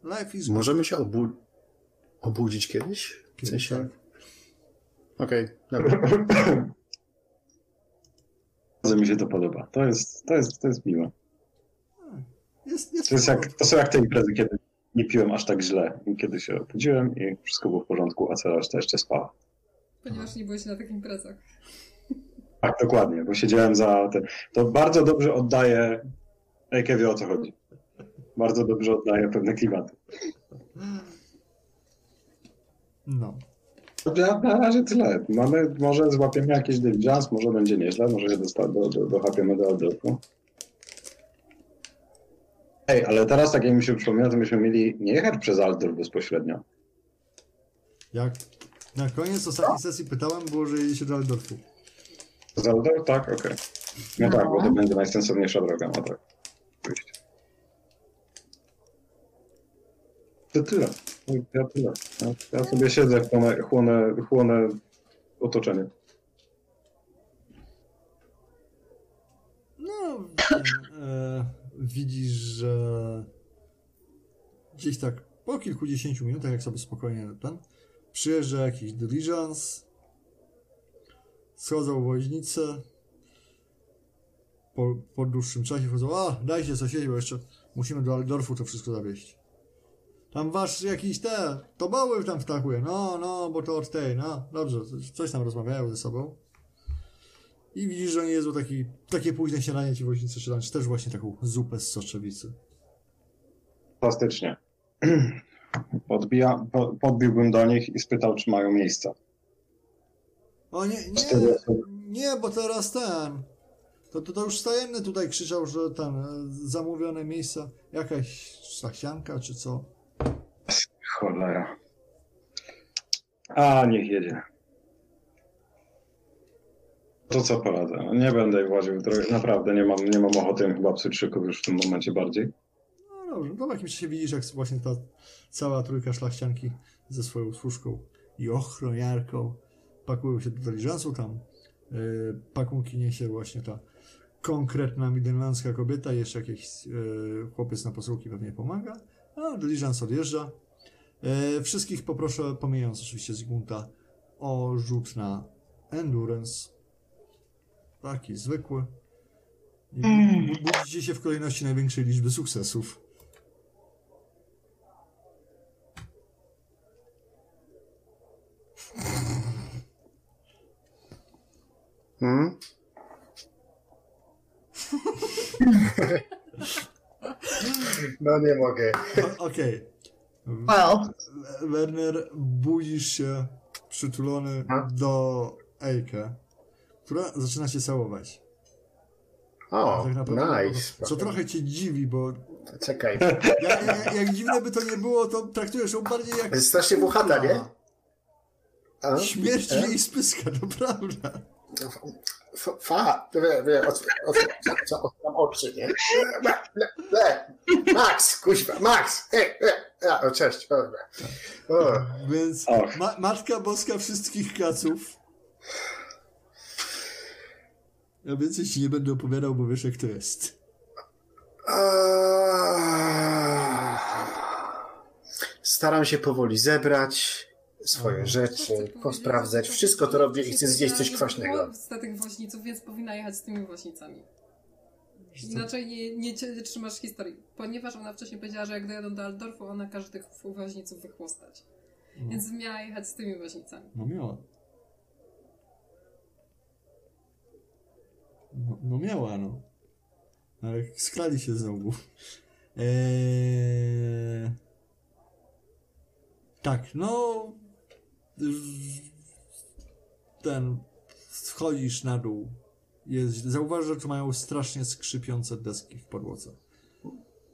Speaker 2: Life is
Speaker 1: Możemy się obu... obudzić kiedyś? W
Speaker 2: Kiedyś,
Speaker 1: sensie...
Speaker 2: tak.
Speaker 1: Okej, dobra.
Speaker 4: Bardzo mi się to podoba. To jest, to jest, to jest miłe.
Speaker 2: Jest, jest
Speaker 4: To, jest jak,
Speaker 2: porządku.
Speaker 4: to są jak te imprezy, kiedy nie piłem aż tak źle. I Kiedy się obudziłem i wszystko było w porządku, a cała reszta jeszcze spała.
Speaker 3: Ponieważ nie byłeś na takich imprezach.
Speaker 4: Tak, dokładnie, bo siedziałem za tym. To bardzo dobrze oddaje... Ejke wie o co chodzi. Bardzo dobrze oddaje pewne klimaty.
Speaker 2: No.
Speaker 4: To Na, na razie tyle. Mamy, może złapiemy jakiś diligence, może będzie nieźle, może się dosta, do, do, dochapiemy do oddechu. Ej, ale teraz, tak jak mi się przypomina, to myśmy mieli nie jechać przez Aldor bezpośrednio.
Speaker 2: Jak na koniec ostatniej sesji pytałem, było, że jedzie się do Aldorfu.
Speaker 4: Zelda? Tak, okej. No
Speaker 5: No.
Speaker 4: tak, bo to będzie najsensowniejsza droga, no tak. Oczywiście. To tyle. Ja tyle. Ja, ja sobie siedzę, chłonę, chłonę, chłonę otoczenie.
Speaker 2: No, ten, e, widzisz, że gdzieś tak po kilkudziesięciu minutach, jak sobie spokojnie ten, przyjeżdża jakiś diligence, schodzą woźnice, po, po dłuższym czasie wchodzą, a dajcie coś jeść, bo jeszcze musimy do Aldorfu to wszystko zawieźć. Tam wasz jakiś te, to bały tam wtakuje, no, no, bo to od tej, no, dobrze, coś- coś tam rozmawiają ze sobą. I widzisz, że nie jedzą taki, takie późne śniadanie ci woźnicy czy lunch, też właśnie taką zupę z soczewicy.
Speaker 4: Fantastycznie. Podbija, po, podbiłbym do nich i spytał, czy mają miejsca.
Speaker 2: O nie, nie,
Speaker 4: Cztery osoby.
Speaker 2: nie, bo teraz ten. To, to, to już stajenny tutaj krzyczał, że ten e, zamówione miejsca, jakaś szlachcianka czy co.
Speaker 4: Cholera. A, niech jedzie. To co poradzę? No, Nie będę ich łaził trochę. Naprawdę nie mam, nie mam ochoty im chyba psuć szyków już w tym momencie bardziej.
Speaker 2: No, dobrze, to w jakimś czasie widzisz, jak właśnie ta cała trójka szlachcianki ze swoją służką i ochroniarką pakują się do dyliżansu tam. Yy, pakunki niesie właśnie ta konkretna midlandzka kobieta, jeszcze jakiś yy, chłopiec na posługi pewnie pomaga, a dyliżans odjeżdża. Yy, wszystkich poproszę, pomijając oczywiście Zygmunta, o rzut na endurance. Taki zwykły. I bu-
Speaker 5: Mm.
Speaker 2: bu- Budzicie się w kolejności największej liczby sukcesów.
Speaker 1: Hmm? No nie mogę.
Speaker 2: O- Okej.
Speaker 5: Wow.
Speaker 2: Werner, budzisz się przytulony
Speaker 1: A?
Speaker 2: do Ejke, która zaczyna cię całować.
Speaker 1: O,
Speaker 2: Tak naprawdę.
Speaker 1: nice.
Speaker 2: Co trochę cię dziwi, bo
Speaker 1: Czekaj.
Speaker 2: ja, ja, jak dziwne by to nie było, to traktujesz ją bardziej jak...
Speaker 1: Jest strasznie buchata, nie? A?
Speaker 2: Śmierć
Speaker 1: E?
Speaker 2: jej spyska, naprawdę.
Speaker 1: F- Fa, wie, wie, od, od, co, od tam oczy, nie? Le, le, le. Max, kuźwa, Max! Ej, ej, a, o, cześć. O, o.
Speaker 2: Więc
Speaker 4: Och.
Speaker 2: ma, Matka Boska wszystkich kaców. Ja więcej ci nie będę opowiadał, bo wiesz jak to jest.
Speaker 1: Eee. Staram się powoli zebrać swoje
Speaker 2: Mhm.
Speaker 3: Chcę
Speaker 1: rzeczy,
Speaker 3: powiedzieć,
Speaker 1: posprawdzać
Speaker 3: że-
Speaker 1: wszystko, co robię i chcę zjeść coś
Speaker 3: że
Speaker 1: kwaśnego.
Speaker 3: Z tych woźniców, więc powinna jechać z tymi woźnicami. Inaczej nie, nie, cie- nie trzymasz historii, ponieważ ona wcześniej powiedziała, że jak dojadą do Aldorfu, ona każe tych woźniców wychłostać.
Speaker 2: No,
Speaker 3: Więc miała jechać z tymi woźnicami.
Speaker 2: no miała. No, no miała, no. Ale skrali się E, znowu. Eee... Tak, no... Ten... Wchodzisz na dół. Jest, źle. zauważ, że tu mają strasznie skrzypiące deski w podłodze.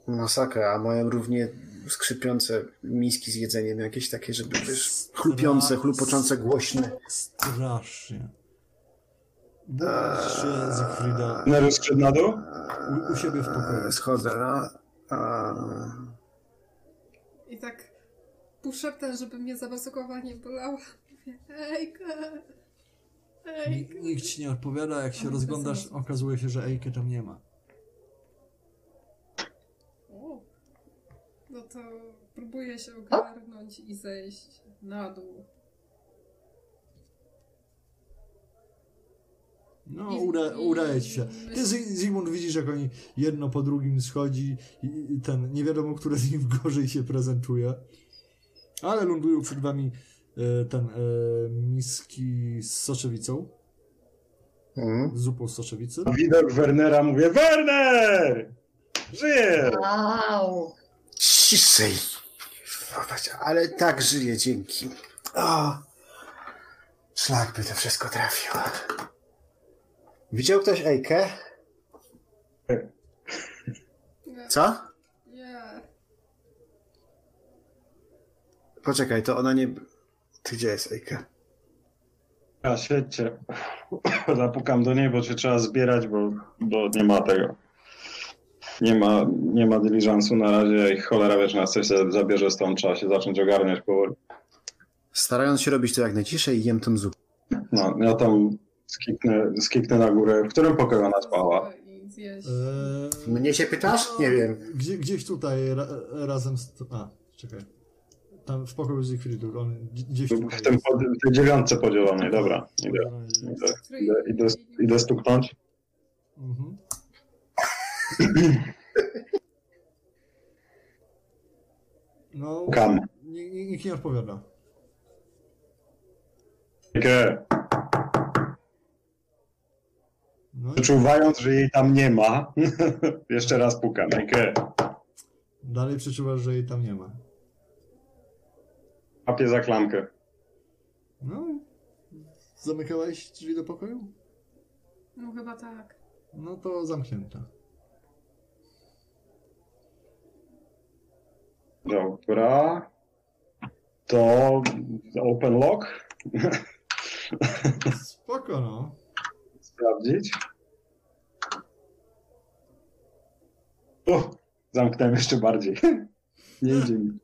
Speaker 1: Masakra, a mają równie skrzypiące miski z jedzeniem, jakieś takie, żeby wiesz, chlupiące,
Speaker 2: No.
Speaker 1: chlupoczące, głośne.
Speaker 2: Strasznie. Budzisz się Zygfrida
Speaker 4: Nerus szedł na dół?
Speaker 2: u, u siebie w pokoju.
Speaker 1: E, Schodzę, no. Eee. A,
Speaker 3: I tak półszeptem, żeby mnie za bazukowa nie bolała. Mówię, Ejka! Ejka!
Speaker 2: N- nikt ci nie odpowiada, jak się
Speaker 3: Ale
Speaker 2: rozglądasz,
Speaker 3: bezsensu.
Speaker 2: okazuje się, że Ejke tam nie ma.
Speaker 3: O. No to próbuję się ogarnąć i zejść na dół.
Speaker 2: No,
Speaker 3: I-
Speaker 2: uda,
Speaker 3: i-
Speaker 2: udaje ci się. Ty,
Speaker 3: myślę-
Speaker 2: Zy- Zygmunt, widzisz, jak oni jedno po drugim schodzi i i ten, nie wiadomo, który z nich gorzej się prezentuje. Ale lądują przed wami e, ten e, miski z soczewicą,
Speaker 1: mm.
Speaker 2: z zupą z soczewicy.
Speaker 4: Widok Wernera mówię, Werner! Żyje!
Speaker 5: Wow.
Speaker 1: Ciszej! Zobacz, Ale No tak żyję, dzięki. O, szlak by to wszystko trafił. Widział ktoś Ejkę?
Speaker 3: Nie.
Speaker 1: Co?
Speaker 3: Nie.
Speaker 1: Poczekaj, to ona nie... Ty gdzie jest Ejka?
Speaker 4: A świecie. Zapukam do niej, bo się trzeba zbierać, bo, bo nie ma tego. Nie ma, nie ma dyliżansu na razie i cholera wiesz, nas coś za- zabierze stąd, trzeba się zacząć ogarniać powoli.
Speaker 1: Starając się robić to jak najciszej, jem tą zupę.
Speaker 4: No, ja tam skiknę, skiknę na górę. W którym pokoju ona spała?
Speaker 3: I zjeść.
Speaker 2: E,
Speaker 1: Mnie się pytasz? Nie wiem.
Speaker 2: Gdzie, gdzieś tutaj ra, razem z... A, czekaj. Tam w pokoju z Liquidu, on gdzie- gdzieś tutaj
Speaker 4: W, tym,
Speaker 2: jest. No
Speaker 4: pod- w tej dziewiątce podzielonej, dobra. Idę, idę, idę, idę, idę stuknąć.
Speaker 2: Mhm. No,
Speaker 4: Kam.
Speaker 2: nikt, nikt nie odpowiada.
Speaker 4: Takie,
Speaker 2: No, i
Speaker 4: Przeczuwając, że jej tam nie ma, jeszcze raz pukam. Takie,
Speaker 2: dalej przeczuwasz, że jej tam nie ma.
Speaker 4: łapię za klamkę.
Speaker 2: No, zamykałeś drzwi do pokoju?
Speaker 3: No chyba tak.
Speaker 2: No to zamknięta.
Speaker 4: Dobra. To open lock
Speaker 2: Spoko, no.
Speaker 4: sprawdzić. O, Zamknąłem jeszcze bardziej. Nie idzie mi.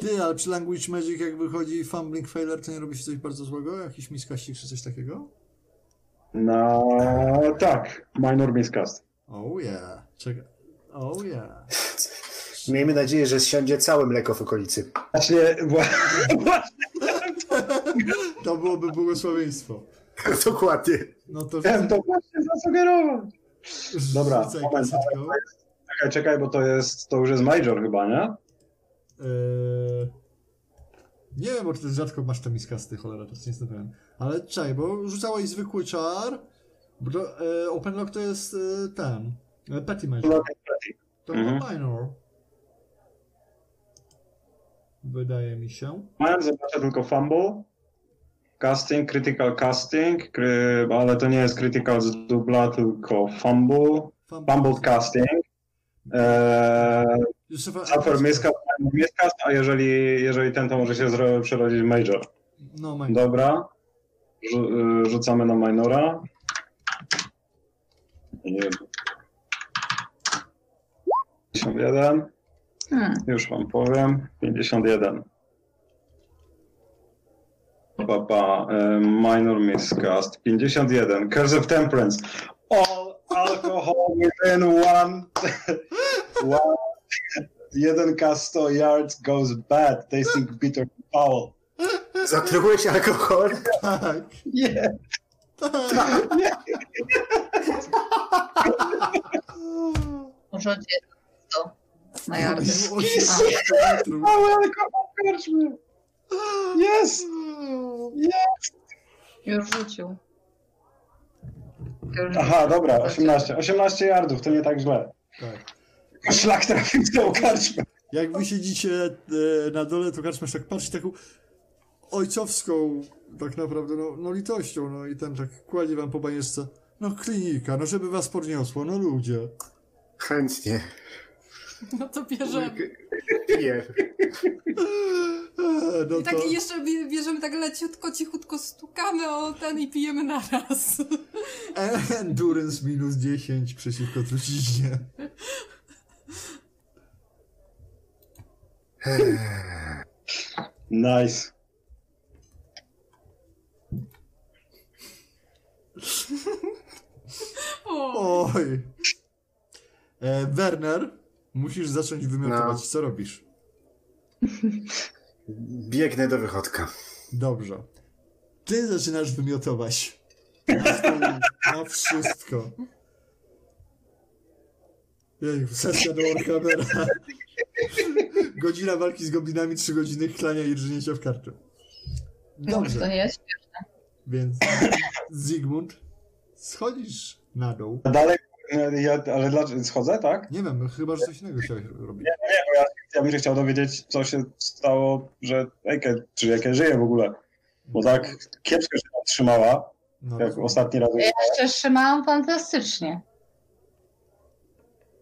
Speaker 2: Ty, ale przy Language Magic jak wychodzi fumbling failure, to nie robi się coś bardzo złego? Jakiś miskasik czy coś takiego?
Speaker 4: No tak, minor miscast.
Speaker 2: Oh yeah. Czekaj. Oh yeah.
Speaker 1: Miejmy nadzieję, że siądzie całe mleko w okolicy.
Speaker 4: Właśnie, właśnie
Speaker 2: To byłoby błogosławieństwo.
Speaker 1: Dokładnie.
Speaker 2: No to
Speaker 4: miałem to właśnie zasugerować.
Speaker 2: rzucaj
Speaker 4: Dobra,
Speaker 2: rzucaj
Speaker 4: moment,
Speaker 2: kasetką.
Speaker 4: Czekaj, czekaj, bo to jest, to już jest major chyba, nie?
Speaker 2: Eee, Nie wiem, bo ty rzadko masz te miskasty, cholera, to nie jestem pewien. Ale czaj, bo rzucałeś zwykły czar. Bro, e, open lock to jest e, ten. E, petty magic. To chyba
Speaker 4: Mhm.
Speaker 2: minor. Wydaje mi się.
Speaker 4: Miałem zobaczę tylko fumble. Casting, critical casting, kry... ale to nie jest critical z dubla, tylko fumble. Fumbled casting. Eee, Suffer miscast, minor miscast, a jeżeli, jeżeli ten, to może się zro- przerodzić w major.
Speaker 2: No, minor.
Speaker 4: Dobra. Rzu- y, Rzucamy na minora. Nie. 51.
Speaker 5: Hmm.
Speaker 4: Już wam powiem. 51. Pa, pa. y, Minor miscast. 51. Curse of Temperance. All alcohol within one. one. Jeden k 100 yards goes bad, tasting bitter foul.
Speaker 1: Zatrułeś alkohol?
Speaker 2: Tak.
Speaker 4: Nie.
Speaker 2: tak.
Speaker 5: Może gdzie to na jardy.
Speaker 2: Osiem metrów.
Speaker 4: Mały alkohol w karczmie. Jest!
Speaker 5: Już rzucił. Już
Speaker 4: Aha, dobra, 18. 18 yardów, to nie tak źle.
Speaker 2: Tak.
Speaker 4: Szlak trafił w tą karczmę.
Speaker 2: Jak wy siedzicie e, na dole, to karczmasz tak patrzy taką ojcowską tak naprawdę, no, no litością, no i ten tak kładzie wam po banieczce. No klinika, no żeby was podniosło, no ludzie.
Speaker 1: Chętnie.
Speaker 3: No to bierzemy.
Speaker 1: Piję.
Speaker 2: Eee, no
Speaker 3: I tak
Speaker 2: to...
Speaker 3: jeszcze bie- bierzemy tak leciutko, cichutko stukamy o ten i pijemy naraz.
Speaker 2: e, Endurance minus 10 przeciwko truciźnie.
Speaker 4: Nice.
Speaker 3: O,
Speaker 2: Oj. E, Werner, musisz zacząć wymiotować, co robisz.
Speaker 1: Biegnę do wychodka.
Speaker 2: Dobrze. Ty zaczynasz wymiotować. Na, swoim- na wszystko. Jejku, Sesja do Warhammera. Godzina walki z goblinami, trzy godziny klania i rżnięcia w karty.
Speaker 5: Dobrze. No, To
Speaker 2: Dobrze,
Speaker 5: nie jest.
Speaker 2: więc Zygmunt, schodzisz na dół.
Speaker 4: A Dalej, e, ja, ale dlaczego schodzę, tak?
Speaker 2: Nie wiem, chyba, że coś innego chciałeś robić.
Speaker 4: Ja bym się chciał dowiedzieć, co się stało, że Ejke, czy Ejke żyje w ogóle. Bo tak kiepsko się tam trzymała,
Speaker 2: No,
Speaker 4: jak
Speaker 2: rozumiem.
Speaker 4: ostatni raz.
Speaker 5: Ja jeszcze trzymałam fantastycznie.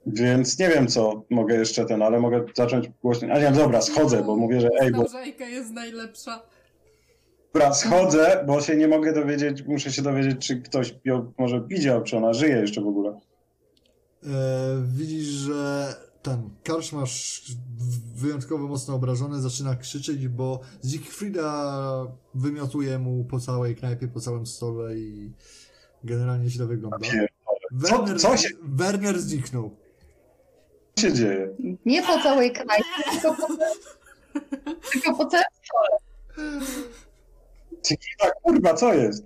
Speaker 4: Więc nie wiem, co mogę jeszcze ten, ale mogę zacząć głośno. A nie, dobra, schodzę, bo mówię, że ej, bo
Speaker 3: Starzejka jest najlepsza.
Speaker 4: Dobra, schodzę, bo się nie mogę dowiedzieć, muszę się dowiedzieć, czy ktoś ją może widział, czy ona żyje jeszcze w ogóle.
Speaker 2: E, widzisz, że ten karczmasz wyjątkowo mocno obrażony zaczyna krzyczeć, bo Siegfrieda wymiotuje mu po całej knajpie, po całym stole i generalnie źle wygląda.
Speaker 4: Pier-
Speaker 2: Werner,
Speaker 4: Znaczy, co się-
Speaker 2: Werner zniknął.
Speaker 4: Co się dzieje?
Speaker 5: Nie po całej knajpie, tylko po, tylko po całym
Speaker 4: Tequila, kurwa, co jest?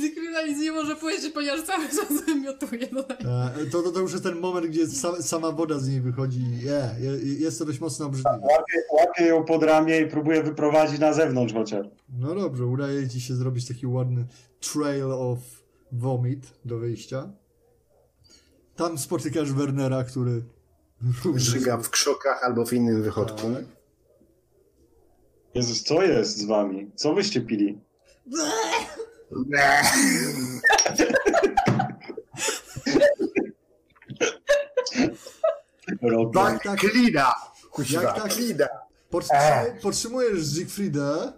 Speaker 3: Zygmunda nic nie może powiedzieć, ponieważ cały czas wymiotuje. No tak.
Speaker 2: E, to, to, to już jest ten moment, gdzie sa, sama woda z niej wychodzi i e, je- jest to dość mocno obrzydliwe.
Speaker 4: Łapię, łapię ją pod ramię i próbuję wyprowadzić na zewnątrz chociaż.
Speaker 2: No dobrze, udaje ci się zrobić taki ładny trail of vomit do wyjścia. Tam spotykasz Wernera, który
Speaker 1: Żyga w krzokach albo w innym wychodku.
Speaker 2: Tak.
Speaker 4: Jezus, co jest z wami? Co wyście pili? Robię.
Speaker 2: Tak, tak.
Speaker 1: Klina!
Speaker 2: Jak tak?
Speaker 1: klina!
Speaker 2: Podtrzymu- podtrzymujesz Siegfrieda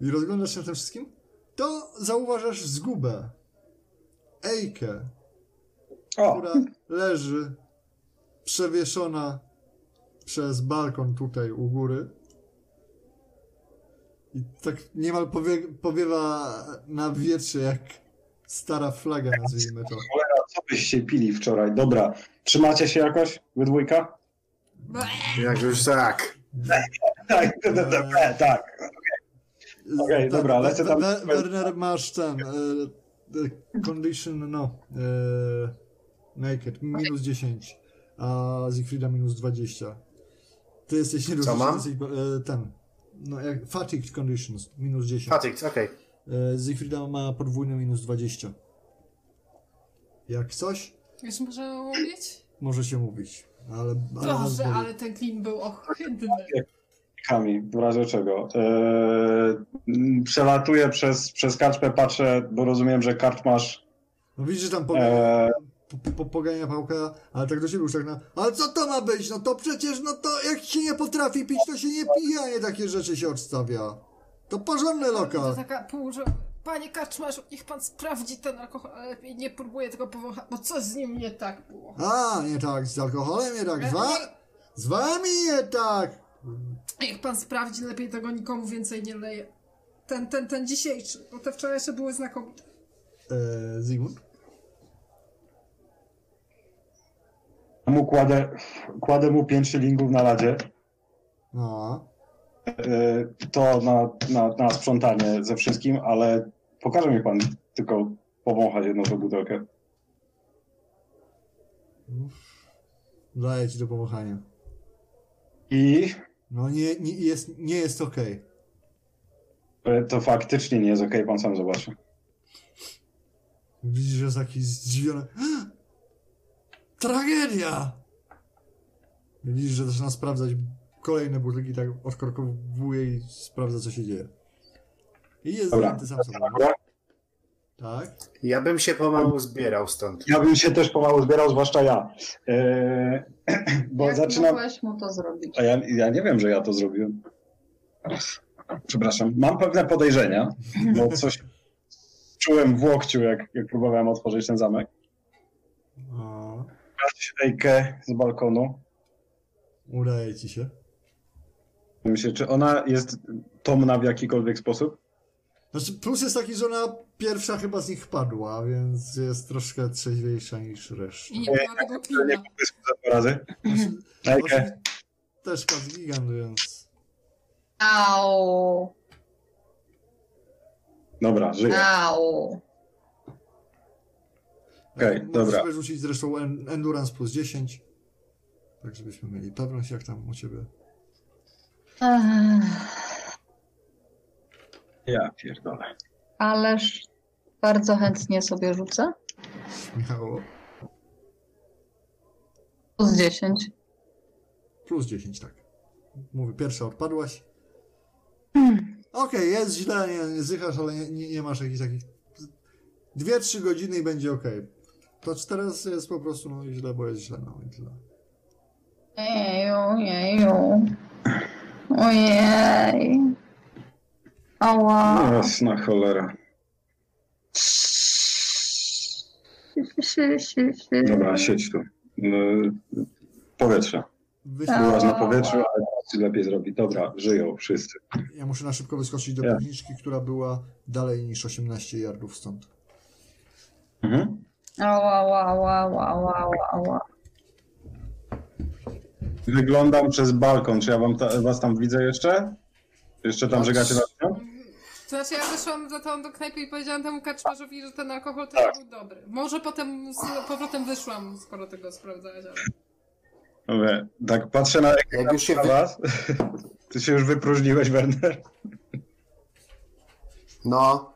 Speaker 2: i rozglądasz się na tym wszystkim, to zauważasz zgubę. Ejkę,
Speaker 4: O,
Speaker 2: która leży przewieszona przez balkon tutaj u góry. I tak niemal powie, powiewa na wietrze jak stara flaga, nazwijmy to.
Speaker 4: cholera, co byście pili wczoraj? Dobra, trzymacie się jakoś? Wy dwójka?
Speaker 1: Jak już tak.
Speaker 4: Tak, tak. Okej,
Speaker 2: Tak,
Speaker 4: dobra, lecę tam-
Speaker 2: Wer- Werner, masz ten. e, e, Condition, no. e, Naked, minus 10. A Siegfrieda minus 20. Ty jesteś nie
Speaker 1: mam?
Speaker 2: Ten. No, jak, fatigued conditions, minus 10.
Speaker 1: Patrick, okej.
Speaker 2: E, Siegfrieda ma podwójne minus 20. Jak coś,
Speaker 3: Już może mówić?
Speaker 2: może się mówić. Ale. ale nas
Speaker 3: Boże,
Speaker 2: boli.
Speaker 3: ale ten klin był ohydny.
Speaker 4: Kami, w razie czego. Eee, m, przelatuję przez, przez karczmę, patrzę, bo rozumiem, że karczmasz.
Speaker 2: No widzisz, że tam powie.
Speaker 4: Eee,
Speaker 2: po, po, pogania pałka, ale tak do siebie już tak na, ale co to ma być, no to przecież, no to jak się nie potrafi pić, to się nie pije, a nie takie rzeczy się odstawia. To porządny
Speaker 3: To
Speaker 2: lokal.
Speaker 3: taka pół, że... Panie Kaczmarzu, niech pan sprawdzi ten alkohol, ale lepiej nie próbuje tego powąchać, bo coś z nim nie tak było.
Speaker 2: A, nie tak, z alkoholem nie tak, z, wa z wami nie tak.
Speaker 3: Niech pan sprawdzi, lepiej tego nikomu więcej nie leje. Ten, ten, ten dzisiejszy, bo te wczorajsze były znakomite.
Speaker 2: Eee, Zygmunt?
Speaker 4: mu kładę, kładę mu pięć szylingów na radzie.
Speaker 2: No,
Speaker 4: Eee, to na, na, na sprzątanie ze wszystkim, ale pokaże mi pan tylko powąchać jedną tą butelkę.
Speaker 2: daję ci do powąchania.
Speaker 4: I
Speaker 2: No nie, nie jest, nie jest okej.
Speaker 4: e, to faktycznie nie jest okej, pan sam zobaczy.
Speaker 2: Widzisz, że jest taki zdziwiony. Tragedia! Widzisz, że zaczyna sprawdzać kolejne butelki, tak odkorkowuje i sprawdza, co się dzieje. I jest
Speaker 4: Dobra.
Speaker 2: zajęty sam sobą.
Speaker 4: Dobra.
Speaker 2: Tak?
Speaker 1: Ja bym się pomału zbierał stąd.
Speaker 4: Ja bym się też pomału zbierał, zwłaszcza ja. Eee, bo
Speaker 5: Jak
Speaker 4: zaczynam.
Speaker 5: mogłeś mu to zrobić?
Speaker 4: A ja, ja nie wiem, że ja to zrobiłem. Przepraszam, mam pewne podejrzenia, bo coś czułem w łokciu, jak, jak próbowałem otworzyć ten zamek.
Speaker 2: O,
Speaker 4: Ejkę z balkonu.
Speaker 2: udaje ci się.
Speaker 4: Myślę, czy ona jest tomna w jakikolwiek sposób?
Speaker 2: Znaczy, plus jest taki, że ona pierwsza chyba z nich padła, więc jest troszkę trzeźwiejsza niż reszta.
Speaker 3: I nie było tego
Speaker 4: Nie
Speaker 3: klina.
Speaker 4: popysku za dwa razy.
Speaker 2: Znaczy,
Speaker 4: Ejkę,
Speaker 2: właśnie Też padł gigant, więc...
Speaker 5: Au,
Speaker 4: dobra, żyję.
Speaker 5: au.
Speaker 4: Okej,
Speaker 2: Możesz
Speaker 4: dobra.
Speaker 2: sobie rzucić zresztą en- Endurance plus 10. Tak, żebyśmy mieli pewność, jak tam u ciebie.
Speaker 5: Ech,
Speaker 4: Ja pierdolę.
Speaker 5: ależ bardzo chętnie sobie rzucę.
Speaker 2: Miało
Speaker 5: Plus 10.
Speaker 2: plus 10, tak. Mówię, pierwsza odpadłaś. Okej, jest źle, nie, nie zychasz, ale nie- nie, nie masz jakichś takich... Dwie, trzy godziny i będzie okej. To czy teraz jest po prostu, no i źle, bo jest źle, no i tyle.
Speaker 5: Ojeju, ojeju. Ojej. Ała.
Speaker 4: Jasna cholera.
Speaker 5: Si, si, si, si.
Speaker 4: Dobra, siedź tu. Eee, Powietrze.
Speaker 2: Wyślij,
Speaker 5: Tak.
Speaker 4: Byłaś na powietrzu, ale teraz lepiej zrobi. Dobra, żyją wszyscy.
Speaker 2: ja muszę na szybko wyskoczyć do
Speaker 4: Ja.
Speaker 2: piwniczki, która była dalej niż 18 yardów stąd.
Speaker 4: Mhm.
Speaker 5: Ała, ała, ała, ała, ała, ała.
Speaker 4: Wyglądam przez balkon. Czy ja wam ta, was tam widzę jeszcze? Jeszcze tam żegacie na ścianę?
Speaker 3: To znaczy ja wyszłam za tą do knajpy i powiedziałam temu Kaczmarzowi, że ten alkohol to
Speaker 4: Tak.
Speaker 3: nie był dobry. Może potem z powrotem wyszłam, skoro tego sprawdzałeś, ale...
Speaker 4: Mówię, tak patrzę na ekran
Speaker 1: Jak już się
Speaker 4: na
Speaker 1: wy...
Speaker 4: was. Ty się już wypróżniłeś, Werner.
Speaker 1: No,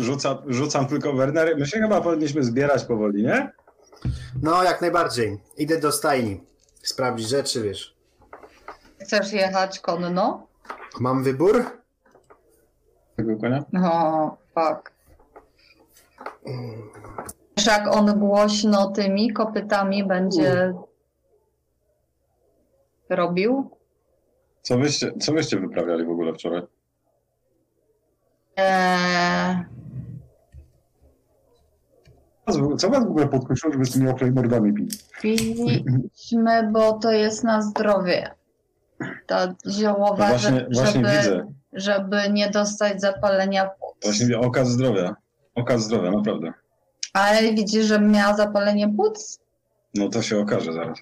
Speaker 4: Rzucam, rzucam tylko Werner. My się chyba powinniśmy zbierać powoli, nie?
Speaker 1: no jak najbardziej. Idę do stajni. Sprawdzić rzeczy, wiesz.
Speaker 5: Chcesz jechać konno?
Speaker 1: Mam wybór?
Speaker 4: Tego konia.
Speaker 5: No, fuck. Wiesz, jak on głośno tymi kopytami będzie robił?
Speaker 4: Co wyście, co wyście wyprawiali w ogóle wczoraj?
Speaker 5: Eee,
Speaker 4: Co was w ogóle podkusiło, żeby z tymi oklejmordami pić?
Speaker 5: Piliśmy, bo to jest na zdrowie. Ta ziołowa,
Speaker 4: No Właśnie,
Speaker 5: No żeby,
Speaker 4: właśnie
Speaker 5: żeby,
Speaker 4: widzę.
Speaker 5: żeby nie dostać zapalenia płuc.
Speaker 4: Właśnie widzę. Okaz zdrowia. Okaz zdrowia, naprawdę.
Speaker 5: Ale widzisz, że miała zapalenie płuc?
Speaker 4: No to się okaże zaraz.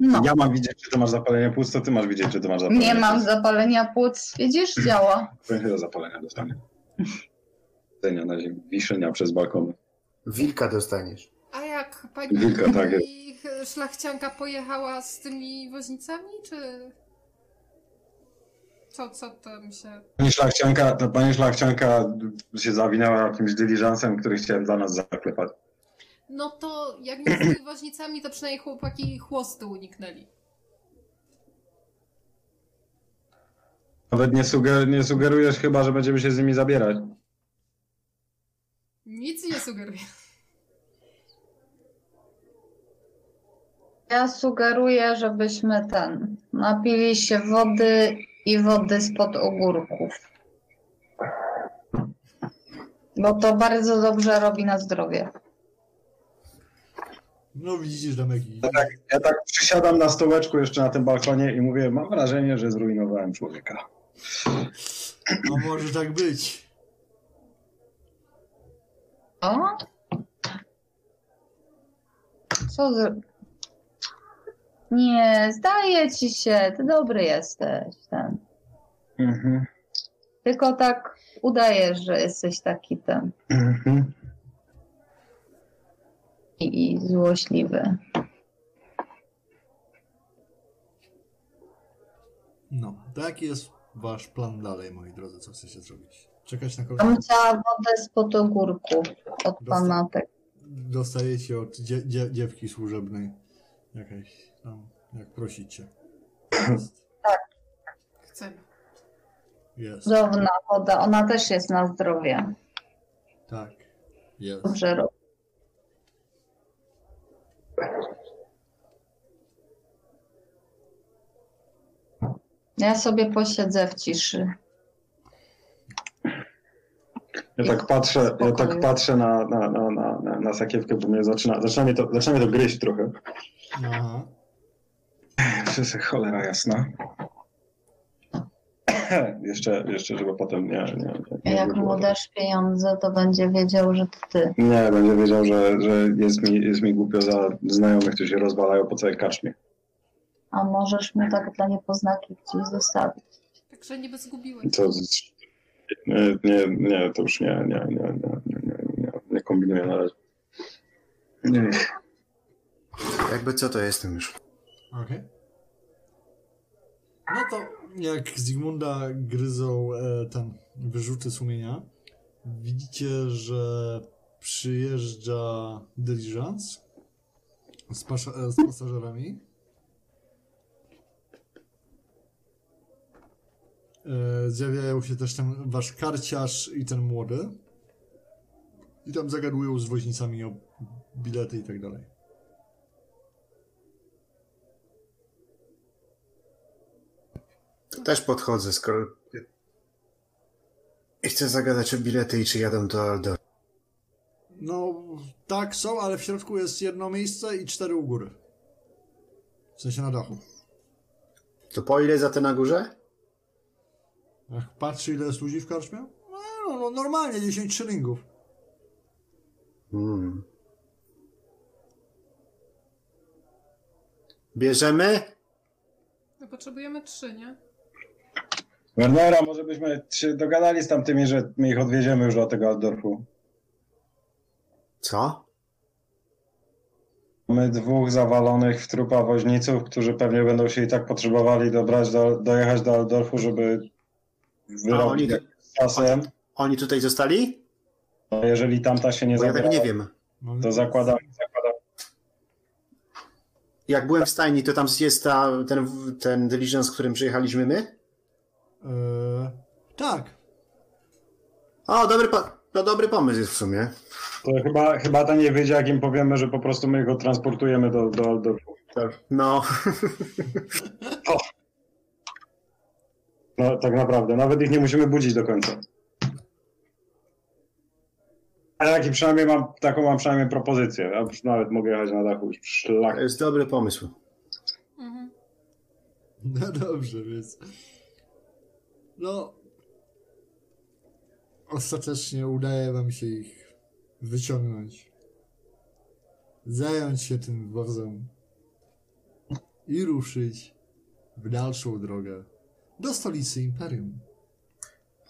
Speaker 5: No.
Speaker 4: Ja mam widzieć, czy ty masz zapalenie płuc, to ty masz widzieć, czy ty masz zapalenie
Speaker 5: Nie mam
Speaker 4: płuc.
Speaker 5: zapalenia płuc. Widzisz, działa.
Speaker 4: Trochę do zapalenia dostanie. Wiszenia na ziemi. Wiszenia przez balkon.
Speaker 1: Wilka dostaniesz.
Speaker 3: A jak pani
Speaker 4: Wilka, tak jest.
Speaker 3: ich szlachcianka pojechała z tymi woźnicami, czy... Co, co tam się...
Speaker 4: Pani szlachcianka, ta pani szlachcianka się zawinęła jakimś dyliżansem, który chciałem dla nas zaklepać.
Speaker 3: No to jak nie z tymi woźnicami, to przynajmniej chłopaki chłosty uniknęli.
Speaker 4: Nawet nie, suger, nie sugerujesz chyba, że będziemy się z nimi zabierać.
Speaker 3: Nic nie sugeruję.
Speaker 5: Ja sugeruję, żebyśmy ten. Napili się wody i wody spod ogórków. Bo to bardzo dobrze robi na zdrowie.
Speaker 2: No widzisz, Damek, i...
Speaker 4: Ja tak przysiadam na stołeczku jeszcze na tym balkonie i mówię, mam wrażenie, że zrujnowałem człowieka.
Speaker 2: no może tak być.
Speaker 5: O? Co z... Nie, zdaje ci się, ty dobry jesteś. Ten.
Speaker 4: Mhm.
Speaker 5: Tylko tak udajesz, że jesteś taki ten
Speaker 4: Mhm.
Speaker 5: i, i złośliwy.
Speaker 2: No, taki jest wasz plan dalej, moi drodzy, co chcecie zrobić. Czekać na
Speaker 5: Tam
Speaker 2: kolejny...
Speaker 5: chciała wodę spod ogórków od pana tak.
Speaker 2: Dostajecie od dzie- dzie- dziewki służebnej jakiejś tam, jak prosicie. Jest.
Speaker 3: Chcemy.
Speaker 2: Jest.
Speaker 5: Cudowna woda, ona też jest na zdrowie.
Speaker 2: Tak. Jest.
Speaker 5: Dobrze robi. Ja sobie posiedzę w ciszy.
Speaker 4: Ja tak patrzę, ja tak patrzę na, na, na, na, na, na sakiewkę, bo mnie zaczyna, zaczyna, mnie to, zaczyna mnie to gryźć trochę.
Speaker 2: Aha.
Speaker 4: Wszyscy cholera jasna. jeszcze, jeszcze, żeby potem nie... nie, nie,
Speaker 5: Jak mu dasz pieniądze, to będzie wiedział, że to ty.
Speaker 4: Nie, będzie wiedział, że, że jest, mi, jest mi głupio za znajomych, którzy się rozwalają po całej kaczmie.
Speaker 5: A możesz mu tak dla niepoznaki gdzieś zostawić.
Speaker 3: Także niby zgubiłeś.
Speaker 4: To, z- nie, nie, nie, to już nie, nie, nie, nie, nie, nie, nie, nie kombinuję na razie. Nie.
Speaker 1: Jakby co, to jestem już.
Speaker 2: Okej. No to jak Zygmunda gryzą e, tam wyrzuty sumienia, widzicie, że przyjeżdża dyliżans z, pasza- e, z pasażerami. E, zjawiają się też ten wasz karciarz i ten młody. I tam zagadują z woźnicami o bilety i tak dalej.
Speaker 1: To też podchodzę, skoro... I chcę zagadać o bilety i czy jadą do Aldor.
Speaker 2: No, tak, są, ale w środku jest jedno miejsce i cztery u góry. W sensie na dachu.
Speaker 1: To po ile za te na górze?
Speaker 2: Ach, patrzy ile jest ludzi w karczmie? No, no normalnie 10 szylingów.
Speaker 1: Hmm. Bierzemy?
Speaker 3: No potrzebujemy trzy, nie?
Speaker 4: Wernera, może byśmy się dogadali z tamtymi, że my ich odwieziemy już do tego Aldorfu.
Speaker 1: Co?
Speaker 4: Mamy dwóch zawalonych w trupa woźniców, którzy pewnie będą się i tak potrzebowali dobrać do, dojechać do Aldorfu, żeby
Speaker 1: A oni,
Speaker 4: wyrobić czasem.
Speaker 1: oni tutaj zostali?
Speaker 4: A jeżeli tamta się nie
Speaker 1: Bo ja tego
Speaker 4: zabiera,
Speaker 1: nie wiem.
Speaker 2: No,
Speaker 4: to zakładam, zakładam.
Speaker 1: Jak byłem w stajni, to tam jest ta, ten, ten diligence, z którym przyjechaliśmy my?
Speaker 2: Eee, tak.
Speaker 1: O, dobry, po- to dobry pomysł jest w sumie.
Speaker 4: To chyba, chyba ta nie wyjdzie, jak im powiemy, że po prostu my go transportujemy do, do Aldorfu.
Speaker 1: No,
Speaker 4: No, tak naprawdę, nawet ich nie musimy budzić do końca. A taki przynajmniej mam, taką mam przynajmniej propozycję. Ja już nawet mogę jechać na dachu już szlak.
Speaker 7: To jest dobry pomysł.
Speaker 3: Mhm.
Speaker 2: No dobrze, więc. No. Ostatecznie udaje wam się ich wyciągnąć. Zająć się tym wozem. I ruszyć w dalszą drogę do stolicy Imperium.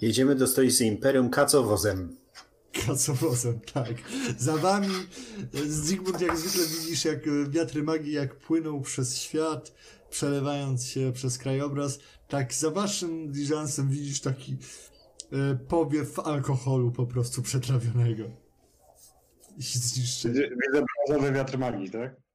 Speaker 7: Jedziemy do stolicy Imperium kacowozem.
Speaker 2: Kacowozem, tak. Za wami e, Zygmunt jak zwykle widzisz, jak e, wiatry magii jak płyną przez świat, przelewając się przez krajobraz. Tak za waszym dyżansem widzisz taki e, powiew alkoholu po prostu przetrawionego. I zniszczenia.
Speaker 4: Widzę brązowy wiatr magii, tak?